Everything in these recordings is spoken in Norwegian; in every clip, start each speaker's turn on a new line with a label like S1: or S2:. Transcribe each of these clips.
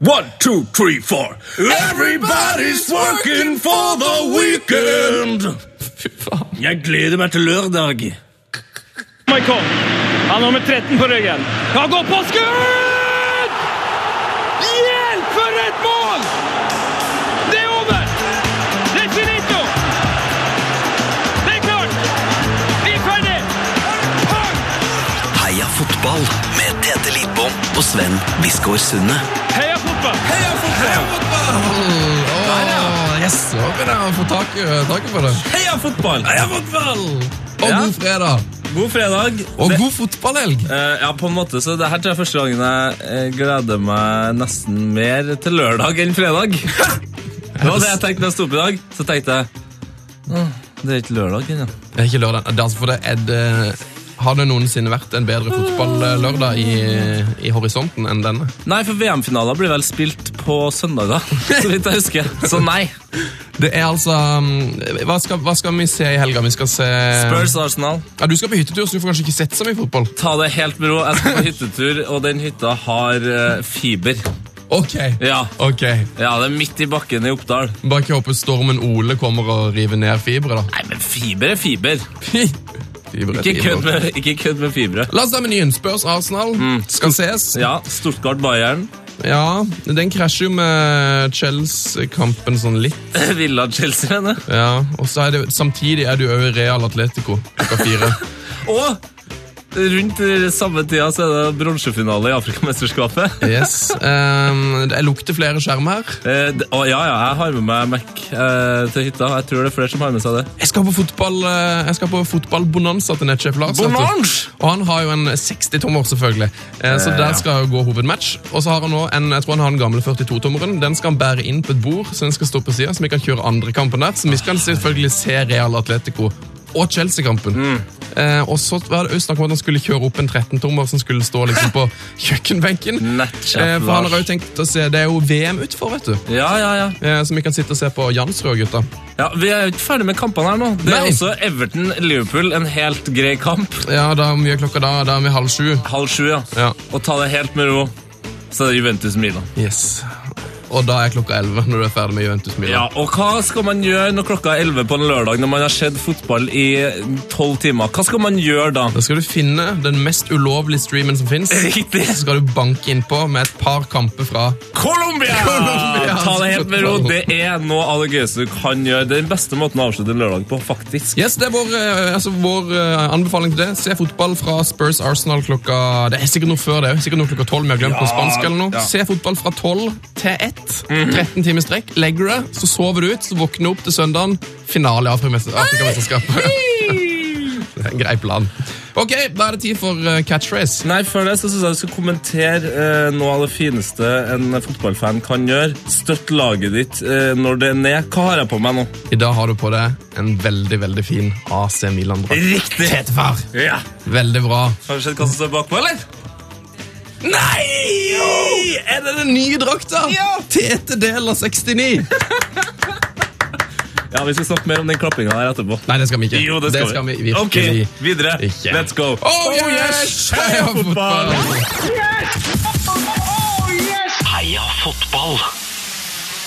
S1: One, two, three, four. Everybody's working for the weekend.
S2: Fy faen.
S1: Jeg gleder meg til lørdag.
S3: Michael. Han har med 13 på ryggen. Han går på skudd! Hjelp, for et mål! Det er over! Det er finito! Det er klart! Vi er ferdig!
S4: Heia fotball med Tete Lidbom og Sven Biskår Sunde.
S3: Heia fotball!
S1: Heia fotball!
S2: Åh, yes, nå begynner jeg å få tak i taket på det.
S1: Heia fotball!
S2: Heia fotball! Og
S1: Ja.
S2: god fredag.
S1: God fredag.
S2: Og
S1: Det-
S2: god fotballhelg.
S1: Eh, ja, på en måte, så det her tror jeg er første gangen jeg eh, gleder meg nesten mer til lørdag enn fredag. Det var det jeg tenkte da jeg sto opp i dag. Så tenkte jeg «Åh, det er ikke lørdag ennå.
S2: Det er ikke lørdag. Det er altså for det er det, har det noensinne vært en bedre fotballørdag i, i horisonten enn denne?
S1: Nei, for VM-finaler blir vel spilt på søndager, så vidt jeg husker. Så nei.
S2: Det er altså mm, Hva skal, hva skal vi se i helga? Vi skal se
S1: Spurs Arsenal.
S2: Ja, Du skal på hyttetur, så du får kanskje ikke sett så mye fotball.
S1: Ta det helt med ro. Jeg skal på hyttetur, og den hytta har eh, fiber.
S2: Ok.
S1: Ja.
S2: Ok.
S1: ja, det er midt i bakken i Oppdal.
S2: Bare ikke håpe stormen Ole kommer og river ned fibre, da.
S1: Nei, men fiber er fiber.
S2: Fibre,
S1: Ikke kødd med, Mm. ikke kødd med fibre.
S2: La oss ta menyen. Spurs Arsenal skal ses.
S1: Ja, Stuttgart-Bayern.
S2: Ja, den krasjer jo med Chelsea-kampen sånn litt.
S1: Villa Chelsea, mener jeg.
S2: Ja, og så er det, Samtidig er du òg i Real Atletico klokka fire.
S1: Og rundt samme tida så er det bronsefinale i Afrikamesterskapet.
S2: Yes. ehm, det lukter flere skjermer her.
S1: Eh, det- Å ja, ja, jeg har med meg Mac eh, til hytta. Jeg tror det er flere som har med seg det.
S2: Jeg skal på fotball, eh, jeg skal på fotballbonanza til nettsjef Lars. vet du.
S1: Bonanza?
S2: Og han har jo en 60-tommer, selvfølgelig. Eh, Så
S1: Eh, ja.
S2: der skal jo gå hovedmatch. Og så har han nå en, jeg tror han har den gamle 42-tommeren. Den skal han bære inn på et bord, så den skal stå på sida, så vi kan kjøre andre kampen der. Så vi skal selvfølgelig se Real Atletico og Chelsea-kampen.
S1: Mm.
S2: Eh, og så var det også snakk om at han skulle kjøre opp en 13-tommer som skulle stå liksom på kjøkkenbenken.
S1: Nettsjef
S2: Eh, for han har
S1: Lars.
S2: jo tenkt å se, Det er jo VM utfor, vet du.
S1: Ja, ja, ja.
S2: Eh, så vi kan sitte og se på Jansrud og gutta.
S1: ja vi er jo ikke ferdig med kampene her nå. Det er
S2: Nei.
S1: også Everton-Liverpool. En helt grei kamp.
S2: Ja, da er mye klokka da. Da er vi halv sju.
S1: Halv sju, ja.
S2: Ja.
S1: Og ta det helt med ro. Så er det Juventus-Milan.
S2: Yes. Og da er klokka 11 når du er ferdig med Juventus
S1: Ja,
S2: Milan.
S1: og hva skal man gjøre når klokka er 11 på en lørdag når man har sett fotball i 12 timer? Hva skal man gjøre da?
S2: Da skal du finne den mest ulovlige streamen som fins.
S1: Riktig.
S2: Så skal du banke innpå med et par kamper fra
S1: Colombia!
S2: Colombia!
S1: Ta det helt med ro. Det er noe av det gøyeste du kan gjøre. Det er den beste måten å avslutte en lørdag på, faktisk.
S2: Yes, Det er vår, eh, altså vår eh, anbefaling til det. Se fotball fra Spurs Arsenal klokka Det er sikkert noe før det. Sikkert noe klokka 12, Vi har glemt noe spansk eller noe.
S1: ja. Mhm.
S2: Se fotball fra 12 til 1. 13 timer strekk. Legger du deg, så sover du ut, så våkner du opp til søndagen. Finale i Afrikamester- Afrikamesterskapet. det er en grei plan. Ok, da er det tid for eh, catchphrase.
S1: Nei, Før det så synes jeg du skal kommentere eh, noe av det fineste en fotballfan kan gjøre. Støtt laget ditt eh, når det er ned. Hva har jeg på meg nå?
S2: I dag har du på deg en veldig, veldig fin AC Milan-drakt.
S1: Riktig!
S2: Far,
S1: Ja.
S2: Veldig bra.
S1: Har du sett hva som står bakpå, eller?
S2: Nei! Er det den nye drakta? Ja! Tete del av 69.
S1: Ja, Vi skal snakke mer om den klappinga her etterpå.
S2: Nei, det skal vi ikke.
S1: Jo, det skal,
S2: vi.
S1: vi.
S2: virkelig
S1: Ok, videre.
S2: ikke.
S1: Let's go.
S2: Oh, yes! Heia fotball!
S1: Oh,
S4: Heia fotball!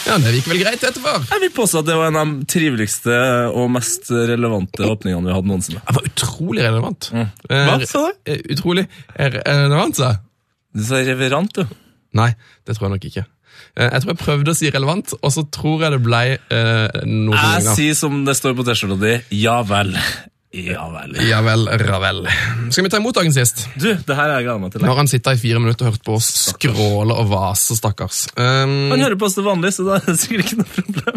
S2: Ja, Det gikk vel greit etterfor.
S1: Jeg vil påstå at det var en av de triveligste og mest relevante åpningene vi hadde noensinne.
S2: Det var utrolig relevant.
S1: Mm. Hva sa du?
S2: Eh, Utrolig er- relevant, sa jeg?
S1: Du sa reverant, du.
S2: Nei, det tror jeg nok ikke. Eh, Jeg tror jeg prøvde å si relevant, og så tror jeg det ble eh,
S1: Jeg
S2: noe som lignet.
S1: sier som det står på T-skjorta di. Ja vel. Ja vel.
S2: Ja vel, ravel. Skal vi ta imot dagens gjest?
S1: Du, det her har jeg gleda meg til.
S2: Nå har han sittet i fire minutter og hørt på oss skråle og vase, stakkars. Um,
S1: Han hører på oss til vanlig, så da er det sikkert ikke noe problem.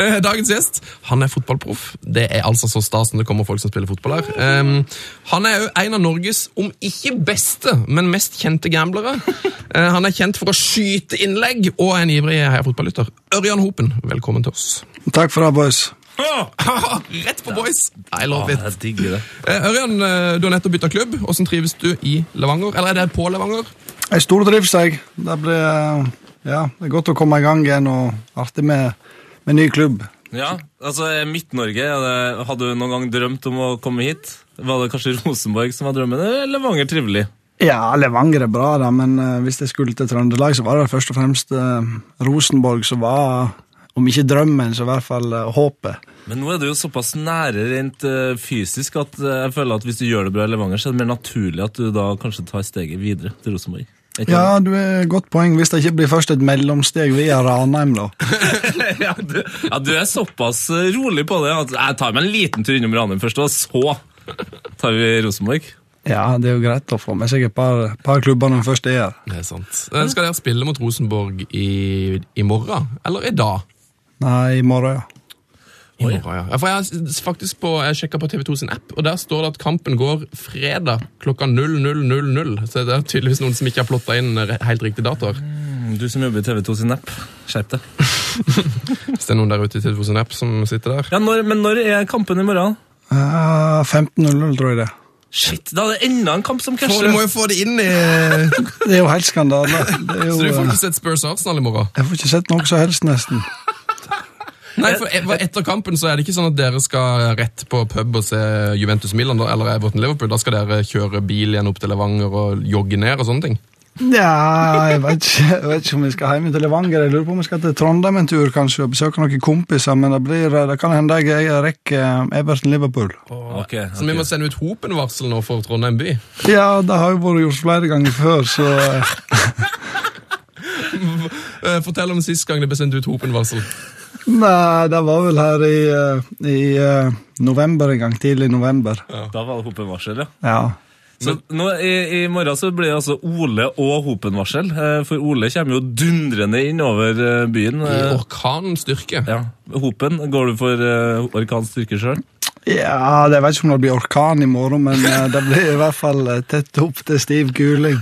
S2: Eh, Dagens gjest han er fotballproff. Det er altså så stas når det kommer folk som spiller fotball her. Ehm, han er òg en av Norges, om ikke beste, men mest kjente gamblere. Eh, han er kjent for å skyte innlegg og er en ivrig heia fotballytter. Ørjan Hopen, velkommen til oss.
S5: Takk for det, boys.
S2: Rett på boys! I love it.
S1: Jeg digger det.
S2: Eh, Ørjan, eh, du har nettopp bytta klubb. Hvordan trives du i Levanger? Eller er det på Levanger?
S5: Jeg stortrives, jeg. Det blir eh, Ja, det er godt å komme i gang igjen, og artig med, med ny klubb.
S1: Ja, altså Midt-Norge, er det- hadde du noen gang drømt om å komme hit? Var det kanskje Rosenborg som var drømmen, eller Levanger trivelig?
S5: Ja, Levanger er bra, da, men eh, hvis jeg skulle til Trøndelag, så var det vel først og fremst eh, Rosenborg som var, om ikke drømmen, så i hvert fall eh, håpet.
S1: Men nå er du jo såpass nære rent eh, fysisk at eh, jeg føler at hvis du gjør det bra i Levanger, så er det mer naturlig at du da kanskje tar steget videre til Rosenborg. Er ikke
S5: Ja, du er godt poeng, hvis det ikke blir først et mellomsteg via Ranheim, da.
S1: det? ja, du, ja, du er såpass eh, rolig på det at jeg tar meg en liten tur innom Ranheim først, og så tar vi Rosenborg.
S5: Ja, det er jo greit å få med seg et par, par klubber når en først er her.
S2: Det er sant. Eh, Skal dere spille mot Rosenborg i, i morgen? Eller i dag?
S5: Nei, i morgen, ja.
S2: I morgen, ja. ja for jeg har s- faktisk på, jeg sjekket på TV2 sin app, og der står det at kampen går fredag klokka 00.00. Så det er tydeligvis noen som ikke har plotta inn eh, helt riktig datoer.
S1: Du som jobber i TV 2 sin app, skjerp deg.
S2: Hvis det er noen der ute i TV2 sin app som sitter der.
S1: Ja, når, men når er kampen i morgen?
S5: Eh, 15.00, tror jeg det.
S1: Shit, da er det enda en kamp som
S2: For
S1: krasjer.
S2: du må jo få det inn i
S5: Det er jo helt skandale. Eh, Det er jo,
S2: Så du får
S5: eh,
S2: ikke sett Spurs Arsenal i morgen?
S5: jeg får ikke sett noe som helst, nesten.
S2: Nei, for et- Etter kampen så er det ikke sånn at dere skal rett på pub og se Juventus Milan da, eller Everton Liverpool. Da skal dere kjøre bil igjen opp til Levanger og jogge ned og sånne ting.
S5: Ja, Ah, jeg vet, ikke, jeg vet ikke om vi skal hjem til Levanger. Jeg lurer på om vi skal til Trondheim en tur kanskje, og besøke noen kompiser, men det, blir, eh, det kan hende jeg rekker eh, Everton-Liverpool.
S1: Ok,
S2: Så vi må
S1: ok.
S2: sende ut hopen-varsel nå for Trondheim by.
S5: Ja, det har jo vært gjort flere ganger før, så eh,
S2: Eh, Fortell om sist gang det ble sendt ut hopen-varsel.
S5: Nei, det var vel her i, eh, i eh, november en gang, tidlig i november.
S1: Da var det hopenvarsel, ja.
S5: Ja.
S1: Så nå, i, I morgen så blir det altså Ole og Hopen-varsel. eh, For Ole kommer jo dundrende inn over eh, byen.
S2: I
S1: eh,
S2: orkanens styrke.
S1: Ja. Hopen, går du for eh, orkansk styrke sjøl?
S5: Ja, det- Jeg vet ikke om det blir orkan i morgen, men eh, det blir i hvert fall eh, tett opp til stiv kuling.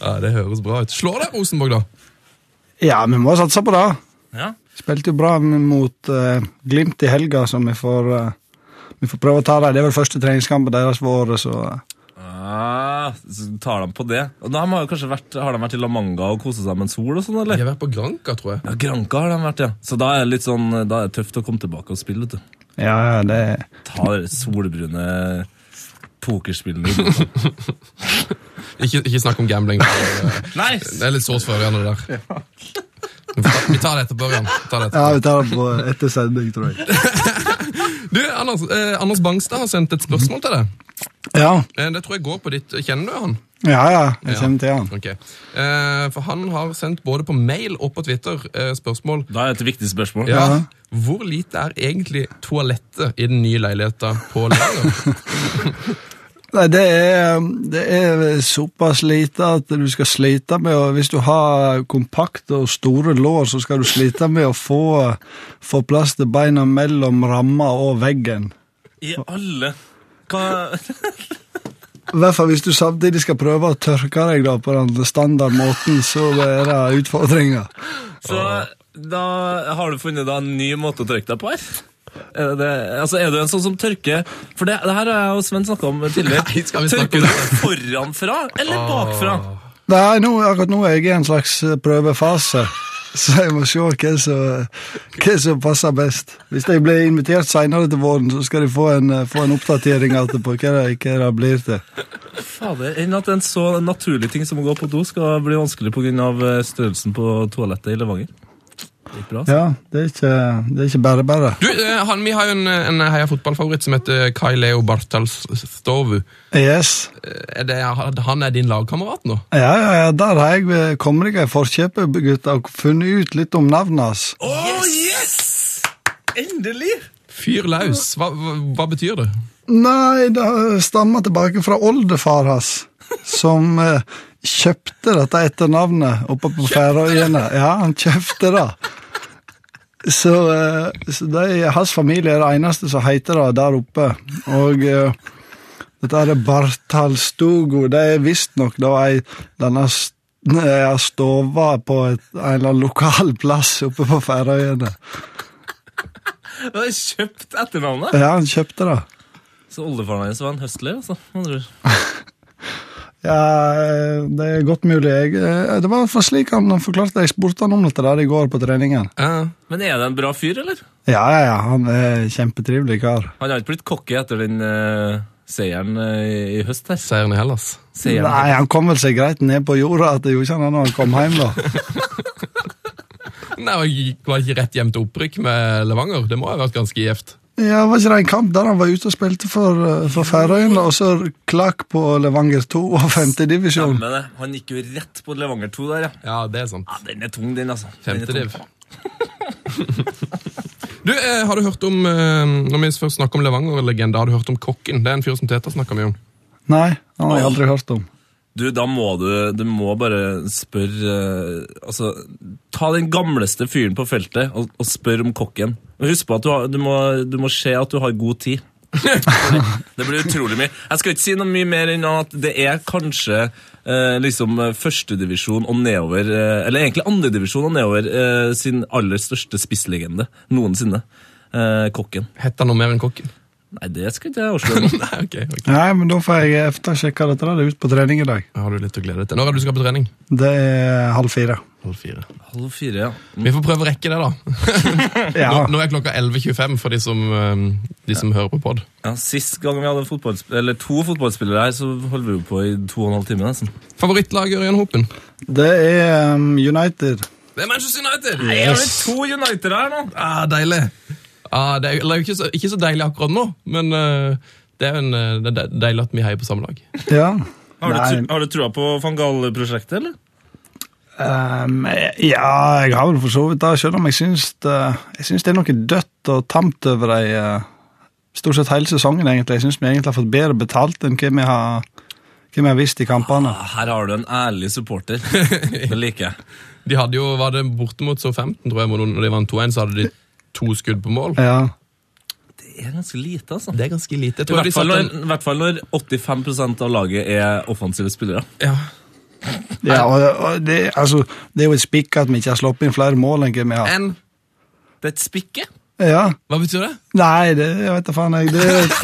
S2: Ja, Det høres bra ut. Slå deg, Rosenborg, da.
S5: Ja, vi må satse på det.
S1: Ja.
S5: Spilte jo bra mot eh, Glimt i helga, så vi får, eh, vi får prøve å ta dem. Det er vel første treningskampen deres vår, så eh,
S1: Ah, så tar de på det. Og de har, jo kanskje vært, har de vært i La Manga og kosa seg med en sol og sånn,
S2: De
S1: eller?
S2: har vært på Granca, tror jeg.
S1: Ja, Granca har de vært, ja. Så da er det litt sånn, da er det tøft å komme tilbake og spille, vet du.
S5: ja, ja, det
S1: Ta det solbrune pokerspillene.
S2: Ikke, ikke snakk om gambling. Det
S1: Nei!
S2: er litt sårt for ørene, det der. Vi tar det etterpå, Ørjan. Vi tar det etterpå.
S5: Ja, vi tar det på etter sending, tror jeg.
S2: Du, Anders, eh, Anders Bangstad har sendt et spørsmål til deg.
S5: Ja,
S2: Eh, Det tror jeg går på ditt Kjenner du han?
S5: ja, ja jeg
S2: Ja.
S5: kommer til han.
S2: Ok. Eh, for han har sendt både på mail og på Twitter eh, spørsmål.
S1: Da er det et viktig spørsmål.
S2: Ja. Hvor lite er egentlig toalettet i den nye leiligheten på Levanger?
S5: Nei, det er, det er såpass lite at du skal slite med å Hvis du har kompakte og store lår, så skal du slite med å få, få plass til beina mellom ramma og veggen.
S1: I alle Hva
S5: I hvert fall hvis du samtidig skal prøve å tørke deg da på den standardmåten, så er det utfordringer.
S1: Så da har du funnet da en ny måte å tørke deg på her? Er, det, altså, er du en sånn som tørker For det, det her har jeg og Sven snakka om tidligere.
S2: Nei, skal vi snakke
S1: tørker
S2: om
S1: du foranfra eller bakfra?
S5: Nei, nå, akkurat nå er jeg i en slags eh, prøvefase, så jeg må se hva som, hva som passer best. Hvis jeg blir invitert senere til våren, så skal de få en, eh, få en oppdatering alt på hva det, hva det blir til.
S1: Fader, Enn at en så naturlig ting som å gå på do skal bli vanskelig pga. eh, størrelsen på toalettet i Levanger. Det gikk bra. altså.
S5: Ja, det er ikke, det er ikke bare bare.
S2: Du, eh, han, Vi har jo en, en heia fotballfavoritt som heter Kai Leo Bartalstovu.
S5: Yes.
S2: Eh, Er det, han er din lagkamerat nå?
S5: Ja, ja, ja, der har jeg eh, kommet deg i forkjøpet, gutta, og funnet ut litt om navnet hans.
S1: Å, yes! Endelig!
S2: Fyr løs. Hva, hva, hva betyr det?
S5: Nei, det stammer tilbake fra oldefar hans, som eh, kjøpte dette etternavnet oppe på Færøyene. Ja, han kjøpte det. Så, eh, så det er, hans familie er det eneste som heter det der oppe. Og eh, dette er Bartalstogo. Det er visstnok da ei denne s- eh, stova på et, en eller annen lokal plass oppe på Færøyene.
S1: Du har kjøpt etternavnet.
S5: Ja, han kjøpte det.
S1: Så oldefaren hans var en høstler, altså. med andre ord.
S5: Ja, det er godt mulig. Jeg, eh, det var for slik han forklarte det. Jeg spurte han om dette der i går på treningen.
S2: Eh,
S1: Men er det en bra fyr, eller?
S5: Ja, ja, ja, han er kjempetrivelig kar.
S1: Han har ikke blitt cocky etter den eh, seieren eh, i høst her.
S2: Seieren i Hellas.
S1: Seieren.
S5: Nei, han kom vel seg greit ned på jorda at det gjorde ikke han når han kom hjem, da.
S2: Nei, og gikk- Var ikke rett hjem til opprykk med Levanger? Det må ha vært ganske gjevt.
S5: Ja, Var ikke det en kamp der han var ute og spilte for, eh, for Færøyene, og så klakk på Levanger 2 og 5. divisjon?
S1: Stemmer det. Han gikk jo rett på Levanger 2 der, ja.
S2: Ja, det er sant.
S1: ja den er tung, den, altså. Den er
S2: Femte
S1: tung.
S2: div. Du, eh, har du hørt om eh, Når vi først snakker om Levanger-legenda, har du hørt om Kokken? Det er en fyr som Teta snakker mye om.
S5: Nei, han har jeg aldri hørt om.
S1: Du, da må du, du må bare spørre eh, Altså, ta den gamleste fyren på feltet og, og spør om kokken. Og husk på at du, har, du, må, du må se at du har god tid. det blir utrolig mye. Jeg skal ikke si noe mye mer enn at det er kanskje eh, liksom eh, førstedivisjon og nedover eh, Eller egentlig andredivisjon og nedover eh, sin aller største spisslegende noensinne. Eh, kokken.
S2: Het han noe mer enn Kokken?
S1: Nei, det skal ikke jeg avsløre nå.
S2: Nei, ok. ok.
S5: Nei, men da får jeg eftersjekke dette. da. Det er ut på trening i dag.
S2: Da Har du litt å glede deg til? Når er det du skal på trening?
S5: Det er halv fire.
S2: Halv fire.
S1: Halv fire, ja.
S2: Vi får prøve å rekke det, da. Nå,
S5: Ja.
S2: nå er klokka 11.25 for de som, eh, de som hører på pod.
S1: Ja, Sist gang vi hadde fotballsp- eller to fotballspillere her, så holdt vi jo på i to og en halv time. nesten.
S2: Favorittlaget Ørjan Hopen?
S5: Det er um, United.
S2: Det er Manchester United!
S1: Nei, har vi to United her nå?
S2: Ah, deilig. Ah, det er, eller, ikke, så, ikke så deilig akkurat nå, men eh, det er jo en, eh, det er de- deilig at vi heier på samme lag.
S5: Ja.
S1: Har du,
S5: Nei.
S1: tru- har du trua på van Gaal-prosjektet, eller?
S5: Um, ja, jeg har vel for så vidt det, selv om jeg syns det, jeg syns det er noe dødt og tamt over ei eh, Stort sett hele sesongen, egentlig. Jeg syns vi egentlig har fått bedre betalt enn hva vi har, hva vi har visst i kampene.
S1: Ja, Her har du en ærlig supporter. Det liker jeg.
S2: De hadde jo, var det bortimot så 15, tror jeg, hvor noen- når de vant 2-1, så hadde de to skudd på mål.
S5: Ja.
S1: Det er ganske lite, altså.
S2: Det er ganske lite.
S1: I
S2: Jeg tror de
S1: hvert, fall
S2: satte
S1: når,
S2: en,
S1: I hvert fall når 85 av laget er offensive spillere.
S2: ja.
S5: ja og, og det, altså, det er jo et spikk at vi ikke har slått inn flere mål enn hva vi har.
S2: en,
S1: Det er et spikke.
S5: Ja.
S2: hva betyr det?
S5: Nei, det jeg vet da faen jeg. Det er et,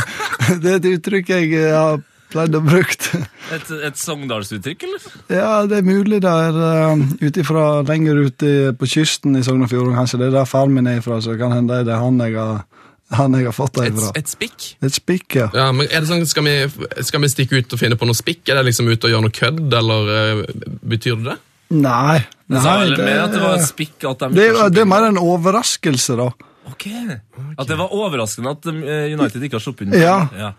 S5: det er et uttrykk jeg eh, har pleid å bruke.
S1: Et, et Sogndalsuttrykk, eller?
S5: Ja, det er mulig det er eh, ut ifra lenger ute på kysten i Sogn og Fjordane. Kanskje det er der far min er ifra, så kan hende det er han jeg har, han jeg har fått det
S2: Et,
S5: ifra.
S2: et spikk?
S5: Et spikk, ja.
S2: Ja, men er det sånn, skal vi, skal vi stikke ut og finne på noe spikk? Er det liksom ut og gjøre noe kødd, eller eh, betyr det det?
S5: Nei.
S1: Det sa
S5: nei
S1: vel mer at det var et
S5: det,
S1: spikk at de
S5: det, er- det er mer en overraskelse, da.
S1: Ok. At det var overraskende at eh, United ikke har sluppet inn.
S5: Ja.
S1: ja.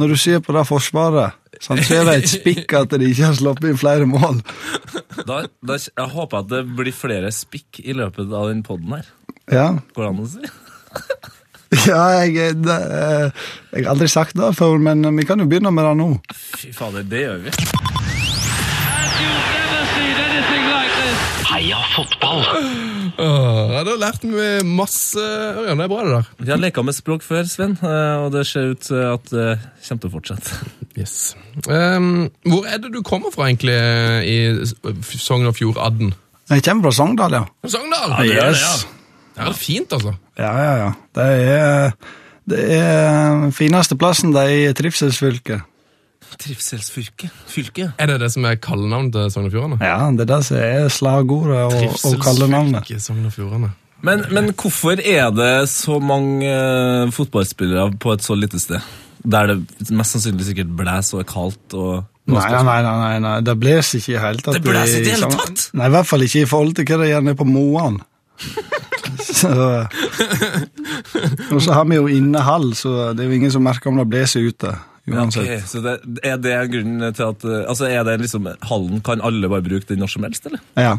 S5: Når du ser på det forsvaret. Sånn, så er det et spikk at de ikke har slått inn flere mål.
S1: Da, da, jeg håper at det blir flere spikk i løpet av den podden her.
S5: Ja,
S1: Går det an å si?
S5: ja jeg, det, eh, jeg har aldri sagt det før, men vi kan jo begynne med det nå.
S1: Fy fader, det gjør vi.
S3: And you've never seen anything like this.
S4: Heia fotball!
S2: Åh, ja, da lærte vi masse, Ørjan, det er bra det der.
S1: Vi har leka med språk før, Sven, eh, og det ser ut eh, at det kommer til å fortsette.
S2: Yes. Ehm, hvor er det du kommer fra egentlig i S- Sogn og Fjordadden?
S5: Jeg kommer fra Sogndal, ja.
S2: Sogndal!
S1: det er det,
S5: Yes.
S2: Det er fint, altså.
S5: Ja, ja, ja. Det er, det er den fineste plassen det er i trivselsfylket.
S1: Trivselsfylke. Fylke.
S2: Er det det som er kallenavn til Sogn og Fjordane?
S5: Ja, det er det som er slagordet og, og kallenavnet.
S2: Trivselsfylke Sogn og Fjordane.
S1: Men, men hvorfor er det så mange eh, fotballspillere på et så lite sted? Der det mest sannsynlig sikkert blæs og er kaldt og
S5: Nei, nei, nei, nei, nei, det blåser ikke i det hele tatt.
S1: Det blåser ikke i det hele
S5: Sogn-
S1: tatt?
S5: Nei, i hvert fall ikke i forhold til hva det gjør nede på Moan. så, og så har vi jo innehall, så det er jo ingen som merker om det blåser ute. Uansett.
S1: Ok, så det, er det grunnen til at eh, Altså, er det liksom Hallen kan alle bare bruke den når som helst, eller?
S5: Ja.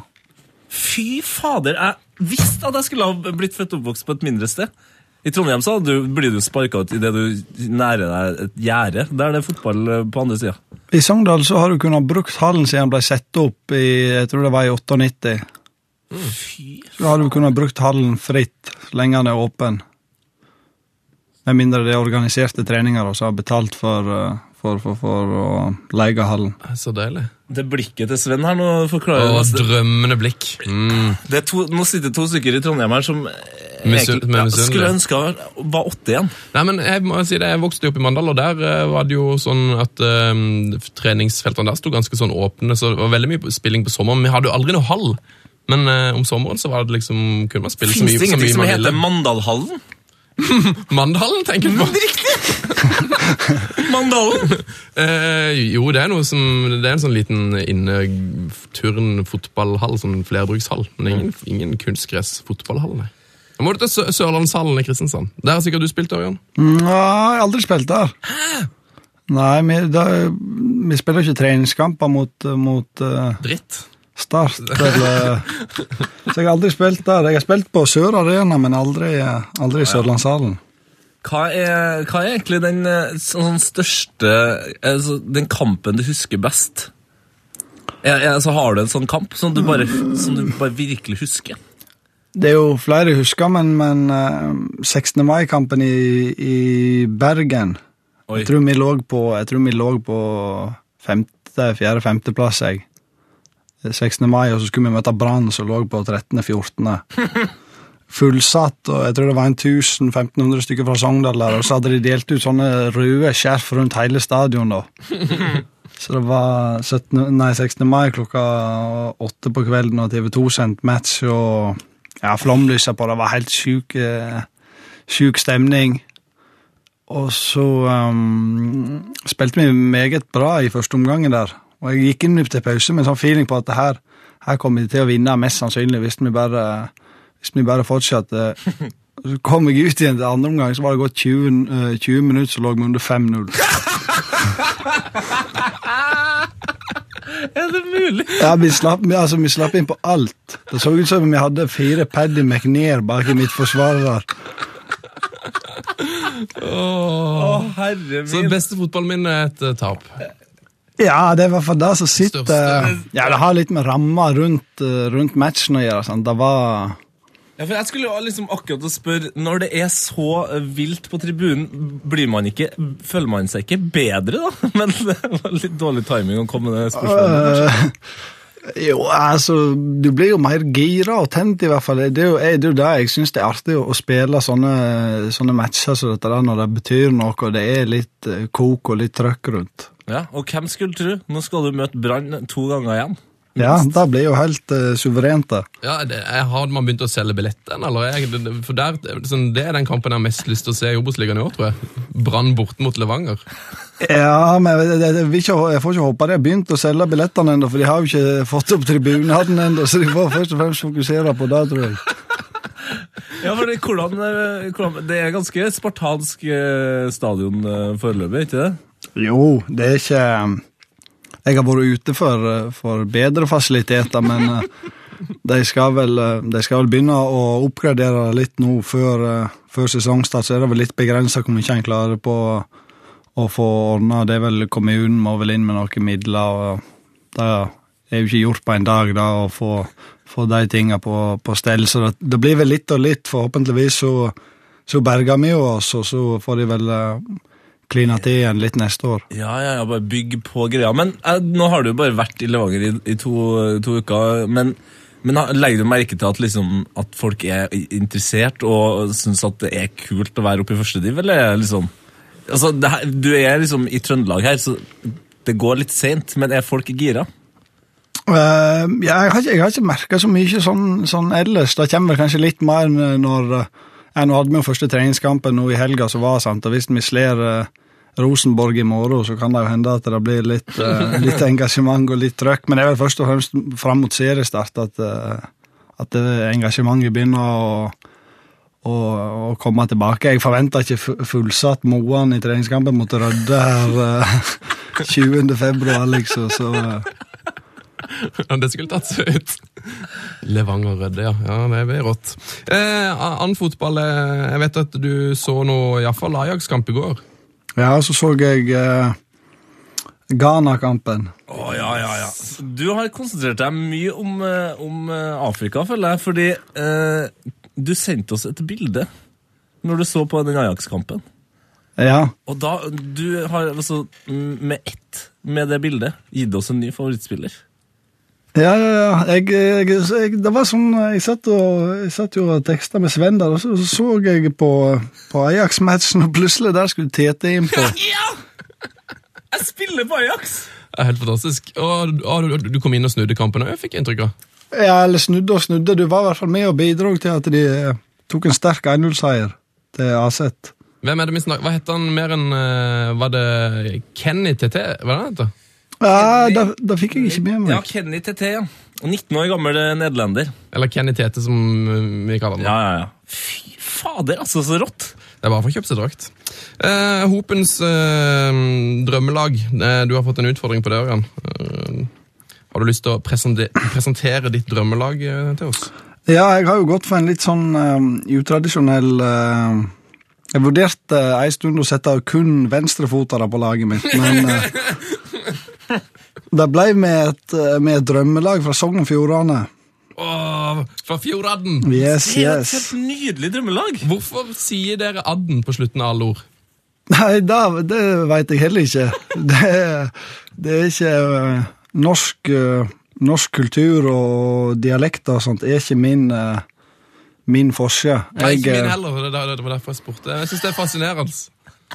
S1: Fy fader, jeg visste at jeg skulle ha blitt født og oppvokst på et mindre sted. I Trondheim så hadde du, blir du sparka ut idet du nærer deg et gjerde. Der er det fotball eh, på andre sida.
S5: I Sogndal så har du kunnet brukt hallen siden den ble satt opp i jeg tror det var i 98.
S1: Fy
S5: Da har du kunnet brukt hallen fritt, så lenge den er åpen. Med mindre det er organiserte treninger og så har betalt for, eh, for, for, for å leie hallen.
S2: Det er Så deilig. Eh,
S1: Det blikket til Sven her nå forklarer
S2: Og
S1: oss det.
S2: drømmende blikk. Mm.
S1: det er to, nå sitter det to stykker i Trondheim her som eh,
S2: Misun-
S1: egentlig- ja,
S2: misunnelige.
S1: skulle ønska var åtte igjen.
S2: Nei, men jeg må si det, jeg vokste jo opp i Mandal, og der eh, var det jo sånn at eh, treningsfeltene der sto ganske sånn åpne, så det var veldig mye spilling på sommeren. Vi hadde jo aldri noe hall, men eh, om sommeren så var det liksom, kunne man spille så
S1: Fins
S2: mye,
S1: det
S2: så
S1: ingenting
S2: mye
S1: som
S2: man
S1: heter
S2: ville.
S1: Mandalhallen?
S2: Mandalen, tenker du på? Riktig!
S1: Mandalen!
S2: Eh, jo, det er noe som Det er en sånn liten inneturn-fotballhall, sånn flerbrukshall. Men ingen, ingen kunstgress-fotballhall, nei. Da må du til Sø Sørlandshallen i Kristiansand. Der har sikkert du spilt, Ørjan.
S5: Nei, jeg har aldri spilt der. Nei, vi, da, vi spiller ikke treningskamper mot, mot eh,
S2: Dritt.
S5: Start eller Så jeg har aldri spilt der. Jeg har spilt på Sør Arena, men aldri, eh, aldri i Sørlandshallen.
S1: Hva er, hva er egentlig den eh, sånn største altså, Den kampen du husker best? Er, er, så har du en sånn kamp som du bare, som du bare virkelig husker?
S5: Det er jo flere jeg husker, men, men eh, 16. mai-kampen i, i Bergen
S1: Oi.
S5: Jeg tror vi lå på, jeg tror vi lå på femte, fjerde, femte plass, jeg. 16. mai, og så skulle vi møte Brann, som lå på 13. 14. Fullsatt, og jeg tror det var en 1000-1500 stykker fra Sogndal der, og så hadde de delt ut sånne røde skjerf rundt hele stadion da. Så det var 17, nei, 16. mai klokka åtte på kvelden, og TV 2 sendte match, og ja, flomlyset på, det var helt sjuk, eh, sjuk stemning. Og så ehm, spilte vi meget bra i første omgangen der. Og jeg gikk inn til pause med en sånn feeling på at det her, her kommer de til å vinne, mest sannsynlig, hvis vi bare, hvis vi bare fortsetter. Så kom jeg ut igjen til andre omgang, så var det gått 20, eh, 20 minutter, så lå vi under 5-0.
S1: Er det mulig?
S5: Ja, vi slapp, vi- altså, vi slapp inn på alt. Det så ut som om vi hadde fire Paddy McNair bak i mitt forsvar der.
S1: Å, herre
S2: Så det
S1: min.
S2: beste fotballen min er et eh, tap.
S5: Ja, det er i hvert fall det som sitter
S2: Største.
S5: Ja, det har litt med ramma rundt, eh, rundt matchen å gjøre. Sant? Det var
S1: Ja, for jeg skulle jo liksom akkurat å spørre Når det er så eh, vilt på tribunen, blir man ikke, føler man seg ikke bedre, da? Men det var litt dårlig timing å komme med det spørsmålet.
S5: Eh, Jo, altså Du blir jo mer gira og tent, i hvert fall. Det er jo, jeg- det, er jo det jeg syns det er artig, å å spille sånne, sånne matcher som dette der, når det betyr noe og det er litt eh, kok og litt trøkk rundt.
S1: Ja, Og hvem skulle tro? Nå skal du møte Brann to ganger igjen.
S5: Ja, det blir jo helt eh, suverent, det.
S2: Ja, det, jeg Har man begynt å selge billetten? Eller jeg, det, det- for der, sånn, det er den kampen jeg har mest lyst til å se i Obos-ligaen i år, tror jeg. Brann borte mot Levanger.
S5: Ja, men jeg, jeg, jeg, vil ikke, jeg får ikke håpe de har begynt å selge billettene ennå, for de har jo ikke fått opp tribunaden ennå, så de får først og fremst fokusere på det, tror jeg.
S1: Ja, for det, hvordan, eh, hvordan, det er ganske spartansk eh, stadion eh, foreløpig, ikke det?
S5: Jo, det er ikke Jeg har vært ute for, for bedre fasiliteter, men eh, de skal, vel, eh, de skal vel begynne å oppgradere det litt nå før, eh, før sesongstart, så er det vel litt begrensa hvor mye en klarer på å få ordna. Det er vel kommunen må vel inn med noen midler, og det er jo ikke gjort på en dag, da, å få, få de tinga på, på stell. Så det, det blir vel litt og litt, forhåpentligvis så, så berger vi jo oss, og så får de vel eh, klina til igjen litt neste år.
S1: Ja, ja, ja, bare bygg på greia. Men eh, nå har du jo bare vært i Levanger i, i to, eh, to uker. Men, men ha- legger du merke til at, liksom, at folk er i- interessert og syns at det er kult å være oppe i første div, eller er det liksom Altså, det her, du er liksom i Trøndelag her, så det går litt seint, men er folk gira?
S5: Eh, ja, jeg har ikke, jeg har ikke merka så mye sånn, sånn ellers. Det kommer vel kanskje litt mer når eh, ja, Nå hadde vi jo første treningskampen nå i helga som var, sant, og hvis vi slår eh, Rosenborg i morgen, så kan det jo hende at det blir litt, eh, litt engasjement og litt trøkk. Men det er vel først og fremst fram mot seriestart at, eh, at det engasjementet begynner å, å, å komme tilbake. Jeg forventer ikke fu- fullsatt Moan i treningskampen mot Rødde her eh, 20. februar, liksom. Så eh.
S2: Ja, det skulle tatt seg ut. Levanger Rødde, ja. ja. Det blir rått. Eh, Annen fotball eh, Jeg vet at du så noe, iallfall Ajax-kamp i går.
S5: Ja, og så så jeg eh, Ghana-kampen.
S1: Å, ja, ja, ja. Du har konsentrert deg mye om, eh, om eh, Afrika, føler jeg, fordi eh, du sendte oss et bilde når du så på den Ajax-kampen.
S5: Ja,
S1: Og da, du har altså mm, med ett med det bildet gitt oss en ny favorittspiller.
S5: ja, ja. ja. Jeg, jeg, jeg, det var sånn eh, Jeg satt, og, jeg satt jo og teksta med Sven der, og så så, så jeg på, på Ajax-matchen, og plutselig der skulle Tete inn på.
S1: Jeg spiller på Ajax!
S2: Det er Helt fantastisk. Og, og du, du kom inn og snudde kampen òg, fikk jeg inntrykk av.
S5: Ja, eller snudde og snudde. Du var i hvert fall med og bidro til at de eh, tok en sterk 1-0-seier til AZ.
S2: Hvem er det vi snakker Hva heter han mer enn eh, Var det Kenny TT? Hva er det han heter?
S5: Ja, Eh, da, da fikk jeg ikke med
S1: Ja,
S5: meg.
S1: Kenny TT, ja. 19 år gammel eh, nederlender.
S2: Eller Kenny TT, som eh, vi kaller han.
S1: Ja, ja, ja. Fy fader, altså, så rått!
S2: Det er bare for å kjøpe seg drakt. Eh, Hopens eh, drømmelag. Eh, du har fått en utfordring på det, Ørjan. Eh, har du lyst til å presente presentere ditt drømmelag eh, til oss?
S5: Ja, jeg har jo gått for en litt sånn eh, utradisjonell eh, Jeg vurderte uh, en stund å sette kun venstrefotere på laget mitt, men eh, Det ble med et, eh, med et drømmelag fra Sogn og Fjordane.
S2: Åh, fra Fjordadden!
S5: Yes,
S1: Det er et
S5: yes.
S1: helt nydelig drømmelag!
S2: Hvorfor sier dere adden på slutten av alle ord?
S5: Nei, da, det veit jeg heller ikke. Det, det er ikke eh, norsk, eh, norsk kultur og dialekter og sånt er ikke min, eh, min forse.
S2: Nei, ikke
S5: eh,
S2: min heller. Det, det, det var derfor jeg spurte. Jeg syns det er fascinerende.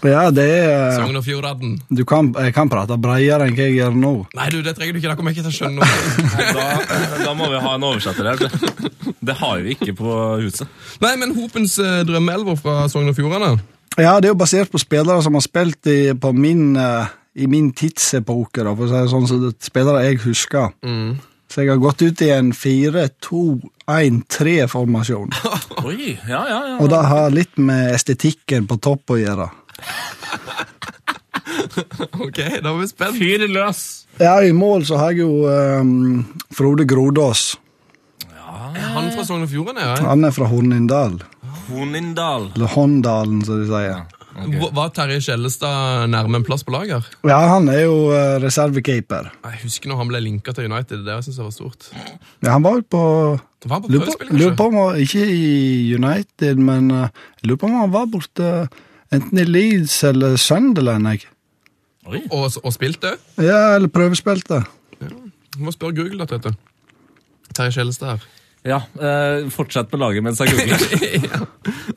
S5: Ja, det er eh,
S2: Sogn og Fjordadden.
S5: du kan, Jeg kan prate bredere enn hva jeg gjør nå.
S2: Nei, du, det trenger du ikke. Da kommer jeg ikke til å skjønne noe.
S1: Da, da må vi ha en oversetter her. vet du. Det har vi ikke på huset.
S2: Nei, men Hopens eh, drømmeelver fra Sogn og Fjordane
S5: Ja, Det er jo basert på spillere som har spilt i, på min, eh, i min tidsepoke. da, for å si det sånn, så det er Spillere jeg husker. Så jeg har gått ut i en 4-2-1-3-formasjon.
S1: Oi, ja, ja, ja.
S5: Og det har litt med estetikken på topp å gjøre.
S2: Ok, da var vi spent.
S1: Fyr løs!
S5: Ja, I mål så har jeg jo ehm, Frode Grodås.
S2: Han fra Sogn og Fjordane, ja.
S5: Han er fra Hornindal.
S1: Honindal.
S5: Eller Håndalen, som de sier.
S2: Hva- Var Terje Skjellestad nærme en plass på lager?
S5: Ja, han er jo eh, reservekeeper.
S2: Jeg husker når han ble linka til United. Det synes jeg var stort.
S5: Ja, han var jo på
S2: Det var han på
S5: Lurer på-
S2: prøvespill,
S5: lurer på
S2: kanskje?
S5: om han Ikke i United, men eh, jeg lurer på om han var borte enten i Leeds eller Sunderland. Jeg.
S1: Oi.
S2: Og, og spilte òg.
S5: Ja, eller prøvespilte.
S2: Må spørre Google da, Tete. Terje Skjellestad her.
S1: Ja, eh, fortsett på laget mens jeg googler.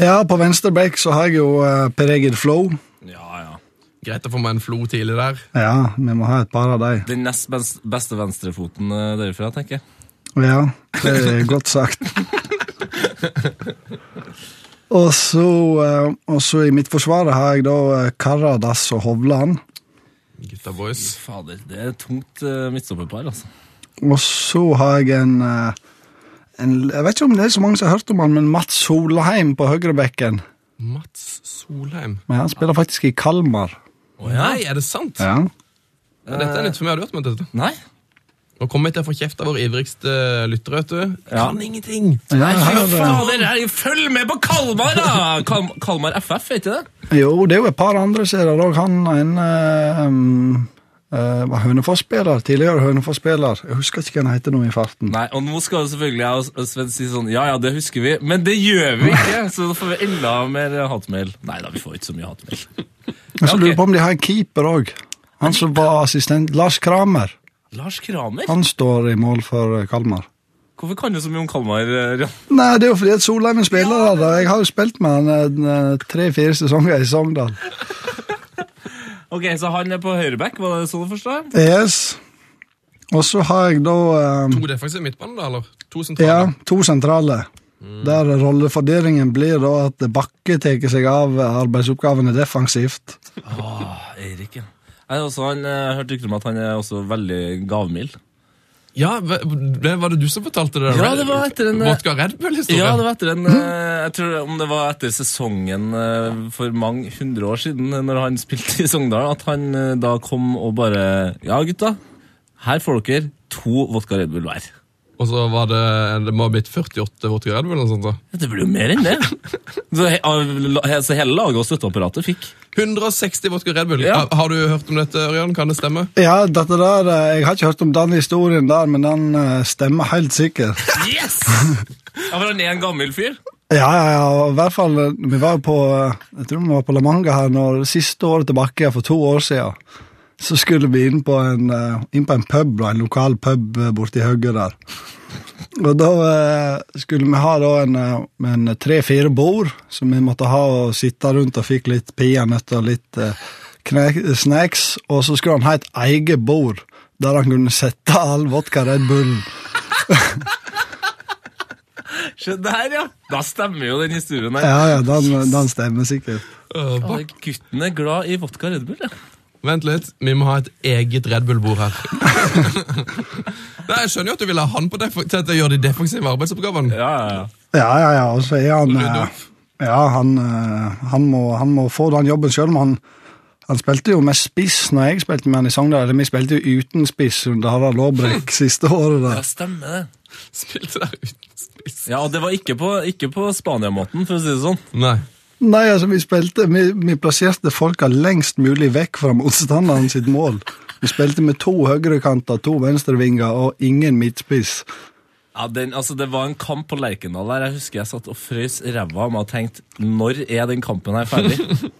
S5: Ja, på venstre back så har jeg jo eh, Per Egil Flow.
S1: Ja, ja.
S2: Greit å få meg en flo tidlig der.
S5: Ja, vi må ha et par av de.
S1: Den nest best, beste venstrefoten eh, derfra, tenker jeg.
S5: Ja, det er godt sagt. Og så, eh, og så i mitt forsvar har jeg da eh, Karadas og Hovland.
S2: Gutta boys.
S1: Fader, det er et tungt eh, midtstopperpar, altså.
S5: Og så har jeg en, eh, en Jeg vet ikke om det er så mange som har hørt om han, men Mats Solheim på høyrebekken.
S2: Mats Solheim.
S5: Men han spiller faktisk i Kalmar.
S2: Nei, er det sant?
S5: Ja.
S2: Dette er nytt for meg. Har du hørt om dette?
S1: Nei?
S2: Nå kommer jeg til å få kjeft av vår ivrigste lytter, vet du.
S1: Ja.
S2: Kan ingenting!
S5: Ja, her er
S1: Fy
S5: det-
S1: fader, jeg- følg med på Kalmar, da! Kal Kalmar FF, vet du det?
S5: jo, det er jo et par andre serier òg. Han er en eh, um, eh, var Hønefoss-spiller. Tidligere Hønefoss-spiller. Jeg husker ikke hva han heter nå i farten.
S1: Nei, og nå skal jo selvfølgelig jeg og- og Sven si sånn Ja, ja, det husker vi, men det gjør vi ikke, så da får vi enda mer hatmail. Nei da, vi får ikke så mye hatmail.
S5: Jeg
S1: Ja,
S5: så
S1: ok.
S5: lurer på om de har en keeper òg. Han som var assistent Lars Kramer.
S1: Lars Kramer?
S5: Han står i mål for eh, Kalmar.
S1: Hvorfor kan du så mye om Kalmar? eh, Jan?
S5: Nei, det er jo fordi at Solheim er spiller der. da. Jeg har jo spilt med han eh, tre-fire sesonger i Sogndal.
S1: Ok, Så han er på høyreback, var det sånn å forstå?
S5: Yes. Og så har jeg da eh,
S2: To defensive midtbane, da, eller? To
S5: ja,
S2: sentrale.
S5: to sentrale. Der rollefordelingen blir da at Bakke tar seg av arbeidsoppgavene defensivt.
S1: Eirik, ja. Jeg, har også, han, eh, jeg hørte rykter om at han er også veldig gavmild.
S2: Ja, hva- det var det du som fortalte det?
S1: Ja, det var etter en-
S2: Vodka Red Bull-historien?
S1: Ja, det var etter en eh, Jeg tror om det var etter sesongen eh, for mange hundre år siden, eh, når han spilte i Sogndal, at han eh, da kom og bare Ja, gutta, her får dere to vodka Red Bull hver.
S2: Og så var det Det må ha blitt 48 vodka Red Bull eller noe sånt. da.
S1: Ja, Det blir jo mer enn det. Så, he, av- la- så hele laget og støtteapparatet fikk.
S2: 160 vodka Red Bull.
S1: Ja.
S2: Ha- Har du hørt om dette, Ørjan? Kan det stemme?
S5: Ja, dette der, eh, Jeg har ikke hørt om den historien der, men den eh, stemmer helt sikkert.
S1: Yes! Ja, for han er en gammel fyr.
S5: Ja, ja, ja, og i hvert fall, eh, vi var jo på, eh, jeg tror vi var på La Manga her når siste året tilbake, for to år siden, så skulle vi inn på en, eh, inn på en pub, da, en lokal pub eh, borte i Høgge der. Og da eh, skulle vi ha da en, eh, en tre-fire bord, som vi måtte ha og sitte rundt og fikk litt peanøtter og litt eh, knek- snacks, og så skulle han ha et eget bord, der han kunne sette all vodka Red Bullen.
S1: Se der, ja. Da stemmer jo den historien her.
S5: Ja, ja, den, den stemmer sikkert.
S2: Å, Øh,
S1: Ja,
S2: bak-
S1: gutten er glad i vodka Red Bull, ja.
S2: Vent litt, vi må ha et eget Red Bull-bord her. Nei, Jeg skjønner jo at du vil ha han på def- til å gjøre de defensive arbeidsoppgavene.
S1: Ja, ja, ja.
S5: Ja, ja, ja. Og så er han
S2: Rydde
S5: eh,
S2: opp.
S5: Ja, han, eh, han, må, han må få den jobben sjøl, men han han spilte jo med spiss når jeg spilte med han i Sogndal. eller Vi spilte jo uten spiss under Harald Lårbrekk siste året.
S1: Ja,
S5: der.
S1: stemmer det.
S2: Spilte der uten spiss.
S1: Ja, og det var ikke på, ikke på Spania-måten, for å si det sånn.
S2: Nei.
S5: Nei, altså, vi spilte Vi, vi plasserte folka lengst mulig vekk fra motstanderen sitt mål. Vi spilte med to høyrekanter, to venstrevinger og ingen midtspiss.
S1: Ja, den, altså Det var en kamp på Lerkendal der. Jeg husker jeg satt og frøs ræva av meg og tenkte når er den kampen her ferdig?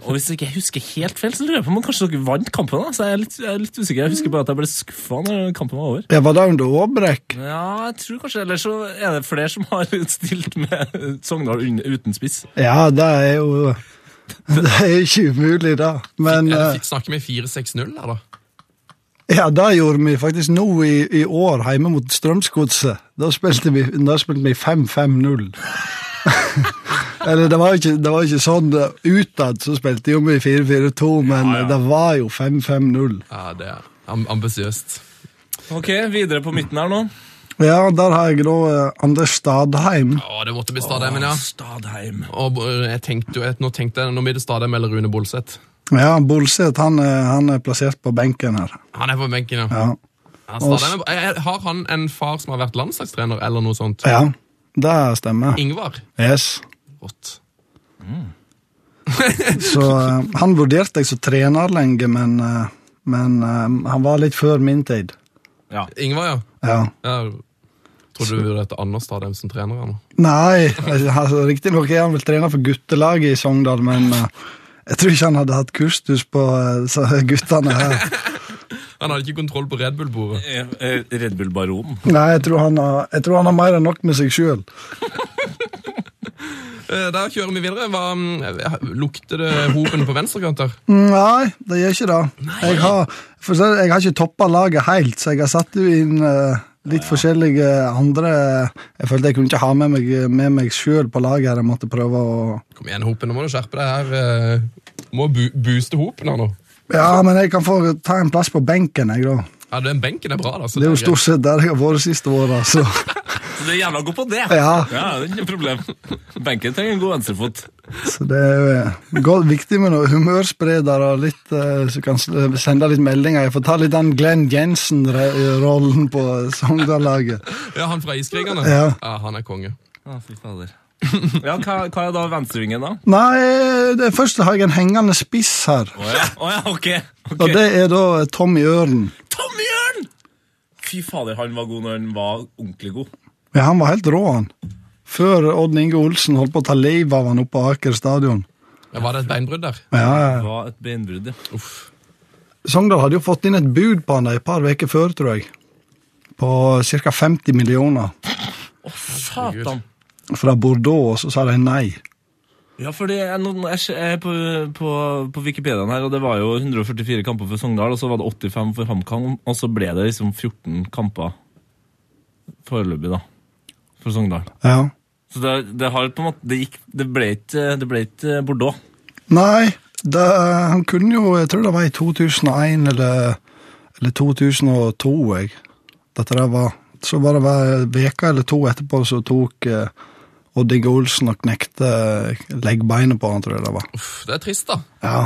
S1: og hvis ikke jeg husker helt feil, så lurer jeg på om kanskje dere vant kampen. da, så jeg er litt, jeg er litt usikker. Jeg husker bare at jeg ble skuffa når kampen var over.
S5: Det var da under Aabrekk.
S1: Ja, jeg tror kanskje, Eller så er det flere som har stilt med Sogndal un- uten spiss.
S5: Ja, det er jo Det er ikke umulig, da. Men
S2: Er
S5: eh,
S2: det, fi- snakker vi 4-6-0 her, da?
S5: Ja, det gjorde vi faktisk nå i, i år, hjemme mot Strømsgodset. Da spilte vi, da spilte vi 5-5-0. Eller, det var, jo ikke, det var jo ikke sånn eh, utad, så spilte jo vi 4-4-2, men eh, det var jo 5-5-0.
S2: Ja, det er am- ambisiøst.
S1: Ok, Videre på midten her nå.
S5: Ja, der har jeg da eh, Anders Stadheim.
S2: Å, det måtte bli Stadheim, ja.
S1: Stadheim.
S2: Og eh, jeg tenkte jo, et- nå tenkte jeg, nå blir det Stadheim eller Rune Bolseth.
S5: Ja, Bolseth, han, er- han er plassert på benken her.
S2: Han er på benken, ja.
S5: Ja,
S2: Ja, Stadheim, er- er- eh, har han en far som har vært landslagstrener, eller noe sånt?
S5: ja det stemmer.
S2: Ingvar?
S5: Yes.
S2: Rått.
S5: Så eh, han vurderte jeg som trener lenge, men, eh, men eh, han var litt før min tid.
S2: Ingvar, ja.
S5: Ja.
S2: ja. Tror du det heter Anders Stadheim som trener? Eller?
S5: Nei, altså, riktignok er han vel trener for guttelaget i Sogndal, men eh, jeg tror ikke han hadde hatt kursus på eh, så guttene her.
S2: Han hadde ikke kontroll på Red Bull-bordet.
S1: Eh, eh, Red Bull Baron.
S5: Nei, jeg tror han har, jeg tror han har mer enn nok med seg sjøl.
S2: Eh, Da kjører vi videre. Hva, mm, lukter det hoven på venstrekanter?
S5: Nei, det gjør ikke det. Jeg har, for å si det, jeg har ikke toppa laget helt, så jeg har satt jo inn eh, litt forskjellige andre Jeg følte jeg kunne ikke ha med meg, med meg sjøl på laget her, jeg måtte prøve å
S2: Kom igjen, Hopen, nå må du skjerpe deg her. eh. Må bu booste Hopen her nå.
S5: Ja, men jeg kan få ta en plass på benken, jeg, da.
S2: Ja, den benken er bra, da. så
S5: Det er jo
S2: greit.
S5: stort sett der jeg har vært siste året, så
S1: Så det er jævla god på det!
S5: Ja.
S1: det er ikke noe problem. Benken trenger en god venstrefot.
S5: Så det er jo eh, godt, viktig med noe humørspreder og litt, eh, så kan s- eh, sende litt meldinger. Jeg får ta litt den Glenn Jensen-rollen på Sogndal-laget.
S2: Ja, Han fra Iskrigerne?
S5: Ja.
S2: han er konge.
S1: Ja, fy fader. Ja, hva, hva er da venstrevingen, da?
S5: Nei, det først har jeg en hengende spiss her.
S1: Å ja, å ja ok. ok.
S5: Og det er da eh, Tommy Ørn.
S1: Tom Jørn! Fy fader, han var god når han var ordentlig god.
S5: Ja, han var helt rå, han. Før Odd Inge Olsen holdt på å ta livet av han oppe på Aker stadion.
S2: Ja, var det et beinbrudd der?
S5: Ja, ja.
S1: Var et beinbrudd, ja.
S5: Sogndal hadde jo fått inn et bud på han da et par uker før, tror jeg. På ca. 50 millioner
S1: Satan.
S5: fra Bordeaux, og så sa de nei.
S1: Ja, fordi jeg, nå- nå- jeg ser- jeg er på, på, på Wikipediaen her, og det var jo 144 kamper for Sogndal, og så var det 85 for HamKam, og så ble det liksom 14 kamper foreløpig, da, for Sogndal.
S5: Ja.
S1: Så det, det har på en måte Det, gikk, det, ble, ikke, det ble ikke Bordeaux.
S5: Nei, det, han kunne jo Jeg tror det var i 2001 eller, eller 2002, jeg. Dette der var Så var det hver veka eller to etterpå så tok eh, Odd Inge Olsen og knekte eh, leggbeinet på han, tror jeg det var.
S2: Uff, det er trist, da.
S5: Ja.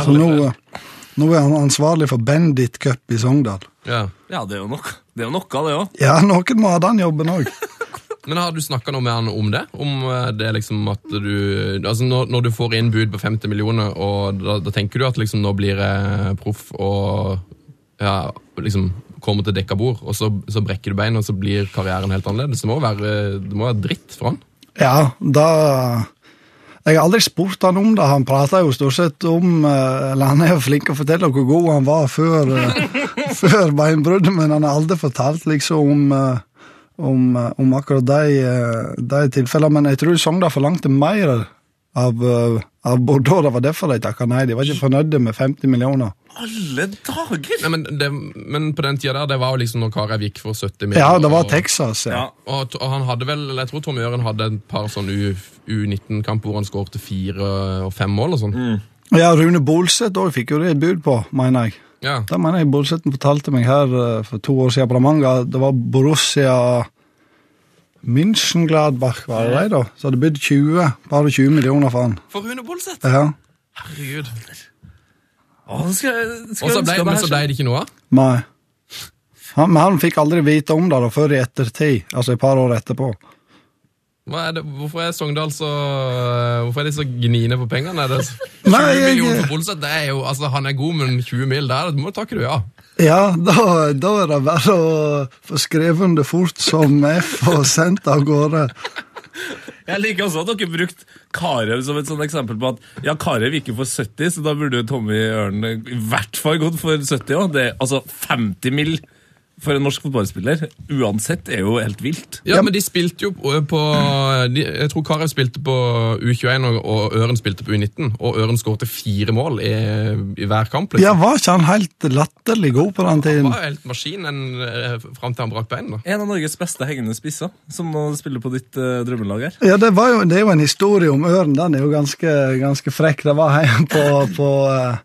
S5: Så nå, eh, nå er han ansvarlig for Bendit Cup i Sogndal.
S2: Ja.
S1: Ja, det er jo nok. Det er jo noe av det òg.
S5: Ja, noen må ha den jobben òg.
S2: Men har du snakka noe med han om det? Om eh, det liksom at du Altså, når, når du får inn bud på 50 millioner, og da, da tenker du at liksom nå blir jeg proff og ja, liksom kommer til dekka bord, og så, så brekker du beinet, og så blir karrieren helt annerledes. Det må jo være, det må være dritt for han.
S5: Ja, da Jeg har aldri spurt han om det. Han prata jo stort sett om eh, Eller han er jo flink til å fortelle hvor god han var før, eh, før beinbruddet, men han har aldri fortalt liksom om eh, om, eh, om akkurat de, eh, de tilfellene. Men jeg tror Sogndal forlangte mer av, eh, av Bordeaux. Det var derfor de takka nei. De var ikke fornøyde med 50 millioner.
S1: alle dager!
S2: Nei, men, det, men på den tida der, det var jo liksom når Karev gikk for 70 meter.
S5: Ja, det var
S2: og-
S5: Texas, ja.
S1: Ja.
S2: Og, t- og han hadde vel, eller jeg tror Tom Jøren hadde et par sånn U- U19-kamp hvor han skårte fire og fem mål og sånn.
S5: Ja, Rune Bolseth òg fikk jo det et bud på, mener jeg.
S2: Ja.
S5: Da mener jeg Bolseten fortalte meg her eh, for to år siden på Ramanga, det var Borussia München-Gladbach, var det de da? Så hadde bydd 20, bare 20 millioner for han.
S2: For Rune Bolseth!
S5: Ja,
S2: Herregud.
S1: Å, nå skal, jeg- skal
S2: Og så
S1: jeg
S2: ble,
S1: ønske meg
S2: men
S1: her
S2: så
S1: selv.
S2: ble det ikke noe av.
S5: nei. Han, men han fikk aldri vite om det da, før i ettertid, altså et par år etterpå.
S2: Hva er det, hvorfor er Sogndal så Hvorfor er de så gniende på pengene? Er det så- 20
S5: Nei, jeg-
S2: millioner for Bolseth, det er jo Altså, han er god, men 20 mil, der må du takke du, ja.
S5: Ja, da, da er det bare å få skrevet det fort som F og sendt av gårde.
S1: Jeg liker også at dere brukte Karev som et sånt eksempel på at ja, Karev gikk jo for 70, så da burde jo Tommy Ørn i hvert fall gått for 70 òg. Altså 50 mill. for en norsk fotballspiller uansett er jo helt vilt.
S2: Ja, men de spilte jo på, eh, på de, Jeg tror Karev spilte på U21, og, og Øren spilte på U19. Og Øren skårte fire mål i, i hver kamp. liksom.
S5: Ja, var ikke han helt latterlig god på den
S2: Han
S5: tiden?
S2: var jo helt maskin en, eh, fram til han brakk beinet. da.
S1: En av Norges beste hengende spisser som må spille på ditt eh, drømmelag her.
S5: Ja, det, var jo, det er jo en historie om ørn. Den er jo ganske, ganske frekk. Det var hjemme på, på, eh,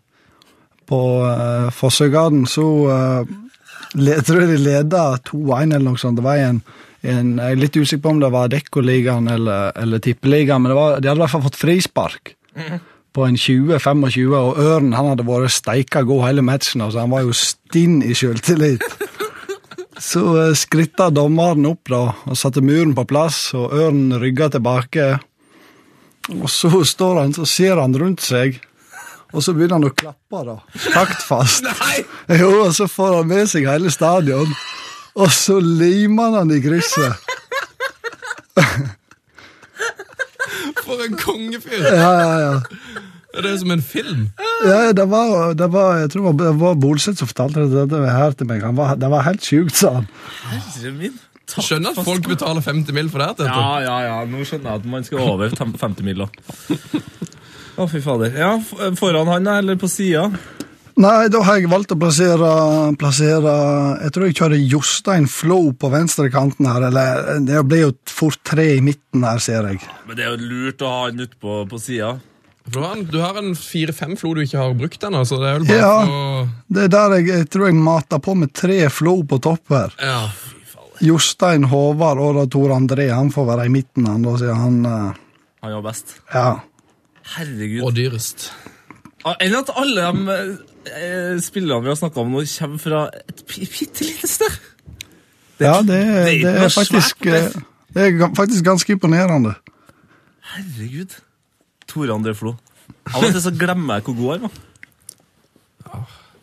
S5: på eh, Fossøygarden, så eh, le, tror jeg de leda 2-1 eller noe sånt. Det var en, en, jeg er litt usikker på om det var Dekkoligaen eller, eller Tippeligaen, men det var, de hadde i hvert fall fått frispark. På en 20-25, og Ørn han hadde vært steika god hele matchen. altså Han var jo stinn i sjøltillit. Så eh, skritta dommeren opp da, og satte muren på plass, og ørnen rygga tilbake. Og så står han, så ser han rundt seg, og så begynner han å klappe da, taktfast. Jo, og så får han med seg hele stadion, og så limer han han i krysset.
S2: For en kongefyr!
S5: Ja, ja, ja.
S2: Det er jo som en film.
S5: Ja, det var, det var, jeg tror det var Bolseth som fortalte det, det her til meg. Han var, det var helt sjukt, sa han.
S1: Herre min. Takk
S2: Skjønner at
S1: for-
S2: folk betaler 50 mil for det. her, Tete.
S1: Ja, ja, ja. Nå skjønner jeg at man skal over tem- 50 mill. Å, fy fader. Ja, f- foran han, da, eller på sida?
S5: Nei, da har jeg valgt å plassere, plassere Jeg tror jeg kjører Jostein Flo på venstrekanten her. Eller det blir jo fort tre i midten her, ser jeg.
S1: Men det er jo lurt å ha han utpå på, på sida.
S2: For du har en- Du har en fire-fem flo du ikke har brukt ennå, så det er vel bare
S5: Ja.
S2: å
S5: Det er der jeg, jeg tror jeg mater på med tre Flo på topp her.
S2: ja.
S5: Jostein Håvard og da Tor André. Han får være i midten, han, da, sier han. eh,
S1: Han var best.
S5: Ja.
S1: Herregud.
S2: Og dyrest.
S1: Ja, Enn Ah, at alle de eh, spillene vi har snakka om nå, kommer fra et bitte lite sted.
S5: Ja, det, er-
S1: det er ikke
S5: det
S1: noe
S5: er faktisk
S1: svært, det.
S5: eh, Det er ga- faktisk ganske imponerende.
S1: Herregud. Tore André Flo. Av og til så glemmer jeg hvor god han var.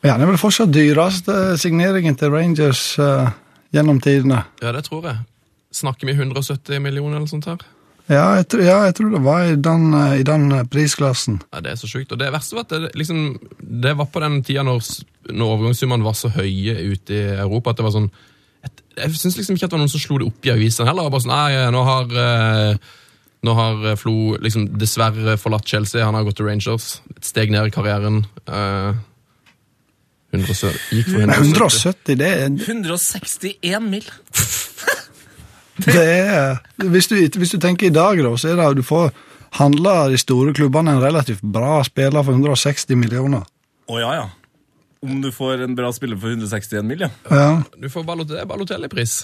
S5: Men han er vel fortsatt dyreste signeringen til Rangers eh, gjennom tidene.
S2: Ja, det tror jeg. Snakker vi 170 millioner eller sånt her?
S5: Ja, jeg, tr- ja, jeg tror det var i den, eh, i den eh, prisklassen.
S2: Ja, det er så sjukt. Og det verste var at det, liksom, det var på den tida når, s- når overgangssummene var så høye ute i Europa at det var sånn et, Jeg syns liksom ikke at det var noen som slo det opp i avisene heller. og Bare sånn, nei, nå har, eh, nå har eh, Flo liksom dessverre forlatt Chelsea, han har gått til Rangers. Et steg ned i karrieren. Eh, 170, gikk for
S5: Nei,
S2: 170.
S5: 170, det er,
S1: 161 mil.
S5: det er hvis, du, hvis du tenker i dag, da, så er det at du får handla de store klubbene en relativt bra spiller for 160 millioner.
S1: Å ja, ja. Om du får en bra spiller for 161 mil, ja.
S5: Ja,
S2: Du får Ballot- det er Balotelli-pris.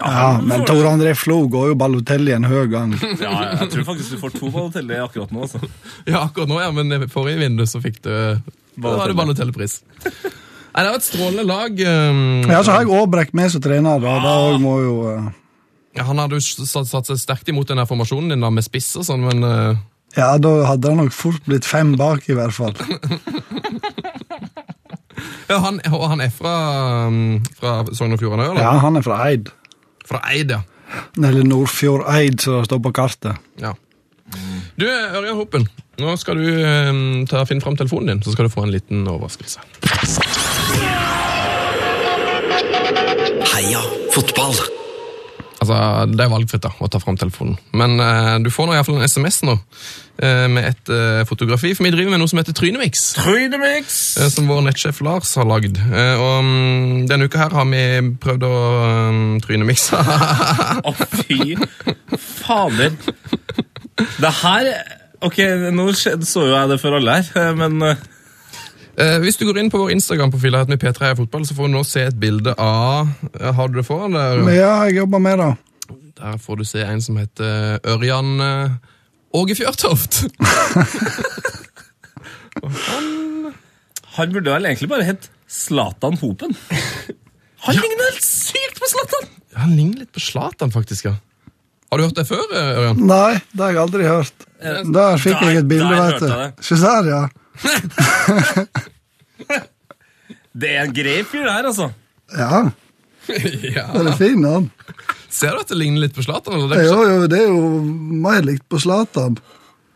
S5: ja
S1: du
S5: men
S1: får det.
S5: Tor André Flo går jo Balotelli en høy gang.
S1: ja, ja, jeg tror faktisk du får to Balotelli akkurat nå. altså.
S2: Ja, akkurat nå, ja, men i forrige vindu så fikk du Da var det Balotelli-pris. Nei, det var et strålende lag. eh,
S5: Ja, så har jeg Aabrekk med som trener, da. Det òg må jo eh,
S2: Ja, han hadde jo satt, satt seg sterkt imot den her formasjonen din da, med spiss og sånn, men eh,
S5: Ja, da hadde det nok fort blitt fem bak, i hvert fall.
S2: ja, han, Og han er fra, um, fra Sogn og Fjordane òg,
S5: Ja,
S2: eller?
S5: han er fra Eid.
S2: Fra Eid, ja.
S5: Eller Nordfjord Eid, som det står på kartet.
S2: ja. Du, Ørjan Hoppen, nå skal du eh, ta, finne fram telefonen din, så skal du få en liten overraskelse.
S4: Heia fotball.
S2: Altså, Det er valgfritt da, å ta fram telefonen. Men eh, du får nå i hvert fall en SMS nå eh, med et eh, fotografi. For vi driver med noe som heter Trynemix,
S1: Trynemix!
S2: eh, som vår nettsjef Lars har lagd. Eh, og mm, denne uka her har vi prøvd å eh, trynemikse.
S1: Å, fy fader. Det her Ok, nå skjedde, så jo jeg det for alle her, men eh,
S2: Eh, hvis du går inn på vår Instagram-profil her med P3 i fotball, så får du nå se et bilde av eh, Har du det foran der?
S5: Men ja, jeg jobber med det.
S2: Der får du se en som heter Ørjan eh, Åge Fjørtoft.
S1: han burde vel egentlig bare hett Zlatan Hopen. Han ligner helt sykt på Zlatan!
S2: Han ligner litt på Slatan, faktisk. ja. Har du hørt det før, eh, Ørjan?
S5: Nei, det har jeg aldri hørt. Der fikk
S1: Der-
S5: jeg et bilde,
S1: der
S5: vet
S1: hørte jeg
S5: du. Se der, ja.
S1: Det er en grei fyr, det her, altså.
S5: Ja,
S2: ja.
S5: den er fin, den.
S2: Ser du at det ligner litt på Slatan? eller? Det er
S5: Jo,
S2: ikke
S5: jo, det er jo mer likt på Zlatan.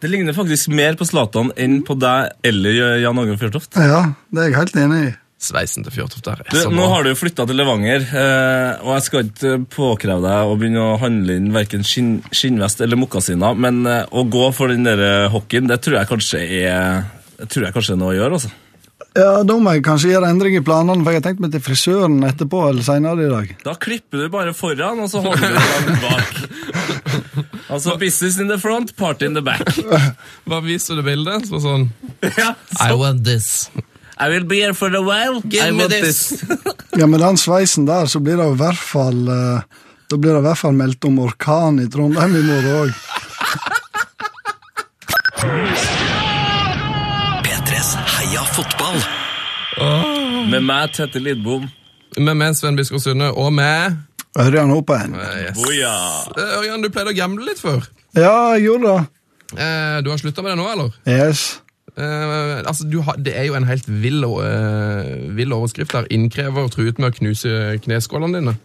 S1: Det ligner faktisk mer på Zlatan enn på deg eller Jan Åge Fjørtoft.
S5: Ja, det er jeg helt enig i.
S2: så- Sveisen til Fjørtoft der er
S1: Du,
S2: så
S1: nå
S2: bra.
S1: har du jo flytta til Levanger, eh, og jeg skal ikke påkreve deg å begynne å handle inn verken skinn, skinnvest eller mokkasiner, men eh, å gå for den der eh, hockeyen, det tror jeg kanskje er det tror jeg kanskje er noe å gjøre, altså.
S5: Ja, Da må jeg kanskje gjøre endring i planene, for jeg har tenkt meg til frisøren etterpå eller senere i dag.
S1: Da klipper du bare foran, og så holder du langt bak. Altså business in the front, party in the back.
S2: Hva viser du bildet? Så sånn
S1: Ja,
S2: I
S1: så.
S2: want this.
S1: I will be here for a while. I
S2: Give me
S1: want
S2: this.
S5: Ja, Med den sveisen der, så blir det i hvert fall eh, Da blir det i hvert fall meldt om orkan i Trondheim i morgen òg.
S4: P3s Heia fotball.
S1: Med meg, Tette Lidbom.
S2: Med meg, Sven Biskår Sunde, og med
S5: Ørjan Hopen.
S2: eh, yes.
S1: Boja.
S2: Eh, Ørjan, du pleide å gamble litt før.
S5: Ja, jeg gjorde det.
S2: Eh, du har slutta med det nå, eller?
S5: Yes.
S2: Eh, altså, du har, Det er jo en helt vill, eh, vill overskrift der. Innkrever truet med å knuse kneskålene dine.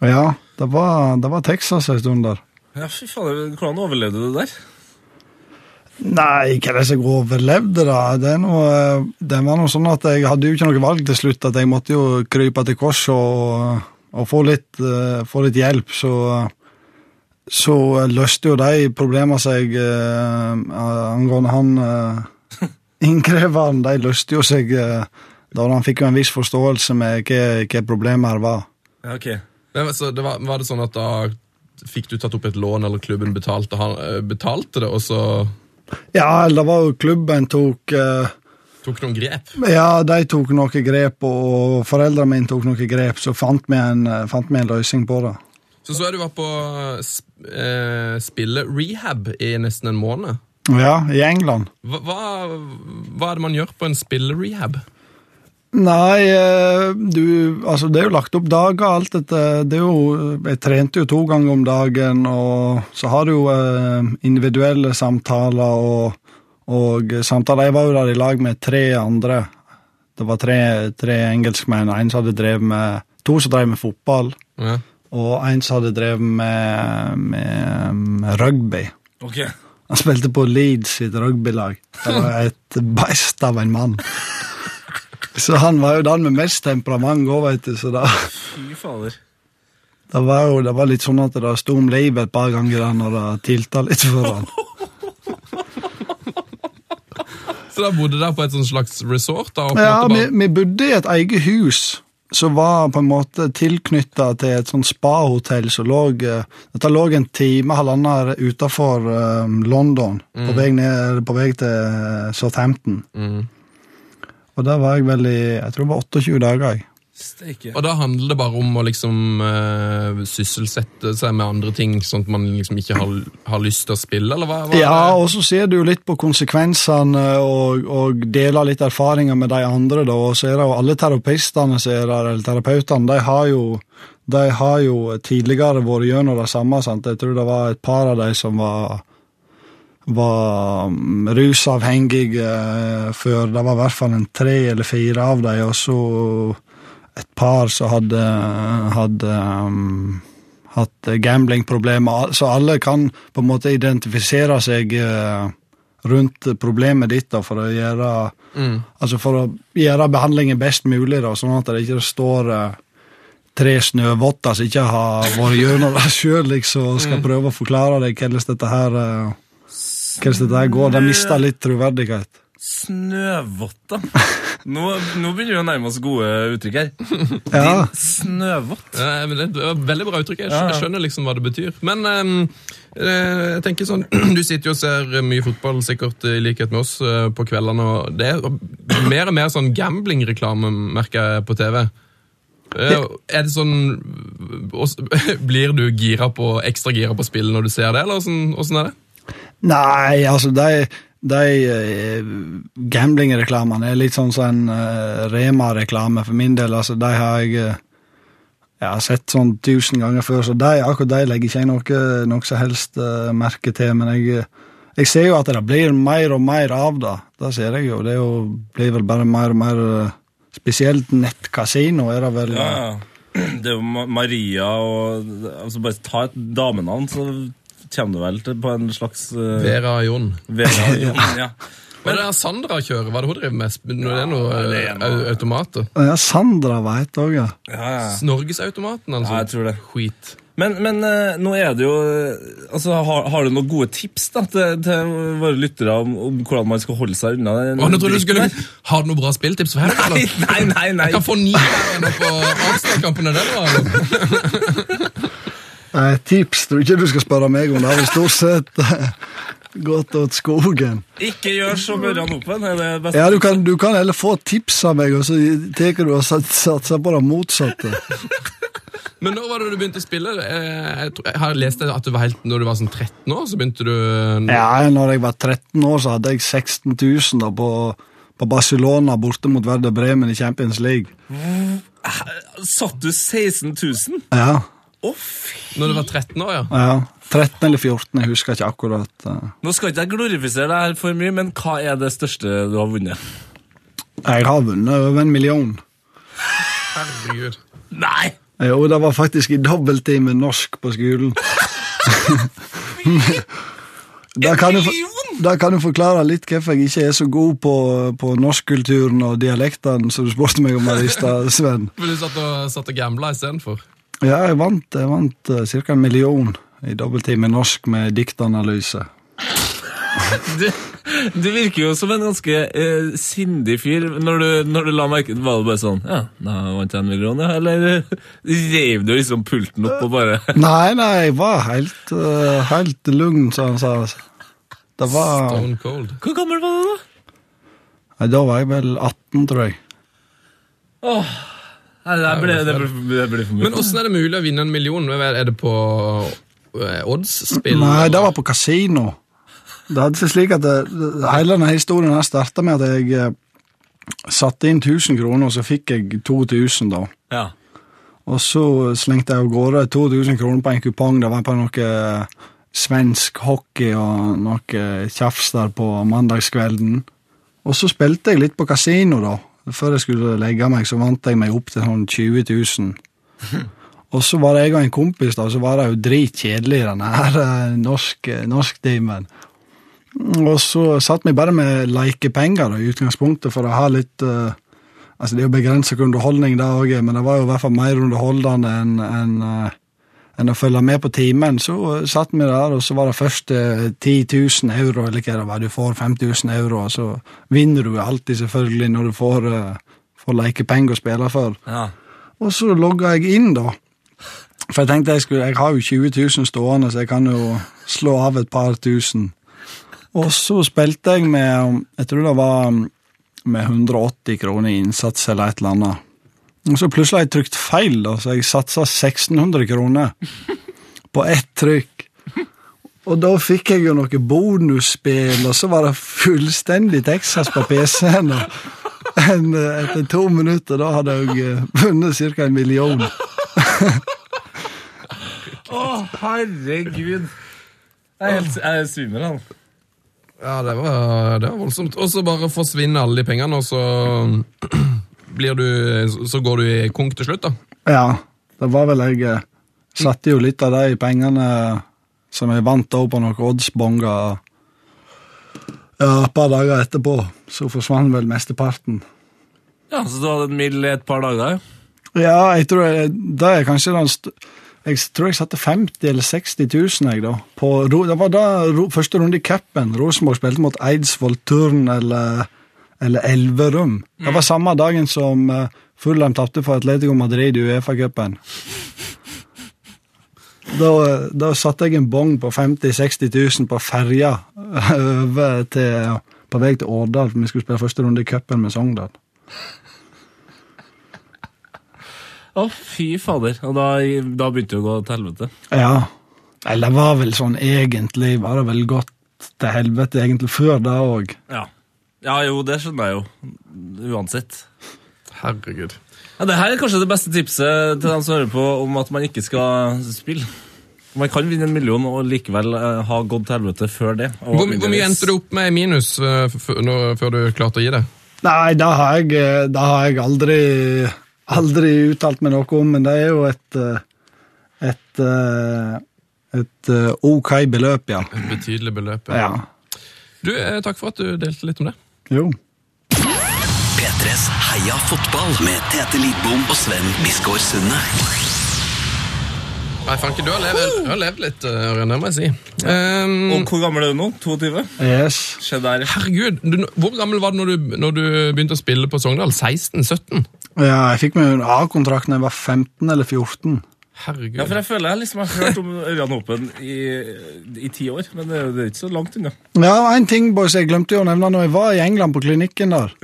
S5: Ja, det var, det var Texas en stund der.
S1: Ja, fy faen, hvordan overlevde du det der?
S5: Nei, hva er det som overlevde, da? Det, er noe, det var noe sånn at jeg hadde jo ikke noe valg til slutt, at jeg måtte jo krype til korset og, og få, litt, eh, få litt hjelp. Så, så løste jo de problemene seg eh, angående han eh, innkreveren, de løste jo seg eh, da han fikk jo en viss forståelse med hva, hva problemet her var.
S1: Ja, ok.
S2: Men, så det var, var det sånn at da fikk du tatt opp et lån, eller klubben betalte, han, eh, betalte det, og så
S5: Ja, eller det var jo klubben tok eh,
S2: tok noen grep?
S5: Ja, de tok noen grep, og foreldrene mine tok noen grep, så fant vi en, eh, fant vi en løsning på det.
S2: Så så er du vært på sp eh, spille rehab i nesten en måned.
S5: Ja, i England.
S2: Hva, hva, hva er det man gjør på en spillerehab?
S5: Nei, eh, du Altså, det er jo lagt opp dager, alt dette. Det er jo Jeg trente jo to ganger om dagen, og så har du jo eh, individuelle samtaler og, og samtaler. Jeg var jo der i lag med tre andre. Det var tre, tre engelskmenn, og en som hadde drevet med To som drev med fotball,
S2: Ja.
S5: og en som hadde drevet med, med, med rugby.
S1: Ok.
S5: Han spilte på Leeds sitt rugbylag. Det var et beist av en mann. Så han var jo den med mest temperament òg, veit du. Så da,
S1: Fy fader.
S5: det var jo det var litt sånn at det sto om livet et par ganger da når det tilta litt for han.
S2: Så da bodde dere på et sånn slags resort? da, og på en
S5: Ja,
S2: måte
S5: vi,
S2: bare,
S5: vi bodde i et eget hus som var på en måte tilknytta til et sånt spahotell som lå eh, Dette lå en time, halvannen utafor London,
S2: Mm.
S5: på, vei ned, på vei til eh, Southampton. Og der var jeg vel i Jeg tror det var 28 dager. jeg.
S1: Steike.
S2: og da handler det bare om å liksom eh, sysselsette seg med andre ting, sånn at man liksom ikke har, har lyst til å spille, eller hva? hva er
S5: Ja,
S2: det?
S5: og så ser du jo litt på konsekvensene og, og deler litt erfaringer med de andre, da. Og så er det jo alle terapistene som er der, eller terapeutene, de har jo, de har jo tidligere vært gjennom det samme, sant. Jeg tror det var et par av de som var var mm, rusavhengige eh, før. Det var i hvert fall en tre eller fire av dem, og så et par som hadde, hadde mm, hatt eh, gamblingproblemer. Så alle kan på en måte identifisere seg eh, rundt problemet ditt da, for, å gjøre, altså for å gjøre behandlingen best mulig, da, sånn at det ikke står eh, tre snøvotter som ikke har vært gjennom det sjøl, liksom, og skal prøve å forklare deg hvordan dette her eh, hvordan dette her går. De mister litt troverdighet.
S1: Snøvotta. Nå, nå begynner vi å nærme oss gode uttrykk her.
S5: Ja,
S1: Snøvott.
S2: Eh, men Det var et veldig bra uttrykk. Jeg
S1: Ja, ja.
S2: skjønner, jeg skjønner liksom hva det betyr. Men ehm, eh, jeg tenker sånn, du sitter jo og ser mye fotball, sikkert i likhet med oss, eh, på kveldene. og Det er mer og mer sånn gambling-reklame, merker jeg, på TV. Eh, Er det sånn og s- Blir du gira på, ekstra gira på spill når du ser det, eller åssen åssen er det?
S5: Nei, altså de, de eh, gamblingreklamene er litt sånn som en eh, Rema-reklame for min del. Altså, de har jeg eh, ja, sett sånn tusen ganger før, så de, akkurat de legger ikke jeg noe, noe som helst eh, merke til. Men jeg, eh, jeg ser jo at det blir mer og mer av det. Det ser jeg jo. Det er jo, blir vel bare mer og mer eh, Spesielt nettkasino er det vel.
S1: Ja, ja. Det er jo Ma- Maria og altså Bare ta et damenavn, så kommer du vel til på en slags eh,
S2: Vera og Jon.
S1: Vera. Jon, ja.
S2: Hva er det der Sandra kjører? Hva er det hun driver med? Sp- Når det er noe
S1: det
S2: eh,
S1: er
S2: au- automater?
S5: Ja, Sandra veit òg, ja.
S1: Ja, ja.
S2: Norgesautomaten, altså?
S1: Ja, jeg tror det.
S2: Skit.
S1: Men, men eh, nå er det jo eh, altså, har, har du noen gode tips da, til, til våre lyttere om, om hvordan man skal holde seg unna den
S2: Å, nå trodde du
S1: dritten
S2: skulle...
S1: der?
S2: Har du noe bra spilltips for helga?
S1: Nei,
S2: eller?
S1: nei, nei. nei.
S2: Jeg kan få ni der inne på Arsenal-kampen. er det bra, eller?
S5: Eh, tips tror ikke du skal spørre meg om. Det har vel stort sett eh, gått åt skogen.
S1: Ikke gjør som Ørjan Open. Er det beste.
S5: Ja, du kan, du kan heller få tips av meg, og så tar du og sat- satser på det motsatte.
S2: Men når var det du begynte å spille? Eh, Jeg, tror, jeg har lest at du var helt, når du var sånn 13 år, så begynte du
S5: Ja, når jeg var 13 år, så hadde jeg 16 000 da, på, på Barcelona borte mot Werder Bremen i Champions League.
S1: Satt du 16 000?
S5: Ja,
S1: Å, fy!
S2: Når du var 13 år, ja.
S5: ja. 13 eller 14, jeg husker ikke akkurat. eh.
S1: Nå skal ikke jeg glorifisere deg her for mye, men hva er det største du har vunnet?
S5: Jeg har vunnet over en million.
S2: Herregud.
S1: Nei!
S5: Eh, Og det var faktisk i dobbelttid med norsk på skolen. Da kan, du, for- da kan du forklare litt hvorfor jeg ikke er så god på, på norskkulturen og dialektene som du spurte meg om her i stad, Sven.
S2: For du satt og, satt og gambla istedenfor.
S5: Ja, jeg vant, jeg vant uh, ca. en million i dobbelttid med norsk med diktanalyse.
S1: Du, du virker jo som en ganske eh, sindig fyr når du, når du la merke Var det bare sånn Ja, da vant jeg en million, ja. Eller reiv du liksom pulten opp og bare
S5: Nei, nei, jeg var helt, eh, helt lugn, som han sa. altså. Det var
S2: Stone cold.
S1: Hvor gammel var du, da?
S5: Nei, Da var jeg vel 18, tror jeg.
S1: Nei, det, ble, det, ble, det ble for mye.
S2: Men åssen er det mulig å vinne en million? Hva Er er det på eh, oddsspill?
S5: Nei, det var på kasino. Det hadde seg slik at det, det- Hele denne historien her starta med at jeg eh, satte inn 1000 kroner, og så fikk jeg 2000, da.
S1: ja.
S5: Og så slengte jeg av gårde 2000 kroner på en kupong. Det var på noe eh, svensk hockey og noe tjafs der på mandagskvelden. Og så spilte jeg litt på kasino, da. Før jeg skulle legge meg, så vant jeg meg opp til sånn 20 000. Og så var det jeg og en kompis, da, og så var det jo dritkjedelig, den her eh, norsk- norsktimen. og så satt vi bare med lekepenger da, i utgangspunktet for å ha litt eh, Altså, det er jo begrenset hvor underholdning det òg er, men det var jo i hvert fall mer underholdende enn enn, eh, enn å følge med på timen. Så eh, satt vi der, og så var det først eh, 10 000 euro, eller hva det var, du får 5000 euro, og så vinner du jo alltid, selvfølgelig, når du får, eh, får lekepenger å spille for.
S1: ja.
S5: Og så logga jeg inn, da. For jeg tenkte jeg skulle Jeg har jo 20 000 stående, så jeg kan jo slå av et par tusen. Og så spilte jeg med Jeg tror det var med 180 kroner i innsats eller et eller annet. Og så plutselig har jeg trykt feil, da, så jeg satsa 1600 kroner på ett trykk. Og da fikk jeg jo noe bonusspill, og så var det fullstendig Texas på PC-en. og en, eh, etter to minutter da hadde jeg eh, vunnet ca. en million.
S1: Å, herregud. Jeg er helt jeg er svimmel, han.
S2: Ja, det var, det var voldsomt. Og så bare forsvinner alle de pengene, og så blir du, så går du i konk til slutt, da.
S5: Ja, det var vel jeg eh, Satte jo litt av de pengene eh, som jeg vant da på noen oddsbonger ja, et par dager etterpå. Så forsvant vel mesteparten.
S1: Ja, Så du hadde en mild i et par dager?
S5: Ja, jeg tror jeg, det er kanskje den st Jeg tror jeg satte 50 eller 60 000, jeg, da. På, Ro- det var da ro, første runde i cupen. Rosenborg spilte mot Eidsvoll Turn eller, eller Elverum. Det var samme dagen som eh, Fulham tapte for Atletico Madrid i Uefa-cupen. Da, da satte jeg en bong på 50 000-60 000 på ferja over til, på vei til Årdal. for Vi skulle spille første runde i cupen med Sogndal.
S1: Å, fy fader. Og da, da begynte det å gå til helvete.
S5: Ja. Eller det var vel sånn egentlig Var det vel gått til helvete egentlig før det òg?
S1: Ja. ja, jo, det skjønner jeg jo. Uansett.
S2: Herregud.
S1: Ja, det her er kanskje det beste tipset til dem som hører på om at man ikke skal spille. Man kan vinne en million og likevel eh, ha gått til helvete før det. og
S2: Hvor, hvor mye
S1: minus.
S2: endte du opp med i minus eh, f- f- nå- før du klarte å gi det?
S5: Nei, det har jeg, eh, det har jeg aldri, aldri uttalt meg noe om, men det er jo et eh, et, eh, et eh, OK beløp, ja.
S2: Et betydelig beløp.
S5: ja.
S2: Du, eh, takk for at du delte litt om det.
S5: Jo.
S4: P3s Heia fotball med Tete Lidbom og Sven Biskår Sunde.
S2: Nei, fanken, du har levd, du har levd litt, eh, Ørjan, det må jeg si. Ehm,
S1: Og hvor gammel er du nå? 22?
S5: Yes.
S1: Se der, ja.
S2: herregud, du, hvor gammel var du når, du når du begynte å spille på Sogndal? 16-17?
S5: Ja, jeg fikk meg en A-kontrakt da jeg var 15 eller 14.
S2: Herregud.
S1: Ja, for jeg føler jeg liksom har hørt om Ørjan Hopen i, i ti år, men det er jo- det er ikke så langt unna.
S5: Ja, en ting, boys, jeg glemte jo å nevne når jeg var i England på klinikken der.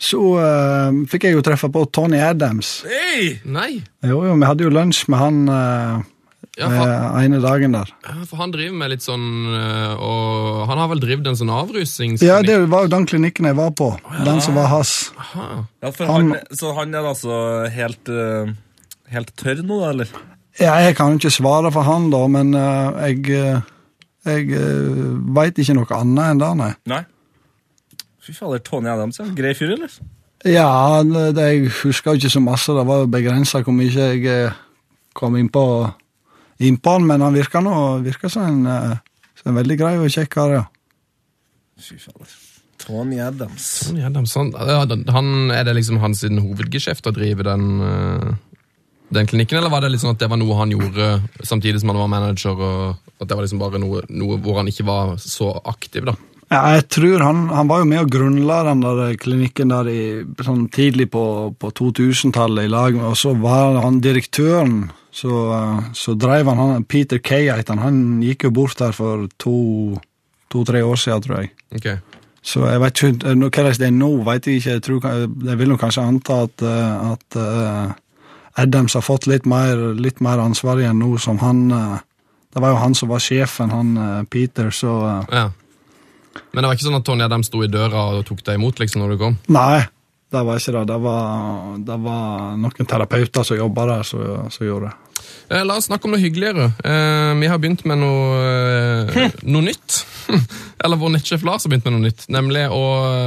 S5: Så eh, fikk jeg jo treffe på Tony Adams.
S1: Hei!
S2: Nei.
S5: Jo, jo, vi hadde jo lunsj med han eh,
S2: Ja, for,
S5: eh, ene dagen der.
S2: ja, for han driver med litt sånn eh, Og han har vel drevet en sånn avrusings...
S5: Ja, det var jo den klinikken jeg var på. Den som var hans.
S2: Aha.
S1: Ja, for han,
S5: Han-
S1: så han er altså helt, eh, helt tørr nå, da, eller?
S5: Ja, jeg kan jo ikke svare for han, da, men eh, jeg eh, jeg veit ikke noe annet enn det, nei.
S1: Nei. Fy fader, Tony Adams er en grei fyr, eller?
S5: Ja, eh, det, det- jeg husker jo ikke så masse. Det var jo begrensa hvor mye jeg eh, kom innpå inn på han, men han virker nå virker som en, eh, som en veldig grei og kjekk kar, ja.
S1: Fy fader. Tony Adams.
S2: Tony Adams, han, ja, den- han, er det liksom hans sin hovedgeskjeft å drive den, eh, den klinikken, eller var det litt sånn at det var noe han gjorde samtidig som han var manager, og at det var liksom bare noe, noe hvor han ikke var så aktiv, da?
S5: Ja, jeg tror han, han var jo med og grunnla den der klinikken der i, sånn tidlig på, på 2000-tallet i lag, og så var han direktøren. Så, eh, så dreiv han, han Peter Kay het han. Han gikk jo bort der for to-tre år siden, tror jeg.
S2: Ok.
S5: Så jeg vet ikke eh, nå- hva det er nå, vet jeg ikke. Jeg, tror, ka- jeg vil nok kanskje anta at, eh, at eh, Adams har fått litt mer, litt mer ansvar igjen nå som han eh, Det var jo han som var sjefen, han eh, Peter, så eh,
S2: Ja. Men det var ikke sånn at Tony Adams sto i døra og tok deg imot liksom når du kom?
S5: Nei, det var ikke det. Det var, det var noen terapeuter som jobba der, som som gjorde det.
S2: Eh, La oss snakke om noe hyggeligere. Eh, vi har begynt med noe, eh, noe nytt. Eller vår nettsjef Lars har begynt med noe nytt, nemlig å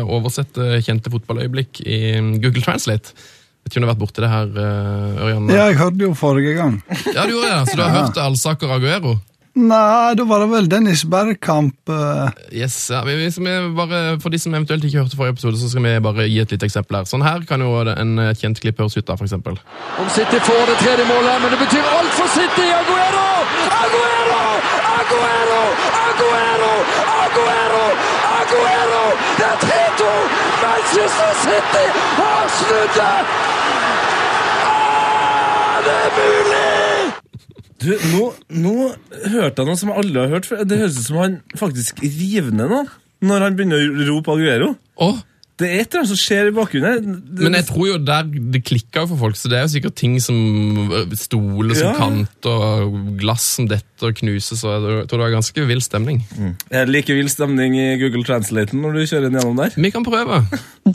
S2: oversette kjente fotballøyeblikk i mm, Google Translate. Vet ikke om du har vært borti det her, eh, Ørjan?
S5: Ja, jeg hørte jo forrige gang.
S2: Ja, du gjorde det. Så du har hørt Alsaker Aguero?
S5: Nei, da var det vel Dennis Bergkamp eh,
S2: Yes, ja. vi, vi, som er bare, For de som eventuelt ikke hørte forrige episode, så skal vi bare gi et lite eksempel her. Sånn her kan jo en eh, kjent klipp høres ut, da, for eksempel.
S6: Om City får det tredje målet, men det betyr alt for City! Aguero! Aguero! Aguero! Aguero! Aguero! Aguero! Det er 3-2! Manchester City har snudd det! Ah, det er mulig!
S1: Du, nå, nå hørte jeg noe som alle har hørt før. Det høres ut som han faktisk river ned noe når han begynner å rope Aguero.
S2: Åh,
S1: Det er et eller annet som skjer i bakgrunnen. Det,
S2: men jeg tror jo der det klikker jo for folk, så det er jo sikkert ting som eh, Stoler som
S1: Ja.
S2: kanter, og glass som detter og knuses, og jeg tror det var ganske vill stemning.
S1: Det er like vill stemning i Google Translate når du kjører den gjennom der.
S2: Vi kan prøve.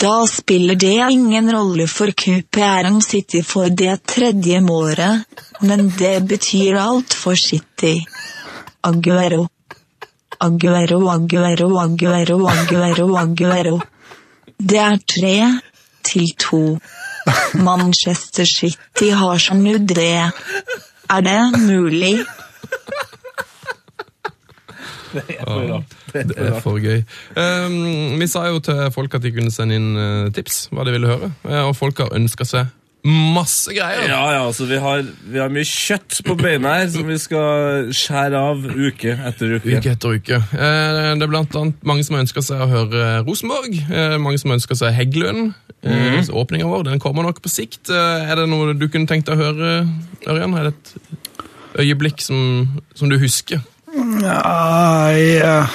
S7: Da spiller det ingen rolle for QPR-en City for det tredje målet, men det betyr alt for City. Aguero. Aguero, Aguero, Aguero, Aguero, Aguero. Det er tre til to. Manchester City har snudd det. Er det mulig?
S2: Det er for gøy. Ehm, øh, Um, vi sa jo til folk at de kunne sende inn eh, tips, hva de ville høre. Eh, og folk har ønska seg masse greier.
S1: Ja, ja, altså vi har, vi har mye kjøtt på beina her som vi skal skjære av uke etter uke.
S2: Uke etter uke. Eh, Det er blant annet mange som ønsker seg å høre eh, Rosenborg. eh, Mange som ønsker seg Heggelund. Mm. Åpninga vår den kommer nok på sikt. Eh, Er det noe du kunne tenkt deg å høre, Ørjan? Er det et øyeblikk som, som du husker?
S5: Nei eh,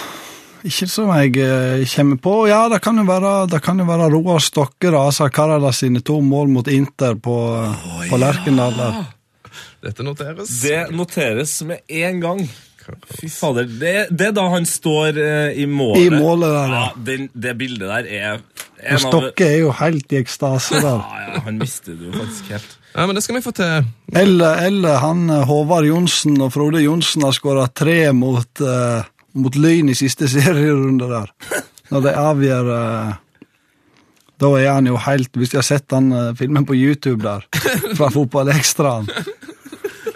S5: Ikke som jeg eh, kommer på. Ja, det kan jo være, det kan jo være Roar Stokke, da. Altså Karada sine to mål mot Inter på, på Lerkendal. der.
S2: Dette noteres.
S1: Det noteres med en gang. Fy fader, det, det er da han står eh, i målet.
S5: I målet der,
S1: ja.
S5: ja.
S1: den, det bildet der er en
S5: Og Stokke er jo helt i ekstase der.
S1: Ja, ja, han mister det jo faktisk helt.
S2: Ja, men det skal vi få til.
S5: Eller, eller han eh, Håvard Johnsen og Frode Johnsen har skåra tre mot, eh, mot Lyn i siste serierunde der. Når de avgjør eh, Da er han jo helt Hvis de har sett den eh, filmen på YouTube der, fra Fotballekstraen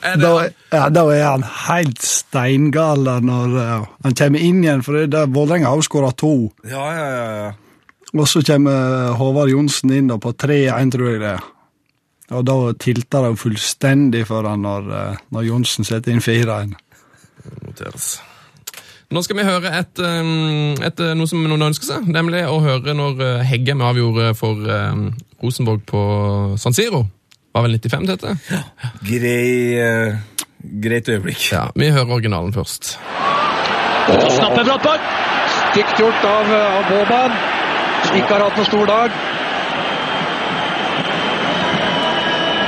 S5: da, er- ja, da er han helt steingal der når eh, han kommer inn igjen, for det- det- Vålerenga har jo skåra to.
S1: Ja, ja, ja. ja.
S5: Og så kommer Håvard Johnsen inn da på 3-1, tror jeg det er. Og da tilter det jo fullstendig for han når, eh, når Johnsen setter inn 4-1.
S2: noteres. Nå skal vi høre et, um, et, uh, noe som noen ønsker seg, nemlig å høre når uh, Heggem avgjorde for um, Rosenborg på San Siro. Var vel 95 dette?
S1: Grei, eh, greit øyeblikk.
S2: Ja, vi hører originalen først.
S3: Snapper Brattberg.
S6: Stygt gjort av, av Boban, som ikke har hatt noen stor dag.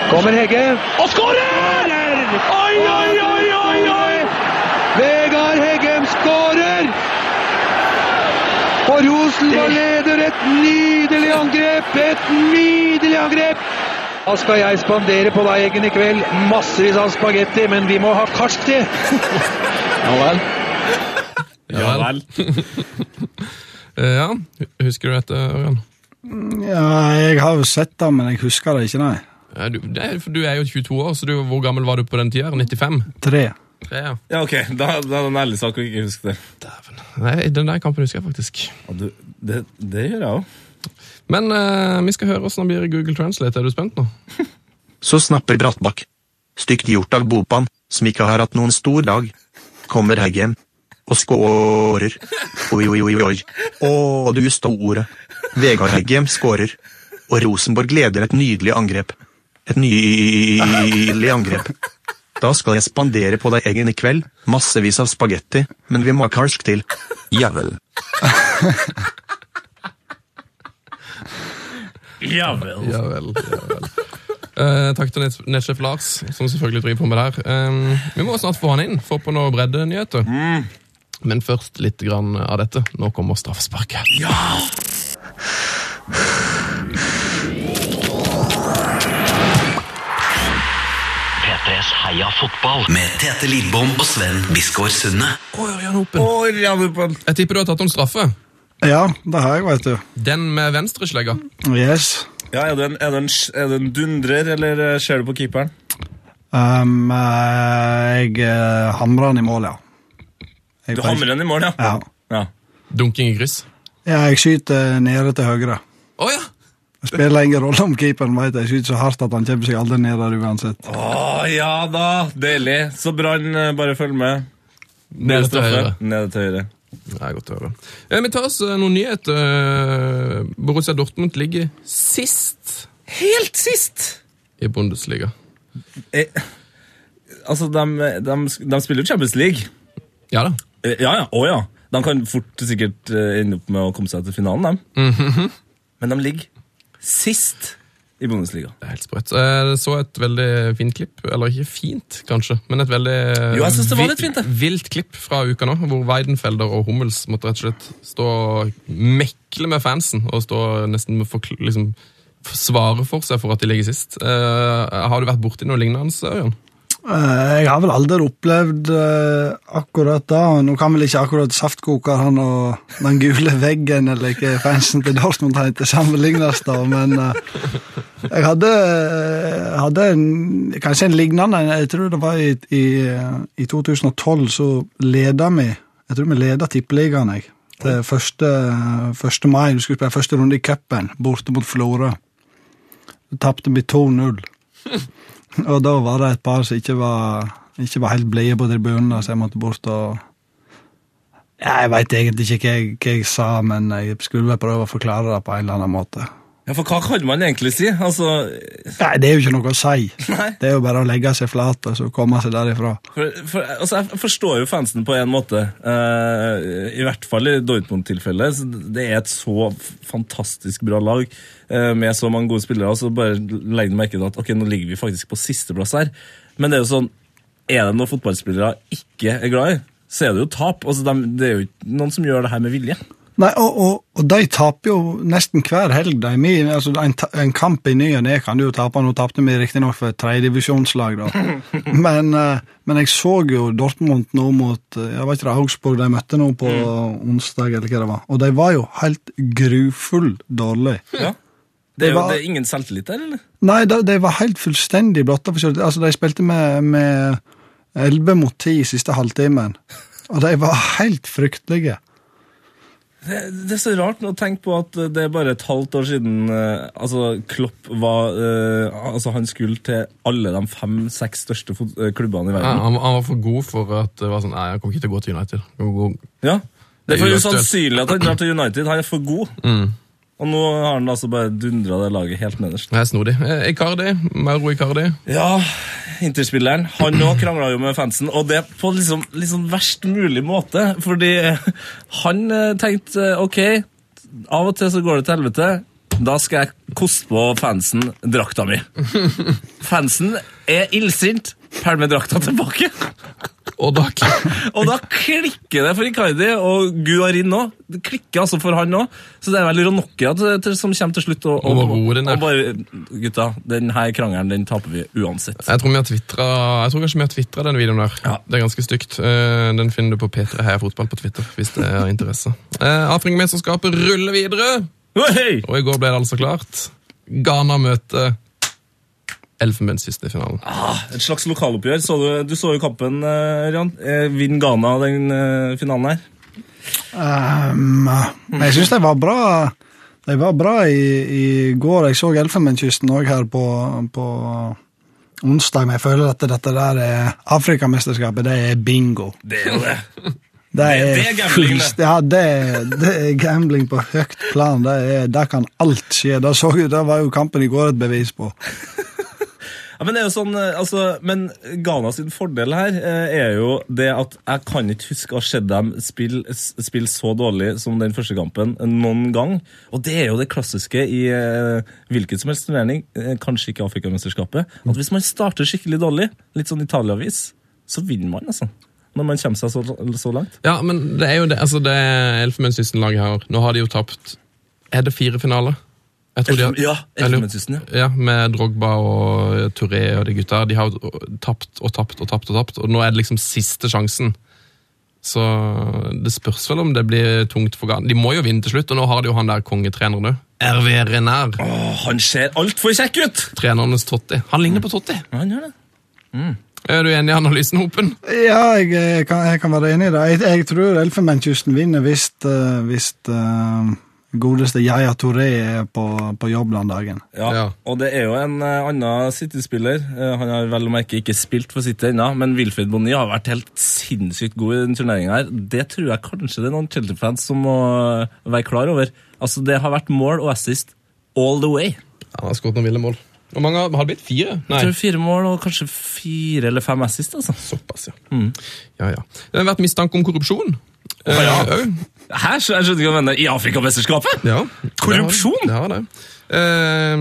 S6: Kommer Hegge.
S3: Og skårer! Oi, oi, oi, oi, oi!
S6: Vegard Heggem skårer! Og Rosenborg leder et nydelig angrep! Et nydelig angrep! Da skal jeg spandere på deg, Eggen, i kveld. Massevis av spagetti, men vi må ha karsk til! Ja vel.
S1: Ja vel.
S2: Uh, ja, hu- Husker du dette, Ørjan?
S5: Ja, jeg har jo sett det, men jeg husker det ikke, nei.
S2: Ja, du, det, er- for du er jo 22 år, så du, hvor gammel var du på den tida? 95?
S5: Tre.
S2: Tre, ja.
S1: Ja, ok, da, da er det en ærlig sak å ikke huske det.
S2: Dæven. Nei, den der kampen husker jeg faktisk.
S1: Ja, du, det, det gjør jeg òg.
S2: Men uh, vi skal høre åssen han blir i Google Translate. Er du spent nå?
S8: Så snapper Brattbakk. Stygt gjort av Bopan, som ikke har hatt noen stor dag. Kommer Heggem. Og skårer. Oi, oi, oi, oi. Å, du store. Vegard Heggem skårer. Og Rosenborg leder et nydelig angrep. Et nydelig angrep. Da skal jeg spandere på deg egen i kveld. Massevis av spagetti, men vi må ha karsk til. Ja vel.
S1: Ja vel.
S2: Ja vel. Ja vel. Eh, takk til nett- nettsjef Lars, som selvfølgelig driver på med det her. Eh, vi må snart få han inn, få på noe breddenyheter. Men først litt grann av dette. Nå kommer straffesparket.
S4: P3s Heia fotball med Tete Lidbom og Sven Biskår Sunne.
S1: Å, ja, du på en-
S2: Jeg tipper du har tatt om straffe.
S5: Ja, det har jeg, veit du.
S2: Den med venstreslegga.
S5: Yes.
S1: Ja, er det en, er det en, er det en dundrer, eller eh, ser du på keeperen?
S5: Um, eh, jeg eh, hamrer han i mål, ja. Jeg
S1: Du hamrer den i mål, ja.
S5: Ja.
S1: ja.
S2: Dunking i kryss.
S5: ja, jeg skyter nede til høyre.
S2: Å ja!
S5: Det spiller ingen rolle om keeperen veit jeg skyter så hardt at han kommer seg aldri ned der uansett.
S1: Å Ah, ja da, deilig. Så Brann, eh, bare følg med.
S2: Nede til
S1: Straffe.
S2: høyre.
S1: Nede til høyre.
S2: Det er godt å høre. Eh, vi tar oss eh, noen nyheter. Borussia Dortmund ligger sist
S1: Helt sist!
S2: i Bundesliga.
S1: Eh, altså, de, spiller jo Champions League.
S2: Ja da.
S1: Eh, ja, ja. Å ja. De kan fort sikkert eh, ende opp med å komme seg til finalen, dem.
S2: Mhm.
S1: Men de ligger sist i Bundesliga.
S2: Det er helt sprøtt. Eh, Jeg så et veldig fint klipp, eller ikke fint, kanskje, men et veldig
S1: Jo, jeg synes det var
S2: vi-
S1: litt fint, det.
S2: vilt klipp fra uka nå, hvor Weidenfelder og Hummels måtte rett og slett stå og mekle med fansen og stå nesten med forkl- liksom, svare for seg for at de ligger sist. Eh, har du vært borti noe lignende, Ørjan?
S5: Eh, Jeg har vel aldri opplevd eh, akkurat det. og Nå kan vel ikke akkurat saftkoker han og den gule veggen eller ikke fansen til Dortmund heter sammenlignes, da, men eh, jeg hadde, eh, hadde en, kanskje en lignende en. Jeg tror det var i, i, eh, i 2012, så leda vi Jeg tror vi leda Tippeligaen, jeg. Til første, første mai. Vi skulle spille første runde i cupen, borte mot Florø. tapte vi 2-0. Og da var det et par som ikke var, ikke var helt blide på tribunen, så jeg måtte bort og ja, Jeg veit egentlig ikke hva jeg, hva jeg sa, men jeg skulle vel prøve å forklare det på en eller annen måte.
S1: Ja, for hva kan man egentlig si? Altså,
S5: Nei, det er jo ikke noe å si.
S1: Nei.
S5: Det er jo bare å legge seg flat og så komme seg derifra.
S1: for, for, altså, jeg forstår jo fansen på en måte. Eh, I hvert fall i Dortmund-tilfellet. Så Det er et så f- fantastisk bra lag eh, med så mange gode spillere. Og så bare legger du merke til at ok, nå ligger vi faktisk på sisteplass her. Men det er jo sånn, er det noe fotballspillere ikke er glad i, så er det jo tap. Altså, dem- det er jo ikke noen som gjør det her med vilje.
S5: Nei, og, og, og de taper jo nesten hver helg. De. Vi, altså, en, ta- en kamp i ny og ne kan du jo tape. Nå tapte vi riktignok for et tredjedivisjonslag, da. Men, eh, men jeg så jo Dortmund nå mot eh, jeg vet ikke, det Augsburg de møtte nå på onsdag, eller hva det var. Og de var jo helt grufullt dårlige.
S1: Ja. Det er jo
S5: var-
S1: det er ingen selvtillit der, eller?
S5: Nei, de, de var helt fullstendig blotta for kjøretøy. Altså, de spilte med, med 11 mot 10 i siste halvtimen, og de var helt fryktelige.
S1: Det, det er så rart å tenke på at det er bare et halvt år siden eh, altså Klopp var eh, altså Han skulle til alle de fem-seks største fot eh, klubbene i
S2: Ja,
S1: verden.
S2: han, han var for god for at det var sånn Nei, jeg kommer ikke til å gå til United. Jeg kommer til å gå-
S1: Ja. Det er Mm. for
S2: Det er
S1: usannsynlig at han drar til United. Han er for god. Og nå har han altså bare dundra det laget helt nederst.
S2: Jeg er snodig. Eh, Icardi. Mauro Icardi.
S1: Ja, Interspilleren han òg krangla jo med fansen, og det på liksom, liksom verst mulig måte. Fordi han eh, tenkte eh, OK, av og til så går det til helvete. Da skal jeg koste på fansen drakta mi. Fansen er illsint. Pælmer drakta tilbake.
S2: Og da
S1: Og da klikker det for Icardi, og Guarin òg. Det klikker altså for han òg. Så det er vel Ronocchia til- til- som kommer til slutt. Og, og,
S2: Og roer den der.
S1: og bare Gutta, den her krangelen den taper vi uansett.
S2: Jeg tror, vi har twittret- jeg tror kanskje vi har tvitra den videoen der.
S1: Ja.
S2: Det er ganske stygt. Eh, Den finner du på P3 Heia Fotball på Twitter. hvis det er interesse. Eh, Afrikamesterskapet ruller videre,
S1: Hei!
S2: og i går ble det altså klart. Ghana møter Elfenbenskisten i finalen.
S1: Et slags lokaloppgjør. Så du, du så jo kampen, eh, Rian. Eh, Vinn Ghana den eh, finalen her.
S5: Um, men jeg syns de var bra De var bra i, i går. Jeg så Elfenbenskysten òg her på, på onsdag, men jeg føler at dette der er Afrikamesterskapet, det er bingo.
S1: Det er jo det.
S5: Det er,
S1: det er gambling, det.
S5: fullst- Ja, det, er- det er gambling på høyt plan. Det, er, der kan alt skje. Det, så, det var jo kampen i går et bevis på.
S1: Ja, men det er jo sånn, eh, altså, men Ghana sin fordel her eh, er jo det at jeg kan ikke huske å ha sett dem spille spill så dårlig som den første kampen eh, noen gang. Og det er jo det klassiske i eh, hvilken som helst turnering, eh, kanskje ikke Afrikamesterskapet, at hvis man starter skikkelig dårlig, litt sånn Italia-vis, så vinner man, altså. Når man kommer seg så, så langt.
S2: Ja, men det er jo det, altså det Elfenbenskysten-laget her Nå har de jo tapt Er det fire finaler? Jeg tror de har-
S1: Elfen- ja,
S2: jeg lurer-
S1: Elfenbenskysten, ja.
S2: ja. Med Drogba og eh, Touré og de gutta. De har jo tapt og tapt og tapt, og tapt, og nå er det liksom siste sjansen. Så det spørs vel om det blir tungt for Ghana. De må jo vinne til slutt, og nå har de jo han der kongetreneren òg. RV Renard.
S1: Åh, han ser altfor kjekk ut!
S2: Trenernes Totti. Han ligner på Totti.
S1: Ja, han gjør det.
S2: Er du enig i analysen, Hopen?
S5: Ja, jeg, eh, kan, jeg kan være enig i det. Jeg, jeg tror Elfenbenskysten vinner hvis, eh, hvis eh, godeste Yaya Touré er på, på jobb den dagen.
S1: Ja,
S2: Ja.
S1: og det er jo en eh, annen City-spiller. Eh, han har vel om ikke, ikke spilt for City ennå, men Wilfred Bonny har vært helt sinnssykt god i den turneringen her. Det tror jeg kanskje det er noen Chelsea-fans som må eh, være klar over. Altså, det har vært mål og assist all the way.
S2: Han har skåret noen ville mål. Hvor mange har har det blitt? Fire? Nei.
S1: Jeg tror fire mål og kanskje fire eller fem assist, altså.
S2: Såpass, ja. ja, ja. Det har vært mistanke om korrupsjon. Eh,
S1: ja.
S2: au.
S1: Hæ? Så Jeg skjønner ikke hva du mener. I Afrikamesterskapet?
S2: ja.
S1: Korrupsjon?
S2: Det har det. Eh,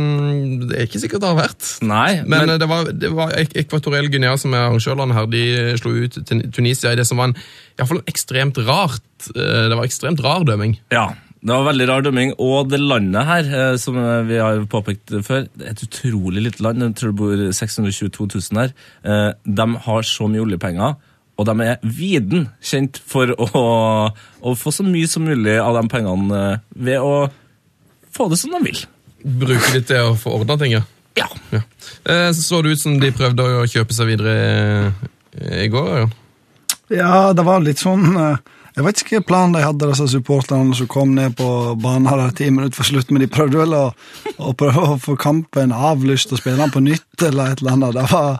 S2: det er ikke sikkert det har vært.
S1: Nei,
S2: Men,
S1: men,
S2: eh, det var, det var Ek- Ekvatoriell Guinea, som er arrangørlandet her, de slo ut Tun- Tunisia i det som var en, i hvert fall en ekstremt rart eh, Det var ekstremt rar dømming.
S1: ja. Det var veldig rar dømming, og det landet her, eh, som eh, vi har påpekt før, det er et utrolig lite land, jeg tror det bor 622 000 her. Eh, De har så mye oljepenger, og de er viden kjent for å, å få så mye som mulig av de pengene eh, ved å få det som de vil.
S2: Bruker de til å få ordna ting, ja.
S1: Ja.
S2: ja. Eh, så så det ut som de prøvde å kjøpe seg videre eh, i går. Ja.
S5: Ja, det var litt sånn eh, Jeg vet ikke hva plan de hadde, disse supporterne som kom ned på banen her ti minutter for slutt, men de prøvde vel å, å prøve å få kampen avlyst og spille den på nytt eller et eller annet. Det var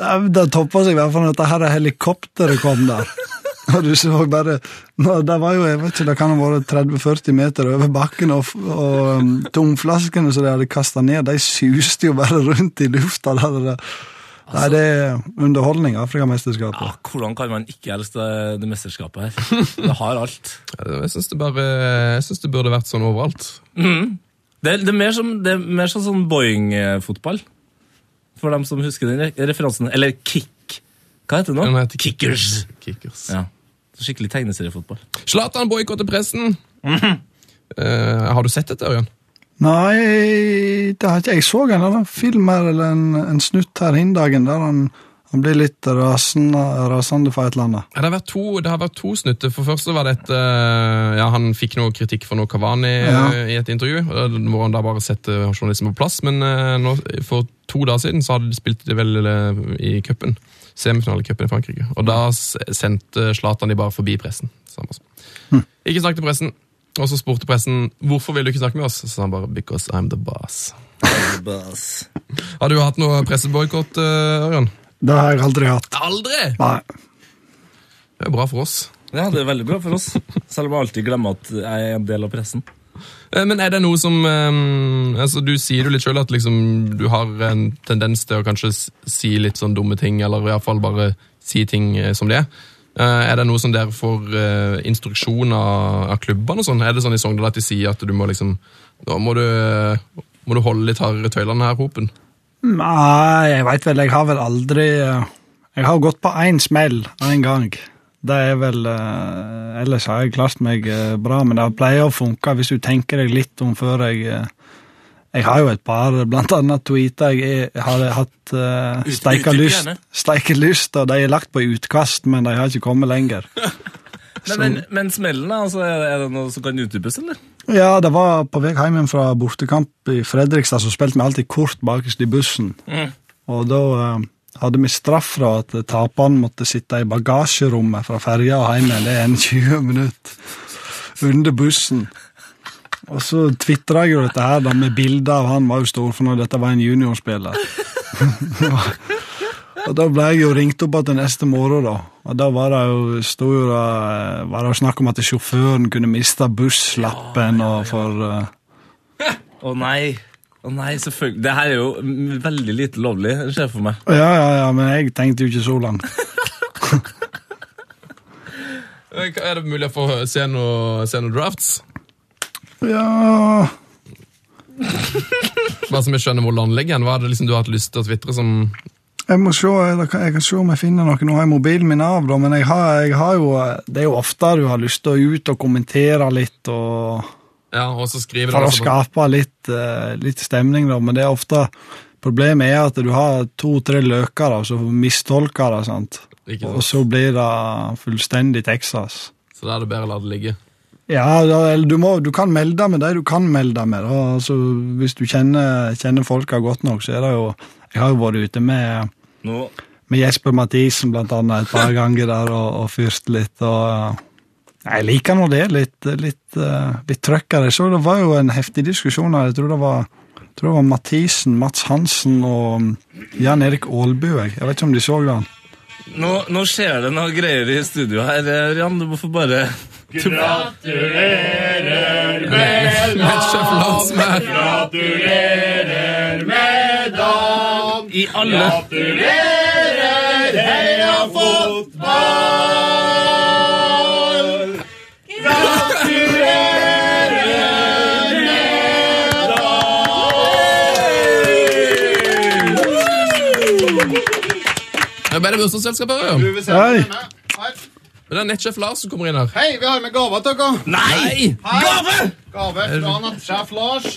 S5: det, det toppa seg i hvert fall når dette her helikopteret kom der. Og du så bare nå, Det var jo, jeg vet ikke, det kan ha vært 30-40 meter over bakken, og, f- og um, tomflaskene som de hadde kasta ned, de suste jo bare rundt i lufta. Der, det der. Nei, det er underholdning, Afrikamesterskapet.
S1: Ja, Ah, hvordan kan man ikke elske det, det mesterskapet her? Det har alt.
S2: Jeg syns det, bare, jeg synes det burde vært sånn overalt.
S1: Det, er- det, er, mer som, det er mer sånn, sånn Boeing-fotball. For dem som husker den re- referansen. Eller kick. Hva heter det nå?
S2: Den heter
S1: Kickers.
S2: Kickers.
S1: Ja. Skikkelig tegneseriefotball.
S2: Zlatan boikotter pressen.
S1: Mhm.
S2: Eh, har du sett dette, Ørjan?
S5: Nei, det har ikke jeg så en eller film her, eller en, en snutt her hindagen der han, han blir litt rasende, rasende for et eller annet.
S2: Ja, Det har vært to, det har vært to snutter. For først så var det et eh, Ja, han fikk noe kritikk for noe Kavani
S5: Ja.
S2: eh, i et intervju. eh, Hvor han da bare setter journalisten på plass. Men eh, nå, for to dager siden så hadde de spilt det vel eh, i cupen. Semifinalecupen i Frankrike. Og da s- sendte Zlatan de bare forbi pressen. sa han også. Ikke snakk til pressen. Og så spurte pressen hvorfor vil du ikke snakke med oss. Så sa han bare 'because I'm the boss'. Har du hatt noe presseboikott, eh, Ørjan?
S5: Det har jeg aldri hatt.
S2: Aldri!
S5: Nei.
S2: Det er bra for oss.
S1: Ja, det er veldig bra for oss. Selv om jeg alltid glemmer at jeg er en del av pressen.
S2: Eh, Men er det noe som eh, altså Du sier jo litt sjøl at liksom, du har en tendens til å kanskje s- si litt sånn dumme ting, eller iallfall bare si ting eh, som det er. Eh, er det noe som dere får eh, instruksjon av, av klubbene og sånn? Er det sånn i Sogndal at de sier at du må liksom Nå må du, eh, må du holde litt hardere i tøylene her, Hopen?
S5: Nei, jeg veit vel, jeg har vel aldri eh, Jeg har gått på én smell én gang. Det er vel eh, Ellers har jeg klart meg eh, bra, men det pleier å funke hvis du tenker deg litt om før jeg eh, Jeg har jo et par, blant annet tweeter jeg er- har hatt uh, steika
S1: utdyp
S5: lyst,
S1: gjerne.
S5: steika lyst, og de er lagt på utkast, men de har ikke kommet lenger.
S1: Men, men, men smellen, da? Altså, er det- er det noe som kan utdypes, eller?
S5: Ja, det var på vei hjem fra bortekamp i Fredrikstad, så spilte vi alltid kort bakerst i bussen. Og da eh, hadde vi straff fra at taperen måtte sitte i bagasjerommet fra ferja og hjem igjen. Det er en 20 minutter under bussen. Og så tvitra jeg jo dette her da med bilder av han var jo storfornøyd, dette var en juniorspiller. og da ble jeg jo ringt opp igjen neste morgen, da. Og da var det jo, sto jo da, eh, var det jo snakk om at sjåføren kunne miste busslappen og for eh,
S1: Å nei. Å nei, selvfølgelig. Det her er jo mm, veldig lite lovlig, ser jeg for meg.
S5: Ja, ja, ja, men jeg tenkte jo ikke så langt.
S2: Eh, Er det mulig å få se noe, se noe drafts?
S5: Ja
S2: Bare så vi skjønner hvor landlegger den. Hva er det liksom du har hatt lyst til å tvitre som
S5: Jeg må se, eller kan- jeg kan se om jeg finner noe. Nå har jeg mobilen min av, da, men jeg har, jeg har jo Det er jo ofte du har lyst til å ut og kommentere litt og
S2: Ja, og så skriver
S5: For
S2: du
S5: å
S2: altså på-
S5: skape litt, eh, litt stemning, da. Men det er ofte Problemet er at du har to-tre løker da, som mistolker det, sant.
S2: Ikke sant.
S5: Og så blir det fullstendig Texas.
S2: Så da er det bedre å la det ligge.
S5: Ja, da, eller du, må, du kan melde deg med de du kan melde deg med. Da. Altså, hvis du kjenner, kjenner folka godt nok, så er det jo Jeg har jo vært ute med,
S1: Nå
S5: med Jesper Mathisen blant annet et par ganger der og, og fyrt litt. og... Nei, Jeg liker nå det. Litt, litt, eh, litt trøkk av det. Så det var jo en heftig diskusjon her. Jeg tror det var, jeg tror det var Mathisen, Mats Hansen og mm, Jan Erik Aalbu. Jeg. jeg vet ikke om de så den.
S1: Nå, nå skjer det noe greier i studio her, eh, Jan. Du må få bare
S2: Sjef Lars,
S1: I alle
S2: Hvem er det bursdagsselskapet her? Ørjan?
S5: Hei!
S2: Det er nettsjef Lars som kommer inn her.
S9: Hei, vi har med gave til dere.
S2: Nei!
S9: Gave fra nattsjef Lars.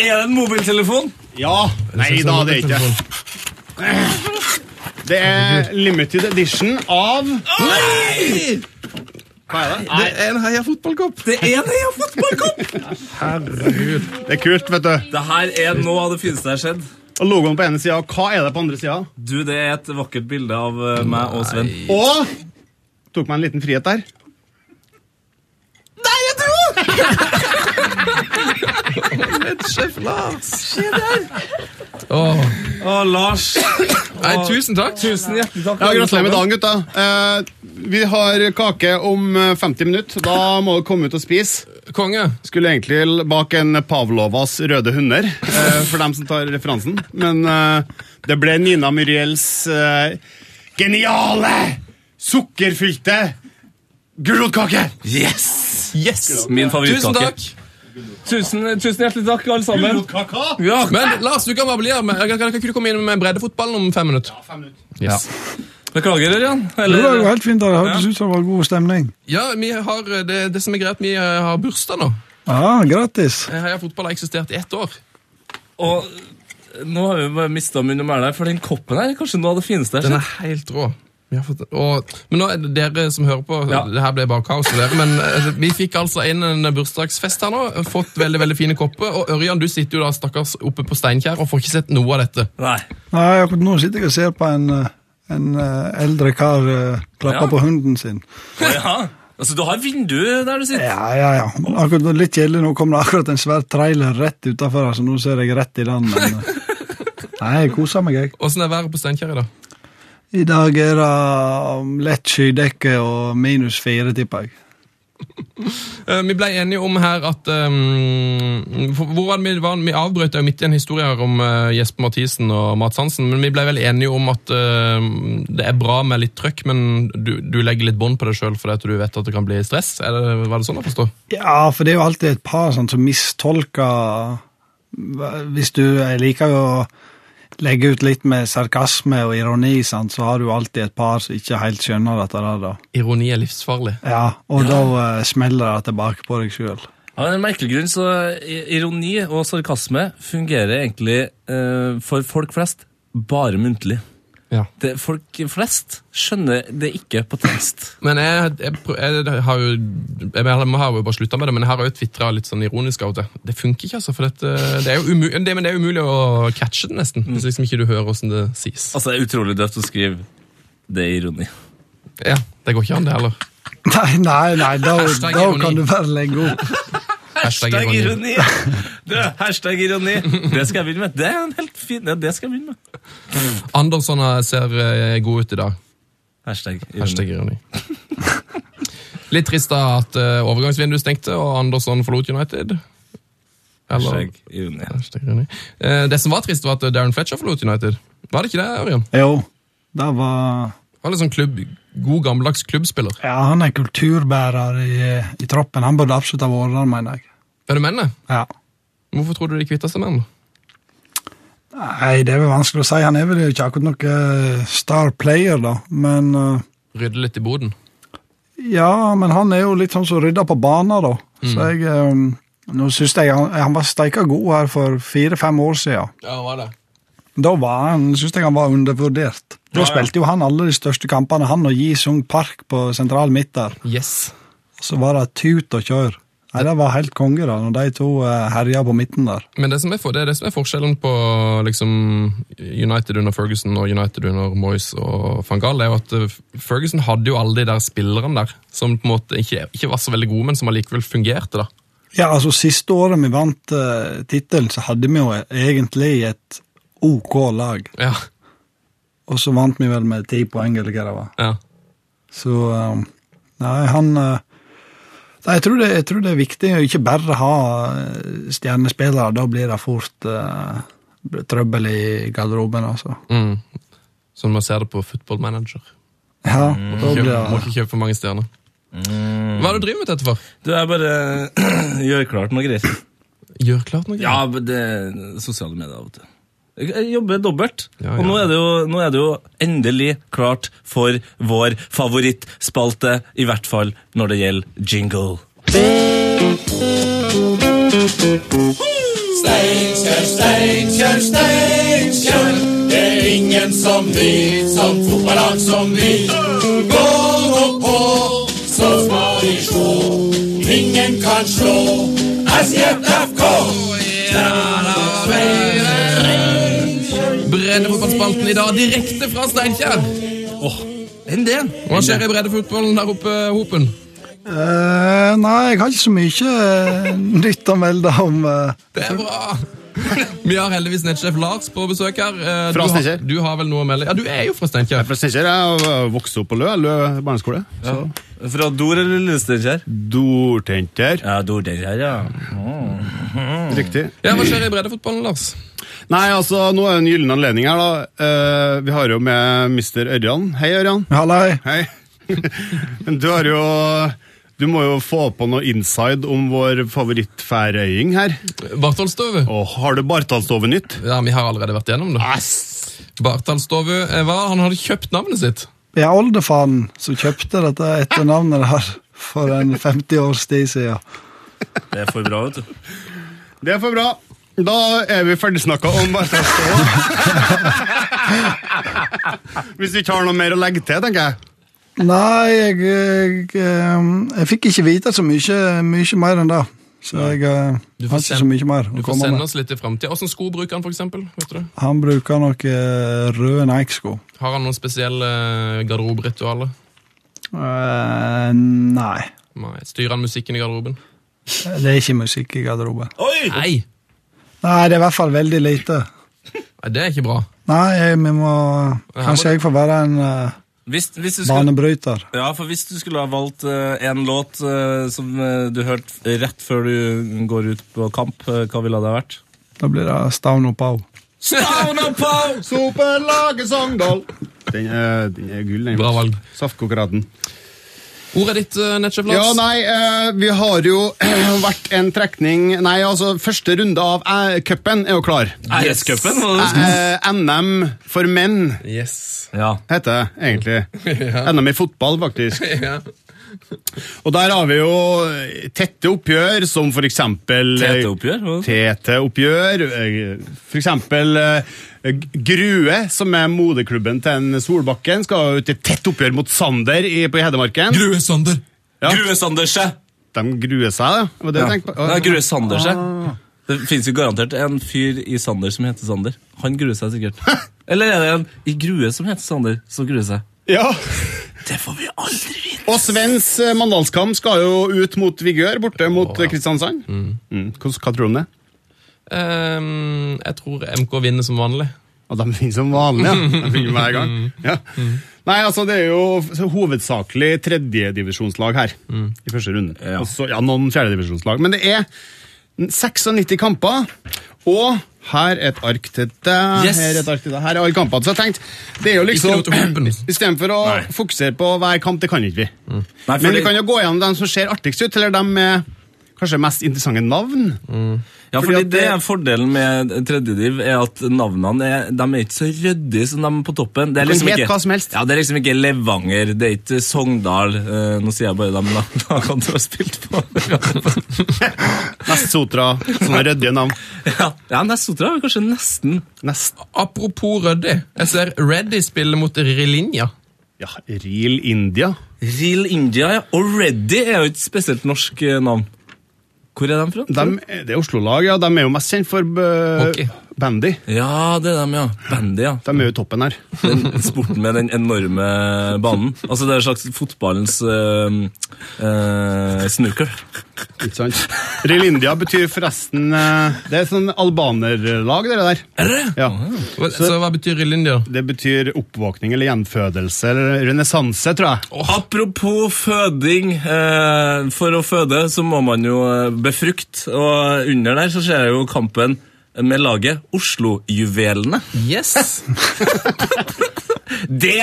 S1: Er det en mobiltelefon?
S9: Ja. Nei da, det er ikke. Det er limited edition av Hva er det?
S2: Det er en heia fotballkopp.
S1: Det er det, jeg har fått ballkopp!
S9: Det er kult, vet du.
S1: Det her er noe av det fineste jeg har skjedd.
S9: Og logoen på ene sida, og hva er det på andre sida?
S1: Du, det er et vakkert bilde av eh, meg og Sven.
S9: Og Tok meg en liten frihet der.
S2: Sjef Lars! Åh.
S1: Å, Lars.
S2: Nei, tusen takk.
S1: Tusen hjertelig takk.
S9: Ja, Gratulerer med dagen, gutta. Eh, vi har kake om eh, 50 minutter. Da må du komme ut og spise.
S2: Konge.
S9: Skulle egentlig l- bak en Pavlovas røde hunder, eh, for dem som tar referansen. Men eh, det ble Nina Muriels eh, geniale, sukkerfylte gulrotkake!
S1: Yes!
S2: Yes!
S1: Min
S2: Tusen
S1: favorittkake.
S2: takk.
S1: Tusen, tusen hjertelig takk, alle sammen.
S9: Gulrotkaka!
S1: Ja,
S2: Men Lars, du kan bare bli her. med- Kan, kan, kan ikke du komme inn med breddefotballen om fem minutter?
S9: Fem minutter.
S2: Yes.
S1: Beklager, Ørjan.
S5: Det var jo
S1: Eller
S5: helt fint. Det hørtes ut som det var god stemning.
S2: Ja, vi har, eh, det, det som er greit, vi eh, har bursdag nå.
S5: Ja, gratis.
S2: Eh, Heia fotball har eksistert i ett år.
S1: Og nå har vi bare mista munnen og mæla, for den koppen her er kanskje noe av det fineste jeg
S2: Den
S1: har
S2: er
S1: sett.
S2: helt rå. Vi har fått, og, men nå er det dere som hører på,
S1: Ja.
S2: det her ble bare kaos for dere, men eh, vi fikk altså inn en bursdagsfest her nå, fått veldig, veldig fine kopper, og Ørjan, du sitter jo da stakkars oppe på Steinkjær og får ikke sett noe av dette.
S1: Nei.
S5: Nei, akkurat nå sitter jeg og ser på en, eh, en eh, eldre kar eh, klappe
S1: Ja.
S5: på hunden sin.
S1: Å, ja. Altså, du har vindu der du sitter.
S5: Ja, ja, ja. Men Akkurat nå- Litt kjedelig, nå kom det akkurat en svær trailer rett utenfor her, så nå ser jeg rett i den. Men, eh, nei, jeg koser meg, jeg.
S2: Hvordan er været på Steinkjær i dag?
S5: I dag er det um, lett skydekke og minus fire, tipper jeg.
S2: Eh, Vi ble enige om her at um, for- hvor var det vi, var, vi avbrøt jo midt i en historie her om eh, Jesper Mathisen og Mats Hansen, men vi ble vel enige om at eh, det er bra med litt trøkk, men du, du legger litt bånd på deg sjøl fordi at du vet at det kan bli stress? Er det, var det sånn å forstå?
S5: Ja, for det er jo alltid et par sånn, som mistolker hva- Hvis du jeg liker jo å legge ut litt med sarkasme og ironi, sant, så har du alltid et par som ikke helt skjønner dette der, da.
S2: Ironi er livsfarlig.
S5: Ja, og da eh, smeller det tilbake på deg sjøl.
S1: Av en merkelig grunn så i- ironi og sarkasme fungerer egentlig eh, for folk flest bare muntlig.
S2: Ja.
S1: Det, folk flest skjønner det ikke på tekst.
S2: Men jeg, jeg, prø- jeg har jo jeg mener, jeg har jo bare slutta med det, men jeg har jo tvitra litt sånn ironisk av og til. Det funker ikke, altså. For dette, det er jo umulig, det, men det er umulig å catche det, nesten. Hvis liksom ikke du hører åssen det sies.
S1: Altså, det er utrolig døvt å skrive 'det er ironi'.
S2: Ja, Det går ikke an, det heller.
S5: Nei, nei, nei, da,
S2: Hashtag
S5: da
S2: ironi.
S5: kan du bare legge opp.
S2: Hashtag
S1: Hashtag
S2: ironi.
S1: ironi! Du, hashtag ironi. Det skal jeg begynne med. Det er en helt fin, ja, det skal jeg begynne med.
S2: Andersson eh, ser eh, god ut i dag.
S1: Hashtag ironi.
S2: Hashtag ironi. Litt trist da at eh, overgangsvinduet stengte, og Andersson forlot United. Eller,
S1: Hashtag ironi.
S2: hashtag ironi. Eh, det som var trist, var at Darren Fletcher forlot United. Var det ikke det, Ørjan?
S5: Jo, det var
S2: Han er sånn klubb, god, gammeldags klubbspiller.
S5: Ja, han er kulturbærer i, i troppen. Han burde absolutt ha vært der, mener jeg.
S2: Er du mennene?
S5: Ja.
S2: Hvorfor tror du de kvitta seg med han?
S5: Nei, det er vel vanskelig å si. Han er vel ikke akkurat noen star player, da. Men eh,
S2: Rydde litt i boden.
S5: Ja, men han er jo litt sånn som rydder på banen, da. Så jeg eh, Nå syns jeg han, han var steika god her for fire-fem år siden.
S2: Ja, var det.
S5: Da var han, syns jeg han var undervurdert. Da spilte jo han alle de største kampene. Han og Ji Sung Park på sentral midt der.
S2: Yes.
S5: Så var det tut og kjør. Nei, Det var helt konge, da, når de to eh, herja på midten der.
S2: Men det som er, for, det er det som er forskjellen på liksom, United under Ferguson og United under Moyes og van Gaal, det er jo at eh, Ferguson hadde jo alle de der spillerne der, som på en måte ikke, ikke var så veldig gode, men som allikevel fungerte. da.
S5: Ja, altså Siste året vi vant uh, tittelen, så hadde vi jo e-, egentlig et OK lag.
S2: Ja,
S5: Og så vant vi vel med ti poeng, eller hva det var.
S2: ja.
S5: Så eh, Nei, han eh, nei, jeg, tror det, jeg tror det er viktig å ikke bare ha eh, stjernespillere. Da blir det fort eh, trøbbel i garderoben, altså.
S2: Mm. Som man ser det på Football Manager.
S5: Ja, da blir
S2: Kjøp, må
S5: det
S2: ikke kjøpe for mange stjerner. Hva er det du driver med dette for?
S1: Du, jeg bare gjør klart noe greier.
S2: Gjør klart noe.
S1: Ja, men det er sosiale medier av og til. Jeg jeg jobber dobbelt,
S2: Ja,
S1: og nå
S2: ja.
S1: er, det jo, nå er det jo endelig klart for vår favorittspalte, i hvert fall når det gjelder jingle.
S2: Brennefotballspalten i dag direkte fra Steinkjer.
S1: Åh,
S10: Den der.
S2: Hva skjer i breddefotballen der oppe, Hopen?
S5: Eh, nei, jeg har ikke så mye eh, nytt å melde om. eh.
S2: Det er bra! Vi har heldigvis nettsjef Lars på besøk her. Eh,
S9: Fra
S2: du har-
S9: Steinkjer.
S2: Du har vel noe å melde? Ja, du er jo fra Steinkjer.
S9: For Steinkjer jeg ø, vokste opp på Lø, Lø barneskole. Så
S1: Fra Dor eller Lillesteinkjer?
S9: dortenter.
S1: Ja, Dorteinkjer, ja.
S9: Riktig.
S2: Ja, Hva skjer i breddefotballen, Lars?
S9: Nei, altså, nå er det en gyllen anledning her, da. Eh, vi har jo med Mr. Ørjan. Hei, Ørjan.
S5: Hallei.
S9: Hei. du har jo Du må jo få på noe inside om vår favorittfærøying her.
S2: Bartholstove?
S9: Og har du Bartalsdove-nytt?
S2: Ja, vi har allerede vært gjennom det. Bartholstove eh, hva? Han hadde kjøpt navnet sitt.
S5: Jeg er oldefaren som kjøpte dette etternavnet der for en 50 års tid siden.
S1: Det er for bra, vet du.
S9: Det er for bra. Da er vi ferdigsnakka om Bartalsdove. Hvis du ikke har noe mer å legge til, tenker jeg.
S5: Nei, jeg, jeg, ehm, jeg fikk ikke vite så mye, mye mer enn det. Så jeg eh,
S2: Du får
S5: har ikke
S2: send-
S5: så mye mer
S2: Du
S5: å
S2: får
S5: komme
S2: sende
S5: med.
S2: oss litt i fremtiden. Hvordan sko bruker han, for eksempel? Vet du? det?
S5: Han bruker nok eh, røde Nike-sko.
S2: Har han noen spesielle eh, garderoberitualer?
S5: Eh, nei,
S2: Nei. Styrer han musikken i garderoben?
S5: det er ikke musikk i garderoben.
S2: Nei!
S5: Nei, det er i hvert fall veldig lite.
S2: Nei, Det er ikke bra.
S5: Nei, jeg, vi må Kanskje jeg får være en eh,
S1: Hvis, hvis du skulle,
S5: banebryter.
S1: ja, for hvis du skulle ha valgt eh, en låt eh, som eh, du hørte rett før du går ut på kamp, eh, hva ville det ha vært?
S5: Da blir det Stavn og Pau.
S9: Superlaget Sogndal. Den er, den er gull, den.
S2: Bra valg.
S9: Saftkokeradden.
S2: Ordet ditt, eh, nettsjef Lars.
S9: Ja, nei, eh, vi har jo vært en trekning Nei, altså, første runde av eh, cupen er jo klar.
S1: RS-cupen, må du huske.
S9: Eh, NM for menn
S2: Yes.
S1: Ja.
S9: heter det egentlig. NM i fotball, faktisk.
S2: Ja.
S9: Og der har vi jo tette oppgjør, som for eksempel eh,
S1: TT-oppgjør? hva?
S9: TT-oppgjør. For eksempel eh, Grue, som er moderklubben til en Solbakken, skal jo til tett oppgjør mot Sander i, på Hedmarken.
S2: Grue Sander.
S9: Ja.
S1: Grue-Sanderse!
S9: De gruer seg, da. Var det
S1: Ja.
S9: jeg tenkte på? Ah.
S1: Det er Grue-Sanderse. Det finnes jo garantert en fyr i Sander som heter Sander. Han gruer seg sikkert. Eller er det en i Grue som heter Sander, som gruer seg?
S9: Ja.
S1: Det får vi aldri vite!
S9: Og Svens eh, Mandalskam skal jo ut mot Vigør, borte mot eh, Kristiansand. Mm. Hva, hva tror du om det?
S2: Ehm, jeg tror MK vinner som vanlig.
S9: Og de finner som vanlig, ja. De finner hver gang. Ja. Nei, altså Det er jo hovedsakelig tredjedivisjonslag her i første runde.
S1: Ja.
S9: Og så- ja, noen fjerdedivisjonslag. Men det er 96 kamper, og her er et ark til deg.
S1: Yes.
S9: Her er et ark til deg. Her er alle kampene. Så jeg tenkte, det er jo
S2: Ikke lov til å
S9: liksom
S2: hoppe.
S9: Istedenfor å
S1: Nei.
S9: fokusere på hver kamp, det kan ikke vi.
S1: Nei,
S9: Men
S1: fordi,
S9: vi kan jo gå gjennom dem som ser artigst ut, eller dem med kanskje mest interessante navn.
S1: ja,
S9: fordi
S1: fordi
S9: at
S1: det
S9: det-
S1: er Fordelen med tredjediv er at navnene er, de er ikke så ryddige som de er på toppen. Det er
S9: Du kan
S1: liksom
S9: hete
S1: ikke,
S9: hva som helst.
S1: Ja, det er liksom ikke Levanger, det er ikke Sogndal eh, Nå sier jeg bare de lagene du har spilt på.
S9: Mest Sotra, sånne ryddige navn.
S1: ja, ja Nessotra er kanskje nesten
S9: Nest
S2: Apropos Ruddy. Jeg ser Reddy spille mot Rilinja.
S9: Ja, Real India.
S1: Real India, ja. Og Reddy er jo et spesielt norsk eh, navn. Hvor er de fra? tror
S9: Dem- det er Oslo-lag, ja. De er jo mest kjent for eh,
S2: Hockey.
S9: bandy.
S1: du? Ja, det er dem, ja. Bandy, ja.
S9: De er jo i toppen her.
S1: Den sporten med den enorme banen. Altså, det er en slags fotballens eh, eh, snooker.
S9: Ikke sant? Real India betyr forresten eh, Det er sånn albanerlag, det der.
S2: Er det det?
S9: Ja.
S2: Hva- Så, hva betyr Rilinja?
S9: Det betyr oppvåkning eller gjenfødelse eller renessanse, tror jeg.
S1: Apropos føding. Eh, for å føde så må man jo eh, befrukte, og under der så ser jeg jo kampen med laget Oslojuvelene.
S2: Yes!
S1: Det!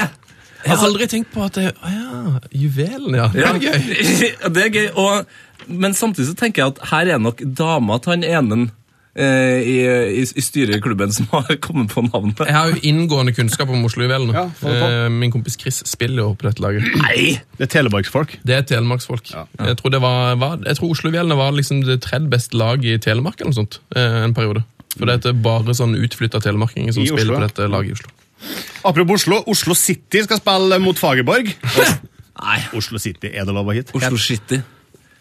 S2: Jeg har aldri tenkt på at det Å ja, juvelen, ja. Det
S1: Ja.
S2: er gøy.
S1: det er gøy. Og, men samtidig så tenker jeg at her er nok dama til han enen eh, i, i, i styret i klubben som har kommet på navnet.
S2: Jeg har jo inngående kunnskap om Oslo-juvelene.
S9: Ja, få det på.
S2: Eh, Min kompis Chris spiller jo på dette laget.
S1: Nei!
S9: Det er telemarksfolk.
S2: Det er telemarksfolk. Jeg tror, det var, var, jeg tror Oslo-juvelene var liksom det tredje beste laget i Telemark eller noe sånt, eh, en periode. For det er bare sånn utflytta telemarkinger som
S9: I
S2: spiller
S9: Oslo,
S2: på
S9: ja.
S2: dette laget i Oslo.
S9: Apropos Oslo. Oslo City skal spille mot Fagerborg.
S1: Nei.
S9: Oslo City, er det lov å hit?
S1: Oslo City.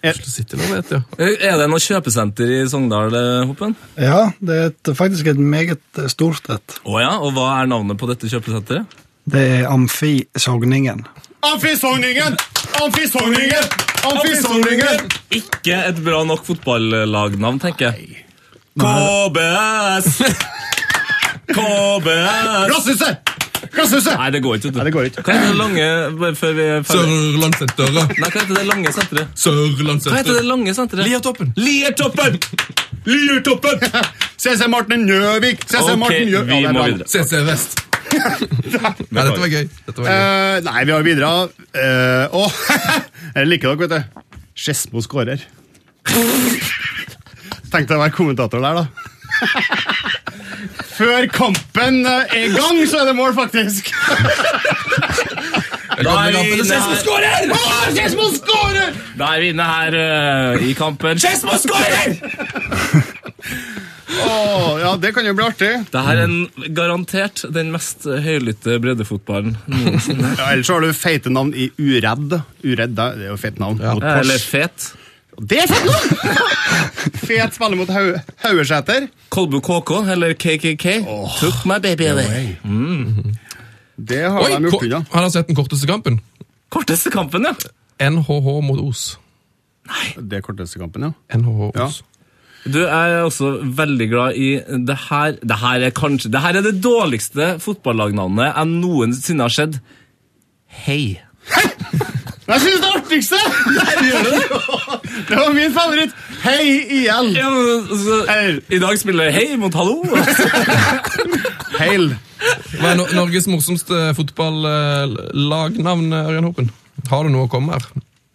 S2: Oslo City, nå vet jeg.
S1: Er det noe kjøpesenter i Sogndal, eh, Hoppen?
S5: Ja, det er et, faktisk et meget stort et.
S1: Å ja, og hva er navnet på dette kjøpesenteret?
S5: Det er Amfi Sogningen.
S9: Amfisogningen! Amfisogningen! Amfisogningen!
S1: Ikke et bra nok fotballagnavn, tenker jeg. KBS! KBS!
S9: Rasshuse! Rasshuse!
S1: Nei, det går ikke.
S9: Nei, det går ikke.
S1: Hva heter det lange bare før vi er ferdig?
S2: Sørlandssenteret.
S1: Nei, hva heter det lange senteret? Hva heter det
S2: Sørlandssenteret.
S1: lange senteret?
S2: Liertoppen.
S1: Liertoppen! Liertoppen!
S9: CC Martin Njøvik! CC
S1: Ok,
S9: Martin Njøvik!
S1: vi
S9: det er
S1: må
S9: bra.
S1: videre.
S2: CC Vest. Nei, dette var gøy. Dette var gøy.
S9: Eh, nei, vi har videre. Uh, jeg liker dere, vet du. Skedsmo skårer. Tenkte jeg å være kommentator der, da. Før kampen eh, er i gang, så er det mål, faktisk!
S1: Da
S2: Velkommen i
S1: er vi
S2: kampen.
S1: inne
S2: CC
S1: her,
S9: Skedsmo skårer!
S1: da er vi inne her øh, i kampen. Skedsmo skårer!
S9: Åh, ja, det kan jo bli artig.
S1: Det her er en, garantert den mest høylytte breddefotballen noensinne.
S9: Ja, ellers så har du feite navn i Uredd. Uredd, da, det er jo fett navn. Mot Porsch.
S1: Eller fet.
S9: Det er fett navn! Fet spiller mot Hau- Haugesæter.
S1: Kolbu KK, eller KKK. Took my baby away.
S9: Det har
S2: Oi,
S9: de
S2: ko-
S9: gjort unna.
S2: han har sett den korteste kampen.
S1: Korteste kampen, ja.
S2: NHH mot Os.
S9: Det er korteste kampen, ja.
S2: NHH
S9: Ja.
S2: Os.
S1: Du jeg er også veldig glad i det her. Det her er kanskje det her er det dårligste fotballagnavnet jeg noensinne har sett. Hei.
S9: Jeg synes det artigste! det var min favoritt. Hei IL.
S1: Ja, men, altså,
S9: Hei.
S1: I dag spiller Hei mot Hallo.
S9: Heil.
S2: Hva er Nor- Norges morsomste fotballagnavn, Ørjan Hopen? Har du noe å komme her?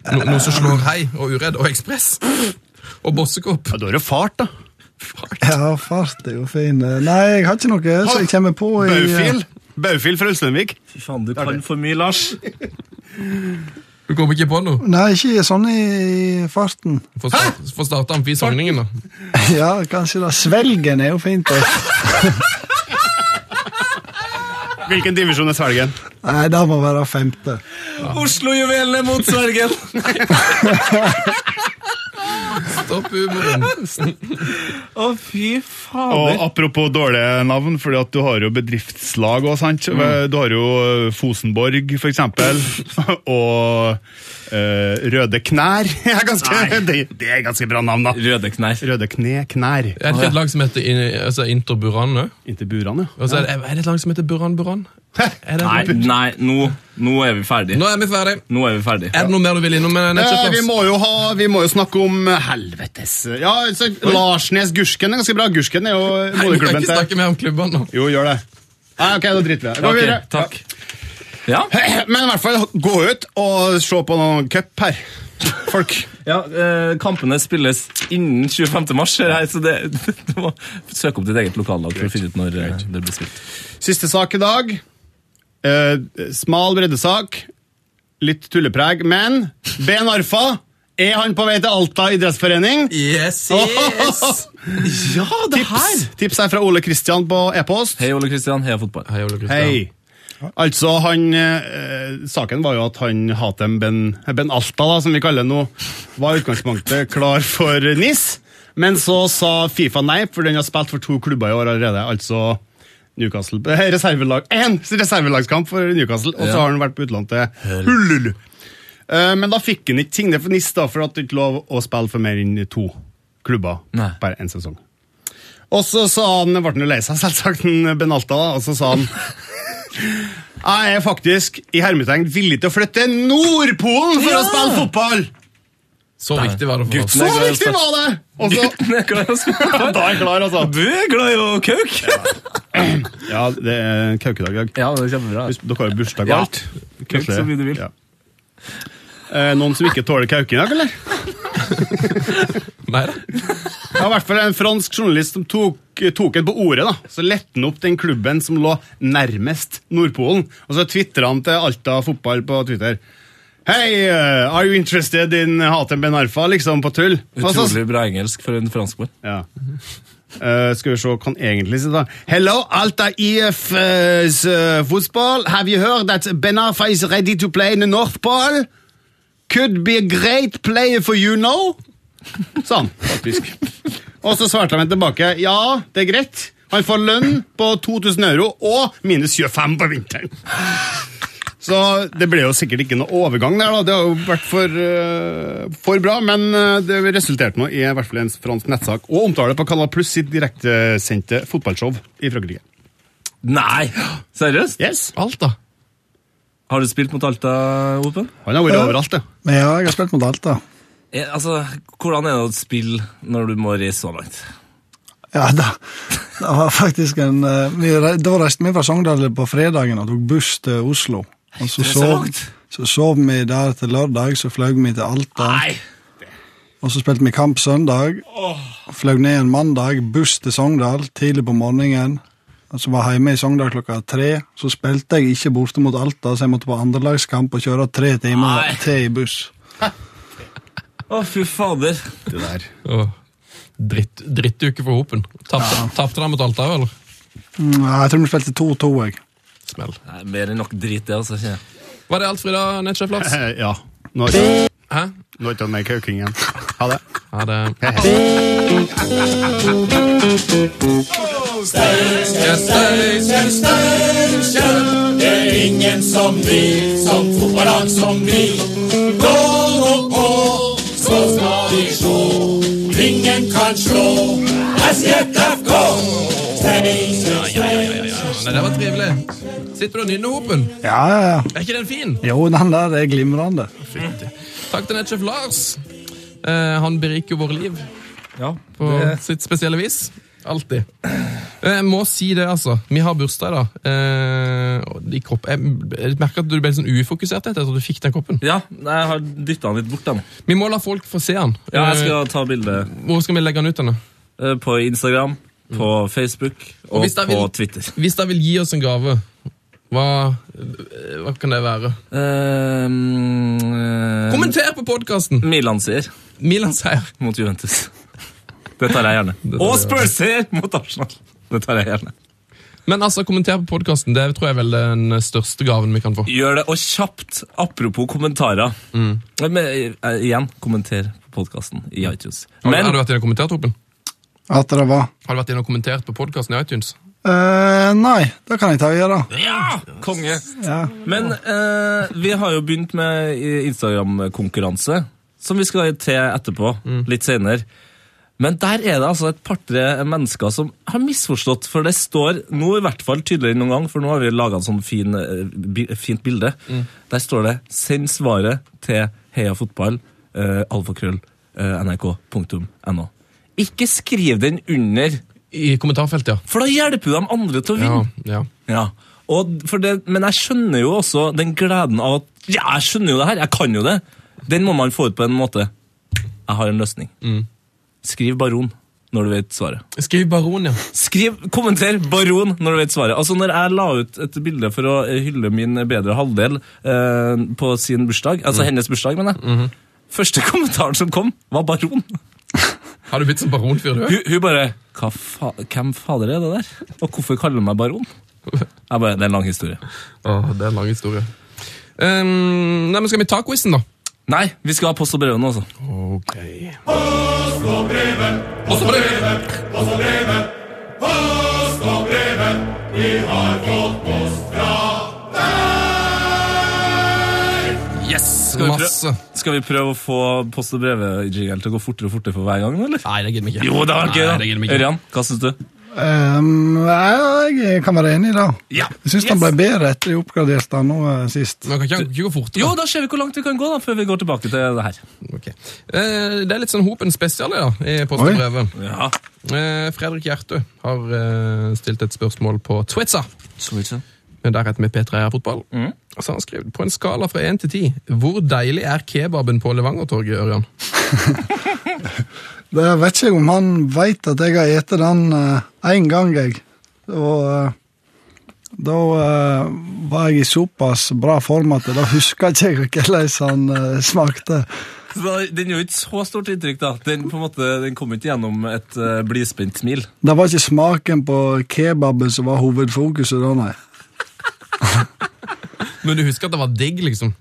S2: No, noe som slår hei og uredd og ekspress? Og bossekopp?
S9: Ja, da er det fart, da.
S5: Ja, fart er jo fin. Nei, jeg har ikke noe så jeg kommer på i eh,
S9: Baufil. Baufil fra Ulsteinvik.
S1: Fy faen, du kan for mye, Lars.
S2: Du kommer ikke på noe?
S5: Nei, ikke sånn i i farten.
S2: Få start- Få starte amfisogningen, da.
S5: Ja, kanskje da. Svelgen er jo fint. da.
S9: Hvilken divisjon er Svelgen?
S5: Nei, det må være femte.
S1: Oslo-juvelene mot Svergen.
S2: Stopp humoren.
S1: Å, fy
S9: Og
S1: fader.
S9: Apropos dårlige navn, fordi at du har jo bedriftslag òg, sant? Du har jo eh, Fosenborg, for eksempel. Og eh, Røde Knær. Det er ganske, det, det er ganske bra navn, da.
S1: Røde knær.
S9: Røde Kne Knær.
S2: Er det ikke et lag som heter In- altså Inter Buran òg?
S9: Inntil burene, ja.
S2: Og så er, det- er det et lag som heter Buran Buran? Er det-
S1: Nei, nei, nå, nå er vi ferdig.
S2: Nå er vi ferdig.
S1: Nå er vi ferdig.
S2: Er det noe mer du vil innom? eh,
S9: Eh,
S2: Netchat,
S9: vi,
S2: Lars?
S9: må jo ha, vi må jo snakke om eh, helvetes Ja, så Larsnes Gursken er ganske bra. Gursken er jo
S2: Nei, vi kan
S9: moderklubben
S2: ikke
S9: til
S2: snakke mer om klubbene nå.
S9: Jo, gjør det. Nei, ok, da driter vi i det. Gå
S1: Ok,
S9: videre.
S1: takk. Ja.
S9: Ja. Men i hvert fall, gå ut og se på noen cup her. Folk.
S1: Ja, eh, Kampene spilles innen 25. mars, ser jeg, så det, du må søke opp ditt eget lokallag for å finne ut når eh, det blir spilt.
S9: Siste sak i dag. Eh, smal breddesak. Litt tullepreg. Men Ben Arfa, er han på vei til Alta idrettsforening?
S2: Yes, yes!
S1: Ja, det
S9: Tips, tips er fra Ole Kristian på e-post.
S1: Hei, Ole Kristian. Heia fotball.
S2: Hei, Ole Kristian.
S9: Hei. Altså, han eh, Saken var jo at han Hatem Ben, ben Alta, da, som vi kaller det nå, var i utgangspunktet klar for NIS. Men så sa Fifa nei, for den har spilt for to klubber i år allerede. Altså Newcastle eh, reservelag, En reservelagskamp for Newcastle, og så har han vært på utlån til Hull. Eh, men da fikk han ikke tingene for NIS, da, for at det ikke lov å spille for mer enn to klubber
S1: Nei.
S9: per en sesong. Og så sa han, ble han jo lei seg, selvsagt, han Ben Alta, da, og så sa han jeg er faktisk i hermetegn villig til å flytte til Nordpolen for å spille fotball!
S2: Så viktig var det for oss.
S9: Så
S1: Nei, jeg er
S9: viktig
S1: klar.
S9: var det! Og så,
S1: Gutten er glad i å spille fotball.
S9: da er jeg klar, altså.
S1: Du er glad i å kauke!
S9: Ja, det er en kaukedag i dag.
S1: Ja, det er kjempebra.
S9: Hvis- Dere har jo bursdag og
S1: Ja.
S9: alt.
S1: Kauk
S9: Kanskje-
S1: så mye du vil.
S9: Ja. Eh, Noen som ikke tåler kauking i dag, eller?
S2: Nei da.
S9: Det var i hvert fall en fransk journalist som tok, tok en på ordet. da. Så lette han opp den klubben som lå nærmest Nordpolen. Og så tvitra han til Alta fotball på Twitter. Hei, eh, are you interested in Hatem Ben Arfa? Liksom på tull. Og så-
S1: Utrolig bra engelsk for en franskmann.
S9: Ja. Eh, skal vi se hva han egentlig sier, da. Hello, Alta IF eh, s- eh, fotball. Have you heard that Ben Arfa is ready to play in the North Pole? Could be a great player for you Sånn, now. Sa han, faktisk. Og så svarte han tilbake. Ja, det er greit. Han får lønn på 2000 euro og minus 25 på vinteren. Så det ble jo sikkert ikke noe overgang der, da. Det har jo vært for, eh, for bra. Men eh, det resulterte nå i i hvert fall en fransk nettsak og omtale på Canal Pluss sitt direktesendte fotballshow i Frankrike.
S1: Nei! Seriøst?
S9: Yes.
S2: Alt, da.
S1: Har du spilt mot Alta Open?
S9: Han har vært overalt, ja.
S5: Men ja, jeg har spilt mot Alta.
S1: Eh, altså, hvordan er det å spille når du må reise så langt?
S5: Ja, da, det var faktisk en eh, vi, re- Da reiste vi fra Sogndal på fredagen og tok buss til Oslo. Og så
S1: det er så
S5: sov,
S1: langt.
S5: så sov vi der til lørdag, så fløy vi til Alta. Og så spilte vi kamp søndag. Fløy ned en mandag, buss til Sogndal tidlig på morgenen. Og så var jeg hjemme i Sogndal klokka tre. Så spilte jeg ikke borte mot Alta, så jeg måtte på andrelagskamp og kjøre tre timer
S1: Nei.
S5: til i buss.
S1: Å, fy fader.
S9: Det der.
S2: Åh. Dritt, drittuke for Hopen. Tapte tapte dere mot Alta, eller?
S5: Mm, jeg tror vi spilte 2-2, jeg.
S2: Smell.
S1: Nei, mer enn nok drit, det, altså. kjenner jeg.
S2: Var det alt, Frida Nettsjef Lars?
S9: Eh, Ja. Nå er det-
S2: Hæ?
S9: nå er det ikke mer kauking igjen. Ha det.
S2: Ja, det... Nei, det var trivelig. Sitter du og nynner Hopen?
S5: Ja, ja, ja.
S2: Er ikke den fin?
S5: Jo, den der er glimrende.
S2: Takk til nettsjef Lars. Eh, han beriker jo våre liv på sitt spesielle vis. Alltid. Eh, Jeg må si det, altså. Vi har bursdag i dag. Eh, og de kopp- jeg jeg merker at du ble litt sånn ufokusert etter at du fikk den koppen.
S1: Ja, nei, jeg har dytta den litt bort, den.
S2: Vi må la folk få se den.
S1: Ja, jeg
S2: Eh,
S1: skal ta bilde
S2: Hvor skal vi legge den ut? Denne?
S1: eh, på Instagram, på Facebook og,
S2: hvis det er
S1: på
S2: vil-
S1: Twitter.
S2: Hvis dere vil gi oss en gave, hva, eh, hva kan det være?
S1: Eh, eh,
S2: Kommenter på podkasten!
S1: Milan sier
S2: Milan-seier.
S1: mot Juventus. Det tar jeg gjerne.
S2: tar
S1: Og
S2: jeg
S1: Spurs sier mot Arsenal. Det tar jeg gjerne.
S2: Men altså, kommenter på podkasten. Det tror jeg er vel den største gaven vi kan få.
S1: Gjør det, og kjapt, apropos kommentarer. Men, eh, igjen, kommenter på podkasten i iTunes.
S2: Har,
S1: Men
S2: har du vært inne og kommentert, Håpen?
S5: At det var
S2: Har du vært inne og kommentert på podkasten i iTunes?
S5: Eh, nei, det kan jeg ta og gjøre.
S1: Ja! Konge.
S5: Ja.
S1: Men eh, vi har jo begynt med i- Instagram-konkurranse, som vi skal til etterpå, litt senere. Men der er det altså et par-tre mennesker som har misforstått, for det står nå i hvert fall tydeligere enn noen gang, for nå har vi laga et sånt fin, eh, bi, fint bilde. Der står det 'Send svaret til heia fotball, eh, alfakrøll, eh, nrk.no'. Ikke skriv den under,
S2: I kommentarfeltet, ja.
S1: for da hjelper du de andre til å vinne.
S2: Ja, ja.
S1: Ja, og for det, men jeg skjønner jo også den gleden av at Ja, jeg skjønner jo det her, jeg kan jo det. Den må man få ut på en måte. Jeg har en løsning. Skriv baron når du vet svaret.
S2: Skriv Baron, ja.
S1: Skriv, Kommenter baron når du vet svaret. Altså, når jeg la ut et bilde for å eh, hylle min bedre halvdel eh, på sin bursdag, altså hennes bursdag, mener jeg, første kommentaren som kom, var baron.
S2: Har du blitt som baronfyr, du?
S1: Hun, hun bare Hva fa Hvem fader er det der? Og hvorfor kaller du meg baron? Jeg bare, Det er en lang historie.
S2: Åh, det er en lang historie. Ehm, nei, men Skal vi ta quizen, da?
S1: Nei, vi skal ha post og brev nå, altså.
S2: Ok. Post og brevet, post og brevet, post og brevet, post og brevet. Vi har fått post fra deg! Yes!
S1: vi prøve-
S2: Masse.
S1: Skal vi prøve å få post- og brevet-jingelen til å gå fortere og fortere for hver gang? eller?
S2: Nei, det gidder vi ikke.
S1: Jo, det var gøy.
S2: Nei, det gidder vi
S1: da.
S2: ikke.
S1: Ørjan, hva syns du?
S5: Ehm, jeg, jeg kan være enig i det.
S1: Ja.
S5: Jeg syns den ble bedre etter de oppgraderte den nå eh, sist.
S2: Man kan ikke, ikke gå fortere.
S1: Jo, da ser vi hvor langt vi kan gå da, før vi går tilbake til det her.
S2: Ok. Eh, det er litt sånn Hopen spesial ja, i post og
S5: Oi.
S2: brevet.
S1: Ja.
S2: Eh, Fredrik Gjertø har eh, stilt et spørsmål på Twitter. eh, Der heter vi P3 Fotball.
S1: Mm.
S2: Så har han skrevet på en skala fra 1 til 10. Hvor deilig er kebaben på Levangertorget, Ørjan?
S5: Det vet ikke jeg om han veit at jeg har spist den én gang, jeg. Og eh, da eh, var jeg i såpass bra form at da huska ikke jeg hvordan han eh, smakte.
S1: Så da, Den gjorde ikke så stort inntrykk, da. Den, på en måte, den kom ikke gjennom et uh, blidspent smil.
S5: Det var ikke smaken på kebaben som var hovedfokuset da, nei.
S2: Men du husker at det var digg, liksom?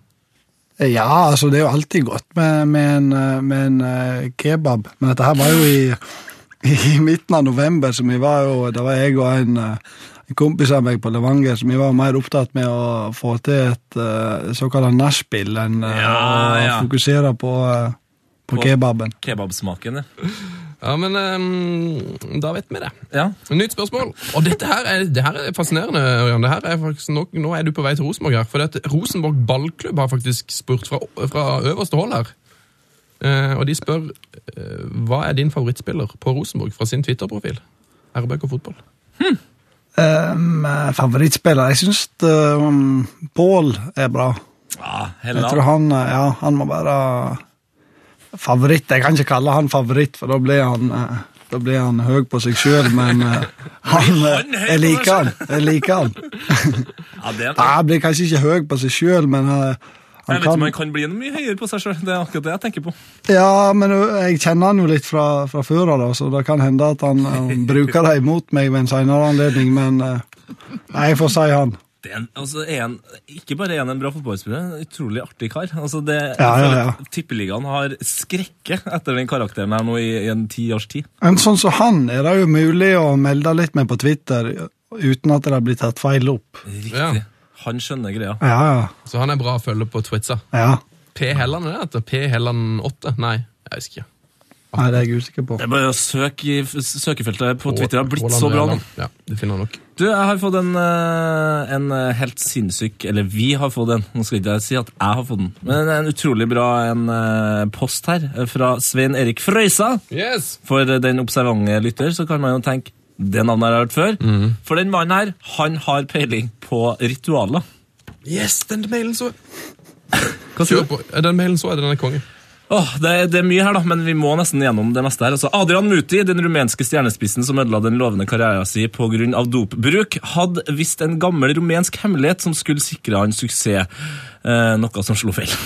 S5: Ja, altså det er jo alltid godt med, med, en, eh, med en eh, kebab, men dette her var jo i i midten av november, så vi var jo Da var jeg og en, eh, en kompis av meg på Levanger, så vi var mer opptatt med å få til et eh, såkalt nachspiel enn eh,
S1: Ja,
S5: å
S1: ja.
S5: fokusere på, eh, på kebaben.
S1: Kebabsmaken, ja.
S2: Ja, men ehm, da vet vi det.
S1: ja.
S2: Nytt spørsmål. Og dette her er, det her er fascinerende, Ørjan. Det her er faktisk, nå, nå er du på vei til Rosenborg her. For at Rosenborg ballklubb har faktisk spurt fra, fra øverste hold her. Eh, og de spør eh, hva er din favorittspiller på Rosenborg fra sin Twitter-profil. RBK fotball.
S5: Um, favorittspiller? Jeg syns um, Pål er bra.
S1: Ja,
S5: Jeg tror
S1: Helland.
S5: han, eh, ja, han må være favoritt. Jeg kan ikke kalle han favoritt, for da blir han, eh, da blir han høy på seg sjøl, men eh, han, eh,
S1: han høy
S5: jeg
S1: på
S5: liker
S1: seg
S5: han. Jeg liker han.
S1: Ja, det er
S5: Nei,
S1: en-
S5: Han blir kanskje ikke høy på seg sjøl, men eh,
S1: jeg
S5: han
S1: vet ikke om
S5: kan
S1: han kan bli noe mye høyere på seg sjøl. Det er akkurat det jeg tenker på.
S5: Ja, men ø, jeg kjenner han jo litt fra, fra før av, da, så det kan hende at han, eh, han bruker det imot meg ved en seinere anledning, men eh, Nei, jeg får si han.
S1: Det er en, altså, er en, ikke bare er han en bra fotballspiller, en utrolig artig kar. Altså, det,
S5: Ja,
S1: jeg
S5: ja,
S1: føler
S5: ja.
S1: at Tippeligaen har skrekke etter den karakteren her nå i, i en ti års tid.
S5: Men sånn som han er det jo mulig å melde litt med på Twitter ø, uten at det blir tatt feil opp.
S1: Riktig.
S2: Ja.
S1: Han skjønner greia.
S5: Ja, ja.
S2: Så han er bra å følge på Twitter.
S5: Ja,
S2: P. Helland er det dette? P. Helland 8? Nei, jeg husker ikke.
S5: Nei, det er jeg usikker på.
S1: Det er bare å søke i f- søkefeltet på Twitter. Det har blitt
S2: Roland
S1: så bra nå.
S2: Helland. Ja, du finner nok.
S1: Du, jeg har fått en, eh, en eh, helt sinnssyk Eller vi har fått en. Nå skal ikke jeg si at jeg har fått den. Men en utrolig bra en eh, post her eh, fra Svein Erik Frøysa.
S2: Yes!
S1: For eh, den observante lytter så kan man jo tenke det navnet har jeg hørt før.
S2: Mhm.
S1: For den mannen her, han har peiling på ritualer.
S2: Yes, den mailen så
S1: Hva
S2: Kjør på. Den mailen så jeg, den er konge.
S1: Åh, det, er- det er mye her, da, men vi må nesten gjennom det meste her. Altså, Adrian Muti, den rumenske stjernespissen som ødela den lovende karrieren sin pga. dopbruk, hadde visst en gammel rumensk hemmelighet som skulle sikre han suksess. Eh, noe som slo feil.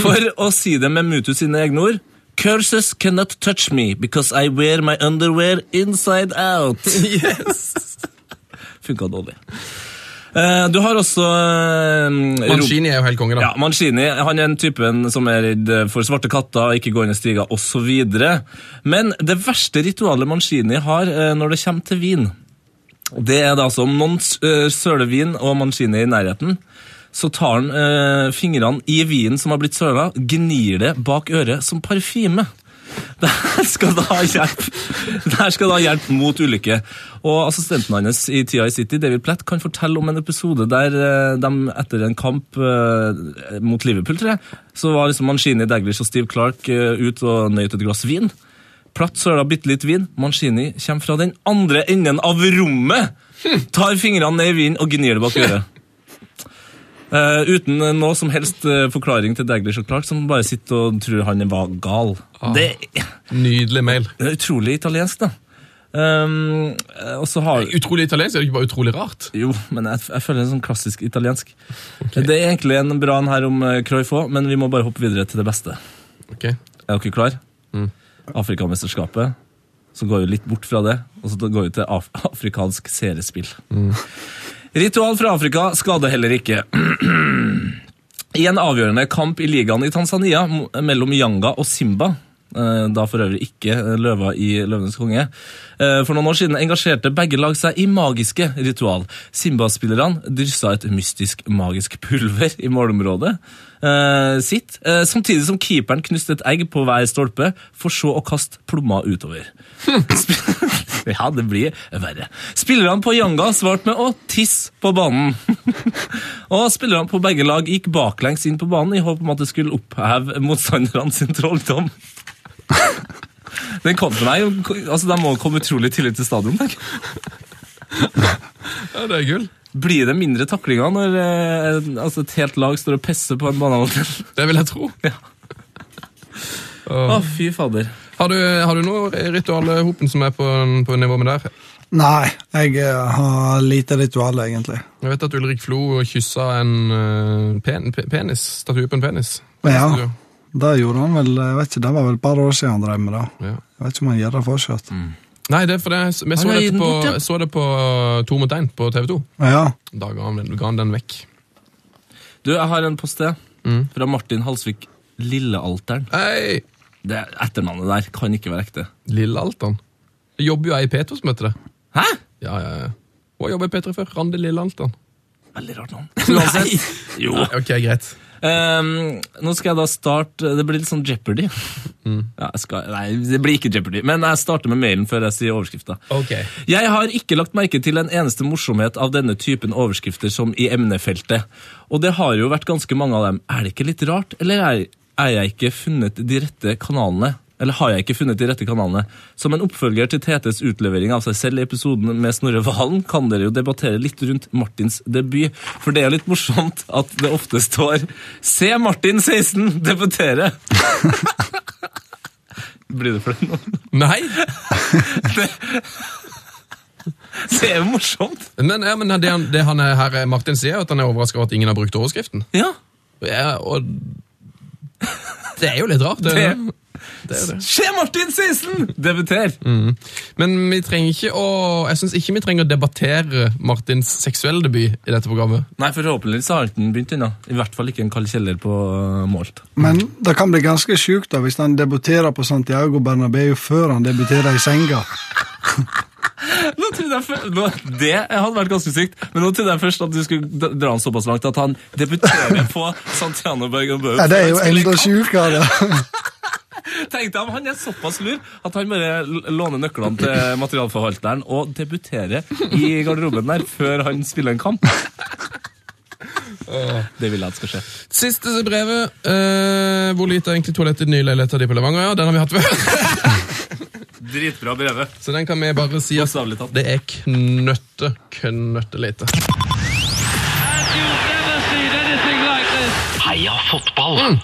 S1: For å si det med Mutu sine egne ord Curses cannot touch me because I wear my underwear inside out.
S2: Yes!
S1: Funka dårlig. Eh, du har også eh, Rob-
S2: Mancini er jo helt konge, da.
S1: ja, Mancini han er den typen som er redd for svarte katter, ikke gående stiger osv. Men det verste ritualet Mancini har eh, når det kommer til vin, det er da altså om noen s- eh, søler vin og Mancini er i nærheten, så tar han eh, fingrene i vinen som har blitt søla, gnir det bak øret som parfyme. Det her skal da hjelpe Det her skal da hjelpe mot ulykke. Og assistenten hans i TI City, David Platt, kan fortelle om en episode der eh, de etter en kamp eh, mot Liverpool, tror jeg, så var liksom Mancini, Daglish og Steve Clark eh, ut og nøt et glass vin. Platt søla bitte litt vin. Mancini kommer fra den andre enden av rommet! Tar fingrene ned i vinen og gnir det bak øret. Eh, uten eh, noe som helst eh, forklaring til Daglish og Clark, som bare sitter og tror han var gal. Det
S2: Nydelig mail.
S1: det er utrolig italiensk, da. Ehm, og så har
S2: Utrolig italiensk, er det ikke bare utrolig rart?
S1: Jo, men jeg, jeg føler det er sånn klassisk italiensk. Det er egentlig en bra en her om eh, Cruyff òg, men vi må bare hoppe videre til det beste.
S2: Ok.
S1: Er dere klare? Afrikamesterskapet. Så går vi litt bort fra det, og så går vi til af afrikansk seriespill. Ritual fra Afrika skader heller ikke. I en avgjørende kamp i ligaen i Tanzania mo- mellom Yanga og Simba, eh, da for øvrig ikke eh, løva i Løvenes konge, eh, for noen år siden engasjerte begge lag seg i magiske ritual. Simba-spillerne dryssa et mystisk magisk pulver i målområdet eh, sitt, eh, samtidig som keeperen knuste et egg på hver stolpe, for så å kaste plomma utover. Sp- ja, det blir verre. Spillerne på Yanga svarte med å tisse på banen. og spillerne på begge lag gikk baklengs inn på banen i håp om at det skulle oppheve motstanderne sin trolldom. Den kom til meg, jo- altså De må komme utrolig tidlig til stadion. tenk.
S2: Ja, det er gull.
S1: Blir det mindre taklinger når eh, altså et helt lag står og pisser på en banehalvdel?
S2: Det vil jeg tro.
S1: Ja. Å, fy fader.
S2: Har du, har du noe ritual, Hopen, som er på, på nivå med der?
S5: Nei, jeg eh, har lite ritual, egentlig.
S2: Jeg vet at Ulrik Flo kyssa en eh, pen, pe- penis. Statue på en penis.
S5: Men
S2: Ah.
S5: ja, det gjorde han vel jeg vet ikke, Det var vel et par år siden han drev med det.
S2: Ja.
S5: Jeg vet ikke om han gjør det fortsatt.
S2: Nei, det er for det. Vi så,
S1: har gitt
S2: dette
S1: den
S2: på,
S1: bort, ja.
S2: jeg så det på eh, To mot én på TV 2.
S5: Ja,
S2: Da ga han, den- ga han den vekk.
S1: Du, jeg har en post til. Fra Martin Halsvik Lillealteren.
S2: Hei!
S1: Det etternavnet der kan ikke være ekte.
S2: Lille Altan. jobber jo jeg i P2 som heter det.
S1: Hæ?
S2: Ja, ja, ja. Hun har jobbet i P3 før. Randi Lillehalteren.
S1: Veldig rart navn. Uansett. Jo.
S2: Ok, greit.
S1: Ehm, nå skal jeg da starte Det blir litt sånn Jeopardy. Ja, jeg skal, nei, det blir ikke Jeopardy, men jeg starter med mailen før jeg sier overskrifta.
S2: Ok.
S1: Jeg har ikke lagt merke til en eneste morsomhet av denne typen overskrifter som i emnefeltet. Og det har jo vært ganske mange av dem. Er det ikke litt rart, eller er, er jeg ikke funnet de rette kanalene? Eller har jeg ikke funnet de rette kanalene? Som en oppfølger til TTs utlevering av seg selv i episoden med Snorre Valen, kan dere jo debattere litt rundt Martins debut. For det er jo litt morsomt at det ofte står 'Se Martin 16 debutere'. Blir du flau nå?
S2: Nei,
S1: Det er jo morsomt!
S2: men, ja, men det, han, det han er, her er Martin sier, er at han er overraska over at ingen har brukt overskriften.
S1: Ja,
S2: Ja, og det er jo litt rart. Det,
S1: Det-
S2: det er det.
S1: Se Martin 16 debuter!
S2: Men vi trenger ikke å, jeg syns ikke vi trenger å debattere Martins seksuelle debut i dette programmet.
S1: Nei, forhåpentligvis har ikke den begynt ennå. I hvert fall ikke en kald kjeller på øh, Målt.
S5: Men det kan bli ganske sjukt da, hvis han debuterer på Santiago Bernabeu før han debuterer i senga.
S1: Nå trodde jeg før- nå, det hadde vært ganske sykt, men nå trodde jeg først at du skulle d- dra han såpass langt at han debuterer på Santiano Bergambeu.
S5: Ja, det er jo
S1: før han spiller
S5: enda
S1: kamp.
S5: sjukere.
S1: Tenkte jeg, men Han er såpass lur at han bare l- låner nøklene til materialforvalteren og debuterer i garderoben der før han spiller en kamp. Det vil jeg at skal skje.
S2: Siste brevet. eh, hvor lite er egentlig toalettet i den nye leiligheta di på Levanger? Ja, den har vi hatt før.
S1: Dritbra brevet.
S2: Så den kan vi bare si at
S1: Bokstavelig talt.
S2: det er knøtte, knøtte lite.
S4: Heia fotball!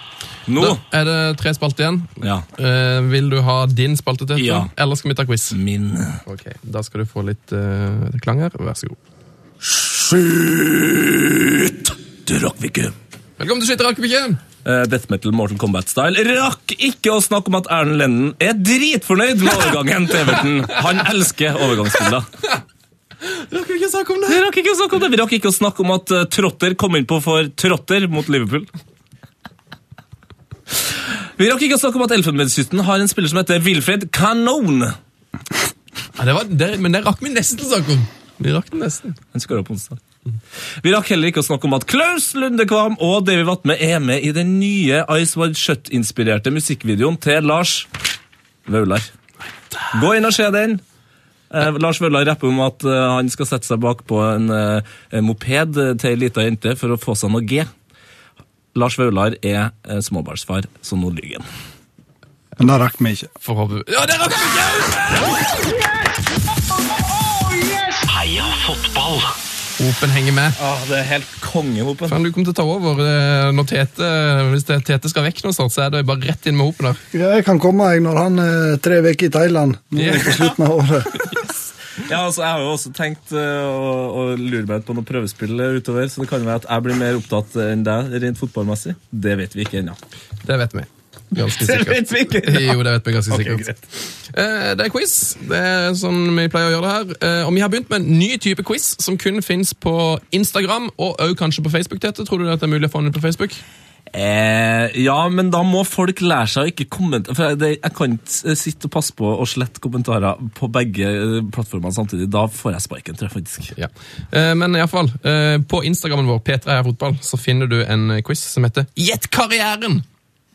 S1: Nå
S2: Da er det tre spalter igjen.
S1: Ja.
S2: Eh, vil du ha din spalte til?
S1: Ja.
S2: Eller skal vi ta quiz?
S1: Min
S2: Ok, Da skal du få litt eh, klang her. Vær så god.
S1: Skyt! Du rakk vi ikke.
S2: Velkommen til Skytterrakebikkjen!
S1: Eh, death metal Mortal Kombat-style rakk ikke å snakke om at Erlend Lennon er dritfornøyd med overgangen til Everton. Han elsker overgangsbilder.
S2: Rakk vi ikke snakke om
S1: Vi rakk ikke å snakke om det. Vi rakk ikke å snakke om at eh, Trotter kom inn på for Trotter mot Liverpool. Vi rakk ikke å snakke om at Elfenbenskysten har en spiller som heter Wilfred Canone.
S2: Ja, det var, det, men det rakk vi nesten å snakke om. Vi rakk den nesten.
S1: Han skåra på onsdag. Vi rakk heller ikke å snakke om at Klaus Lundekvam og David Vatne er med i den nye Ice Wide Shut-inspirerte musikkvideoen til Lars Vaular. Gå inn og se den. Eh, Lars Vaular rapper om at eh, han skal sette seg bakpå en eh, en moped eh, til ei lita jente for å få seg noe G. Lars Vaular er eh, småbarnsfar, så nå lyver han.
S5: Men det rakk vi ikke.
S2: Forhåpentlig. Ja, det rakk vi ikke!
S4: Heia fotball!
S2: Hopen henger med.
S1: Ah, det er helt kongehopen.
S2: Faen, du kommer til å ta over eh, når Tete, hvis det, Tete skal vekk nå snart, så er det bare rett inn med hopen der.
S5: Ja, jeg kan komme jeg når han er tre uker i Thailand. Nå er det på slutten av året.
S1: Ja, altså, Jeg har jo også tenkt eh, å, å lure meg ut på noen prøvespill eh, utover, så det kan være at jeg blir mer opptatt enn deg rent fotballmessig. Det vet vi ikke ennå.
S2: Det vet vi. Ganske sikkert.
S1: vi ikke
S2: Jo, det vet vi ganske sikkert.
S1: greit.
S2: Eh, det er quiz. Det er sånn vi pleier å gjøre det her. Eh, og vi har begynt med en ny type quiz som kun fins på Instagram og også kanskje på Facebook. Tete. Tror du at det er mulig å få den ut på Facebook?
S1: Eh, ja, men da må folk lære seg å ikke kommentere. For jeg, det, jeg kan ikke eh, sitte og passe på å slette kommentarer på begge eh, plattformene samtidig. Da får jeg sparken, tror jeg faktisk.
S2: Ja. Eh, men iallfall, eh, på Instagrammen vår, P3 er fotball, så finner du en quiz som heter Gjett karrieren!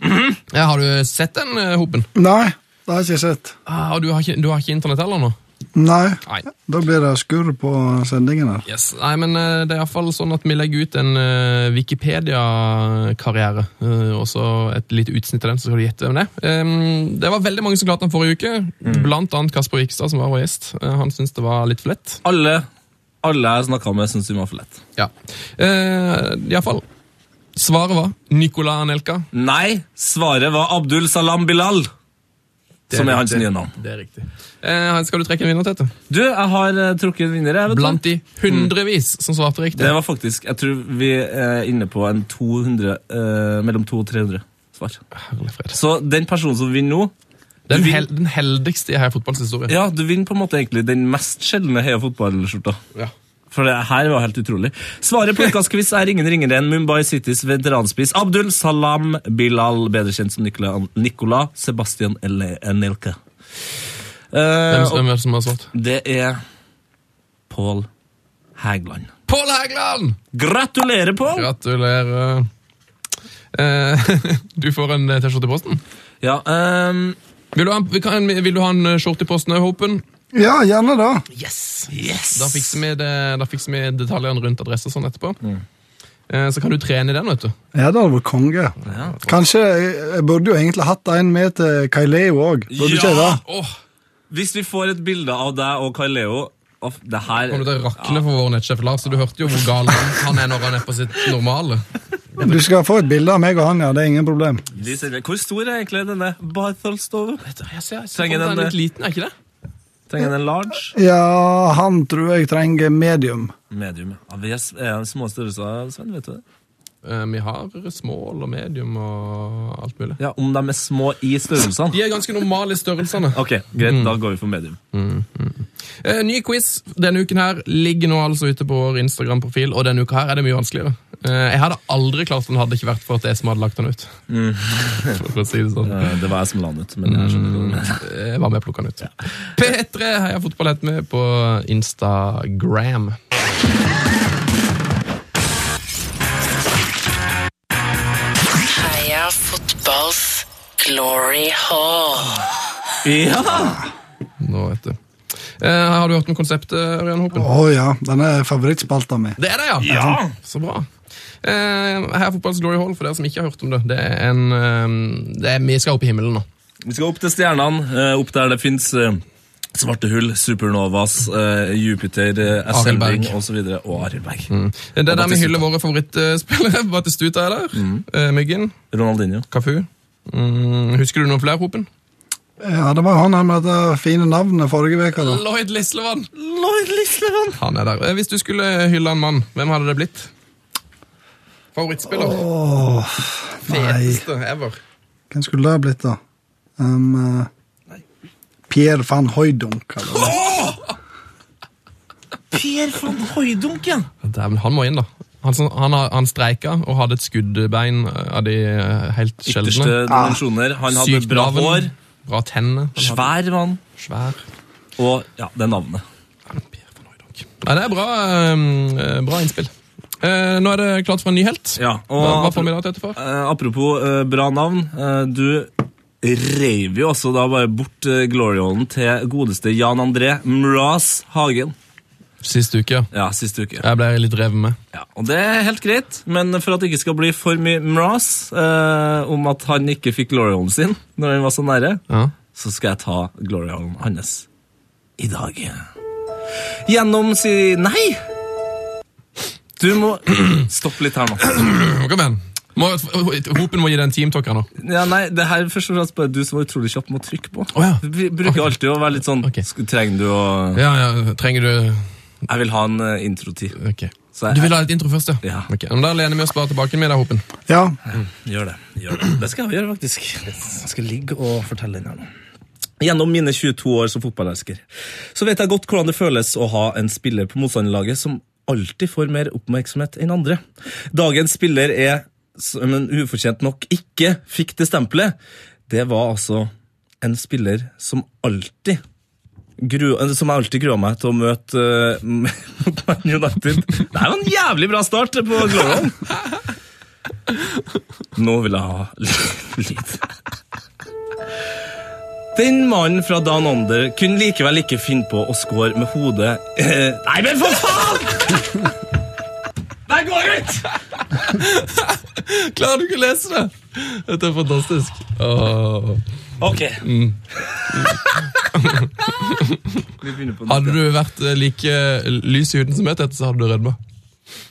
S2: ja, har du sett den, eh, Hopen?
S5: Nei, det har jeg ikke sett.
S2: Ah, og du har, ikke, du har ikke internett heller nå?
S5: Nei.
S2: Nei.
S5: Da blir det skurr på sendingen her.
S2: Yes. Nei, men eh, det er iallfall sånn at vi legger ut en eh, Wikipedia-karriere. eh, og så et lite utsnitt av den, så skal du gjette hvem det er. Em, det var veldig mange som klarte den forrige uke, blant annet Kasper Wikstad, som var vår gjest. Eh, han syntes det var litt for lett.
S1: Alle, alle jeg snakka med, syns hun var for lett.
S2: Ja. Uh, iallfall. Svaret var Nicolai Anelka.
S1: Nei, svaret var Abdul Salam Bilal, som er hans nye navn.
S2: Det er riktig. Eh, skal du trekke en vinner, Tete?
S1: Du, jeg har eh, trukket en vinner. Jeg, vet du.
S2: Blant de hundrevis som svarte riktig.
S1: Det var faktisk, jeg tror vi er inne på en 200, eh, mellom 200 og 300 svar.
S2: Herlig fred.
S1: Så den personen som vinner nå,
S2: Den,
S1: Du vil-
S2: hel den heldigste i her fotballhistorie.
S1: ja, du vinner på en måte egentlig den mest sjeldne heia fotballskjorta.
S2: Ja.
S1: For det her var helt utrolig. Svaret på ukas quiz er ingen ringere enn Mumbai Citys veteranspiss Abdul Salam Bilal, bedre kjent som Nicola, Nicola Sebastian Ele- Enelke. Eh,
S2: Hvem, hvem er det som har svart?
S1: og det er Pål Hægland.
S2: Pål Hægland!
S1: Gratulerer, Pål!
S2: Gratulerer. Eh, du får en eh, T-skjorte i posten.
S1: Ja, ehm,
S2: Vil du ha en, vi kan- vil du ha en eh, skjorte i posten, Håpen?
S5: Ja, gjerne det.
S1: yes!
S2: Da fikser vi, det, da fikser vi detaljene rundt adresse og sånn etterpå. Eh, så kan du trene i den, vet du.
S5: Ja, det hadde vært konge. Kanskje jeg, jeg burde jo egentlig hatt en med til Kaileo òg. Burde ikke jeg det?
S2: Åh,
S1: Hvis vi får et bilde av deg og Kaileo Off, det her
S2: kommer du til å rakle for vår nettsjef Lars? Du hørte jo hvor gal han, han er når han er på sitt normale.
S5: Du skal få et bilde av meg og han, ja. Det er ingen problem.
S1: de ser- Hvor stor er egentlig denne Bartholstova?
S2: Jeg ser, jeg
S1: for meg den er litt
S2: liten, er ikke det?
S1: Trenger den en large?
S5: Ja, han tror jeg trenger medium.
S1: Medium. Ja, vi er s- er den små størrelser, Sven, vet du det?
S2: Eh, vi har small og medium og alt mulig.
S1: Ja, Om de er små i størrelsene?
S2: De er ganske normale i størrelsene.
S1: Ok, greit, da går vi for medium.
S2: Eh, ny quiz denne uken her ligger nå altså ute på vår Instagram-profil, og denne uka her er det mye vanskeligere. Eh, jeg hadde aldri klart den hadde det ikke vært for at det er som hadde lagt den ut. for å si det sånn. Eh,
S1: Eh, Det var jeg som la den ut, men jeg skjønner ikke hva du mener.
S2: Jeg var med og plukka den ut. P3 Heia Fotball het med på Instagram.
S10: Heia fotballs glory hall.
S1: Ja!
S2: Nå vet du. Eh, har du hørt om konseptet, Ørjan Hopen?
S5: Å ja, den er favorittspalta mi.
S2: Det er det, ja! Så bra. Eh, her er Fotballs Glory Hall, for dere som ikke har hørt om det. Det er en, eh, det er, Vi skal opp i himmelen nå.
S1: Vi skal opp til stjernene, eh, opp der det fins svarte hull, supernovas, eh, Jupiter, eh,
S2: Arild
S1: Esselbing
S2: Berg.
S1: osv. Og Arild Berg.
S2: Det er der vi
S1: Batistuta.
S2: hyller våre favorittspillere. Batistuta er der.
S1: Mm.
S2: Eh, Myggen.
S1: Ronaldinho.
S2: Kafu. Mm, husker du noen flere, Hopen?
S5: Ja, det var jo han her med det fine navnet forrige uke, da.
S2: Lloyd Lislevann. Han er der. Eh, Hvis du skulle hylle en mann, hvem hadde det blitt? Favorittspiller?
S5: Åh, nei.
S2: Feteste ever.
S5: Hvem skulle det ha blitt, da? Um, eh, Pierre van Hooydonk. eller noe.
S1: Per van Hooydonk, ja!
S2: Dæven, han må inn, da. Han, som- han, har- han streika og hadde et skuddbein eh, av de eh, helt sjeldne.
S1: Ytterste dimensjoner. Han hadde
S2: Sykt
S1: bra
S2: navn,
S1: hår,
S2: Bra tenner. Han hadde
S1: svær mann,
S2: Svær.
S1: og ja, det er navnet.
S2: Pierre van Hooydonk. Nei, det er bra, eh, eh, bra innspill. Eh, nå er det klart for en ny helt.
S1: Ja,
S2: Hva, hva
S1: og
S2: får vi da til etterfor?
S1: eh, apropos eh, bra navn, eh, du reiv jo også da bare bort eh, glory-hallen til godeste Jan André Mraz Hagen.
S2: Sist uke, ja.
S1: Ja, siste uke.
S2: Jeg ble litt revet med.
S1: Ja, og det er helt greit, men for at det ikke skal bli for mye mras eh, om at han ikke fikk glory-hallen sin når han var så nære,
S2: Ja.
S1: så skal jeg ta glory-hallen hans i dag. Gjennom si... Nei! Du må Stopp litt her nå.
S2: Kom igjen. Må, hopen må gi deg en teamtalker nå.
S1: Ja, nei, det her er først og fremst bare du som var utrolig kjapp med å trykke på.
S2: Å, ja.
S1: Du br- bruker alltid å være litt sånn
S2: Ok.
S1: "Sk- Trenger du å
S2: Ja, ja, trenger du
S1: Jeg vil ha en eh, introtid.
S2: Ok.
S1: Så jeg-
S2: Du vil ha litt intro først, ja?
S1: Ja.
S2: Ok, men Da lener vi oss bare tilbake med deg, Hopen.
S5: Ja,
S1: Gjør det. gjør det. Det skal jeg gjøre, faktisk. Jeg skal ligge og fortelle den her nå. Gjennom mine 22 år som fotballelsker så vet jeg godt hvordan det føles å ha en spiller på motstanderlaget som alltid får mer oppmerksomhet enn andre. Dagens spiller er, som en ufortjent nok ikke fikk det stempelet, det var altså en spiller som alltid gru, eh, som jeg alltid grua meg til å møte eh, mot Man United. Det er jo en jævlig bra start på Glorion! Nå vil jeg ha li- lyd. Den mannen fra Dan Under kunne likevel ikke finne på å score med hodet Eh, Nei, men for faen! Der går jeg ut!
S2: Klarer du ikke å lese det?! Dette er fantastisk. Åh.
S1: Ok. Vi begynner på
S2: Hadde du vært eh, like lys i huden som jeg, Tete, så hadde du rødma.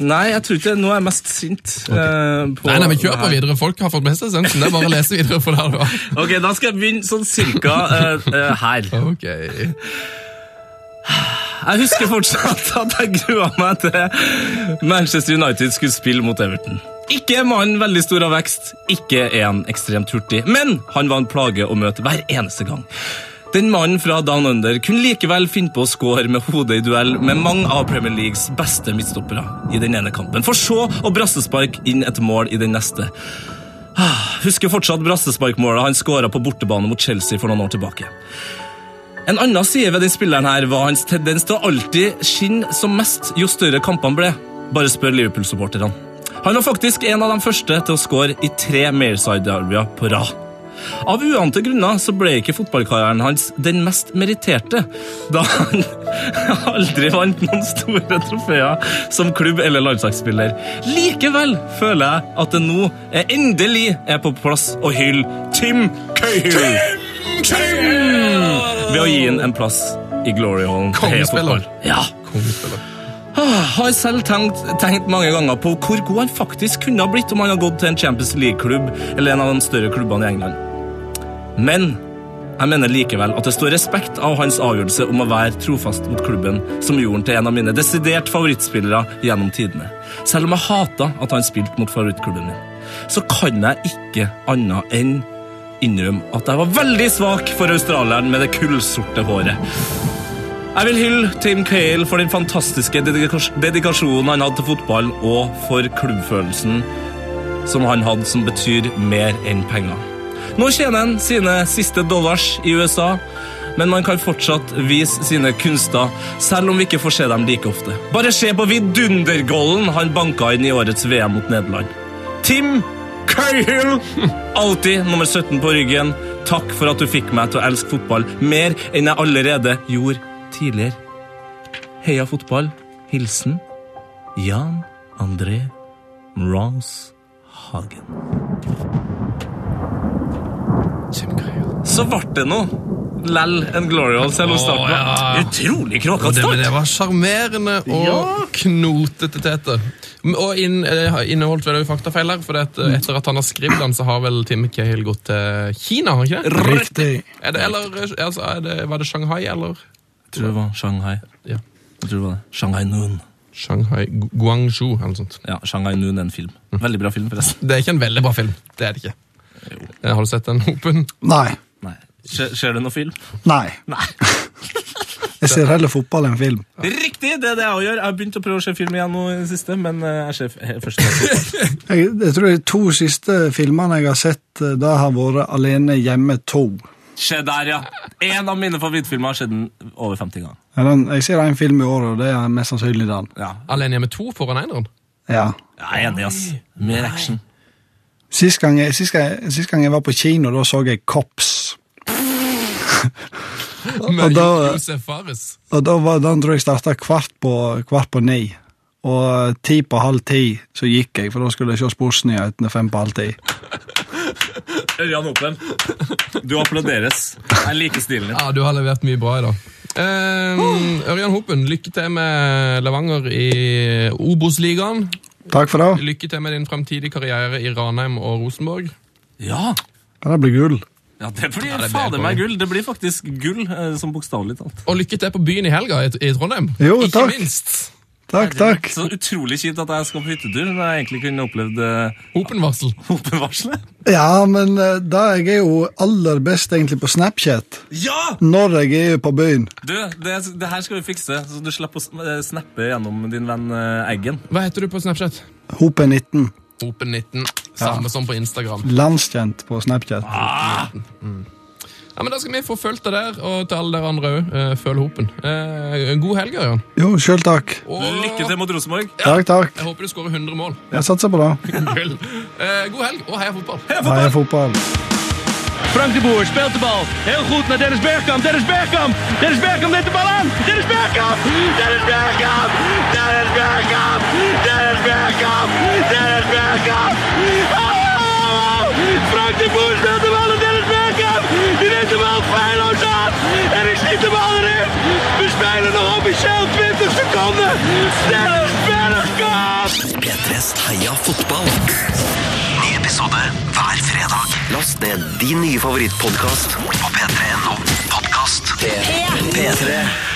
S1: Nei, jeg tror ikke Nå er jeg mest sint. eh, på-
S2: Nei, nei, men kjør på videre. Folk har fått med seg essensen. Det er bare å lese videre. for det her du var.
S1: Ok, Da skal jeg begynne sånn cirka eh, eh, her.
S2: Ok.
S1: Jeg husker fortsatt at jeg grua meg til Manchester United skulle spille mot Everton. Ikke er mannen veldig stor av vekst, ikke er han ekstremt hurtig, men han var en plage å møte hver eneste gang. Den mannen fra Down Under kunne likevel finne på å score med hodet i duell med mange av Premier Leagues beste midtstoppere i den ene kampen, for så å brassespark inn et mål i den neste. Ah, Husker fortsatt brassesparkmålet han skåra på bortebane mot Chelsea for noen år tilbake. En annen side ved den spilleren her var hans tendens til å alltid skinne som mest jo større kampene ble. Bare spør Liverpool-supporterne. Han var faktisk en av de første til å skåre i tre Merside-derbier på rad. Av uante grunner så ble ikke fotballkarrieren hans den mest meritterte, da han aldri vant noen store trofeer som klubb- eller landslagsspiller. Likevel føler jeg at det nå er endelig er på plass å hylle Tim Cahill. Mm. Ved å gi ham en plass i Glory Hallen.
S2: Kongespiller.
S1: Ja.
S2: Kongespiller.
S1: Ah, Har selv tenkt, tenkt mange ganger på hvor god han faktisk kunne ha blitt om han hadde gått til en Champions League-klubb eller en av de større klubbene i England. Men jeg mener likevel at det står respekt av hans avgjørelse om å være trofast mot klubben, som gjorde han til en av mine desidert favorittspillere gjennom tidene. Selv om jeg hata at han spilte mot favorittklubben min, så kan jeg ikke annet enn innrømme at jeg var veldig svak for australieren med det kullsorte håret. Jeg vil hylle Tim Cale for den fantastiske dedikas- dedikasjonen han hadde til fotballen, og for klubbfølelsen som han hadde, som betyr mer enn penger. Nå tjener han sine siste dollars i USA, men man kan fortsatt vise sine kunster, selv om vi ikke får se dem like ofte. Bare se på vidundergollen han banka inn i årets VM mot Nederland. Tim Cahill! Alltid nummer 17 på ryggen. Takk for at du fikk meg til å elske fotball mer enn jeg allerede gjorde tidligere. Heia fotball. Hilsen Jan André Ross Hagen. Så ble det nå lell en Glorial selv om starten
S2: Å, ja.
S1: var utrolig
S2: Det,
S1: kråkete.
S2: men det var sjarmerende og knotete tete. Og inn, eh, inneholdt vel også faktafeil der, for at, eh, etter at han har skrevet den, så har vel Tim Cahill gått til Kina, har han ikke det?
S5: Riktig.
S2: Er det, eller, eh, altså, er det, var det Shanghai, eller?
S1: Jeg tror det var Shanghai.
S2: Ja.
S1: Jeg tror det var det. Shanghai Noon.
S2: Shanghai, Gu- Guangzhou, eller noe sånt.
S1: Ja, Shanghai Noon er en film. Veldig bra film, forresten.
S2: Det er ikke en veldig bra film, det er det ikke. Eh, Har du sett den, Hopen?
S5: Nei.
S1: Nei. Skjer, skjer det noe film?
S5: Nei. Jeg ser heller fotball enn film.
S1: Riktig! Det er det jeg også gjør. Jeg har begynt å prøve å se film igjen nå i det siste, men eh, jeg ser f- he- først nå.
S5: Jeg, jeg tror de to siste filmene jeg har sett, eh, det har vært Alene hjemme 2.
S1: Se der, ja! En av mine favorittfilmer har skjedd den over 50 ganger.
S5: Ja, den- Jeg ser en film i året, og det er mest sannsynlig den.
S1: Ja.
S2: Alene hjemme to foran eineren.
S5: Ja.
S1: Jeg er enig, ass. Mer action.
S5: Sist gang, jeg, sist, gang, sist gang jeg var på kino, da så jeg Cops.
S2: Med
S5: da-
S2: Josef Fares.
S5: Og da var, den tror jeg starta kvart på, kvart på ni. Og ti på halv ti så gikk jeg, for da skulle jeg se sportsnyhetene fem på halv ti.
S1: Ørjan Opheim, du applauderes. Jeg liker stilen din.
S2: Ja, du har levert mye bra i dag. Eh, Ørjan Hopen, lykke til med Levanger i Obos-ligaen.
S5: Takk for det.
S2: Lykke til med din fremtidige karriere i Ranheim og Rosenborg.
S1: Ja!
S5: Kan det bli gull?
S1: Ja, Det blir
S2: det blir
S1: fader
S2: poeng.
S1: meg gull. Det blir faktisk gull, eh, som bokstavelig talt.
S2: Og lykke til på byen i helga i, i Trondheim.
S5: Jo,
S2: Ikke
S5: takk.
S2: minst.
S5: Takk, takk.
S1: Så utrolig kjipt at jeg skal på hyttetur når jeg egentlig kunne opplevd eh,
S2: Hopen-varsel.
S1: hopevarselet.
S5: Ja, men eh, da jeg er jo aller best egentlig på Snapchat.
S1: Ja!
S5: Når jeg er på byen.
S1: Du, det, det her skal vi fikse, så du slipper å s- eh, snappe gjennom din venn eh, Eggen.
S2: Hva heter du på Snapchat?
S5: Hope 19.
S2: Hopen19. Samme som på Instagram.
S5: Landskjent på Snapchat.
S2: Ja, men Da skal vi få fulgt deg der, og til alle dere andre òg. eh, følg Hopen. Eh, god helg, Ørjan.
S5: Jo, sjøl takk.
S2: Og
S1: Lykke til mot Rosenborg.
S5: Takk, takk.
S2: Jeg håper du skårer 100 mål.
S5: Jeg satser på det.
S2: Gull. Eh, god helg, og heia fotball!
S5: Heia fotball.
S3: Frank de Boer speelt de bal. Heel goed naar Dennis Bergkamp. Dennis Bergkamp. Dennis Bergkamp neemt de bal aan. Dennis Bergkamp. Dennis Bergkamp. Dennis Bergkamp. Dennis Bergkamp. Dennis Bergkamp. Oh! Frank de Boer speelt de bal naar Dennis Bergkamp. Die neemt de bal feilloos aan. En ik schiet de bal erin. We spelen nog officieel 20 seconden. Dennis Bergkamp.
S4: P3s Heia fotball. Ny episode hver fredag. Last ned din nye favorittpodkast på p3.no podkast. P3. P3.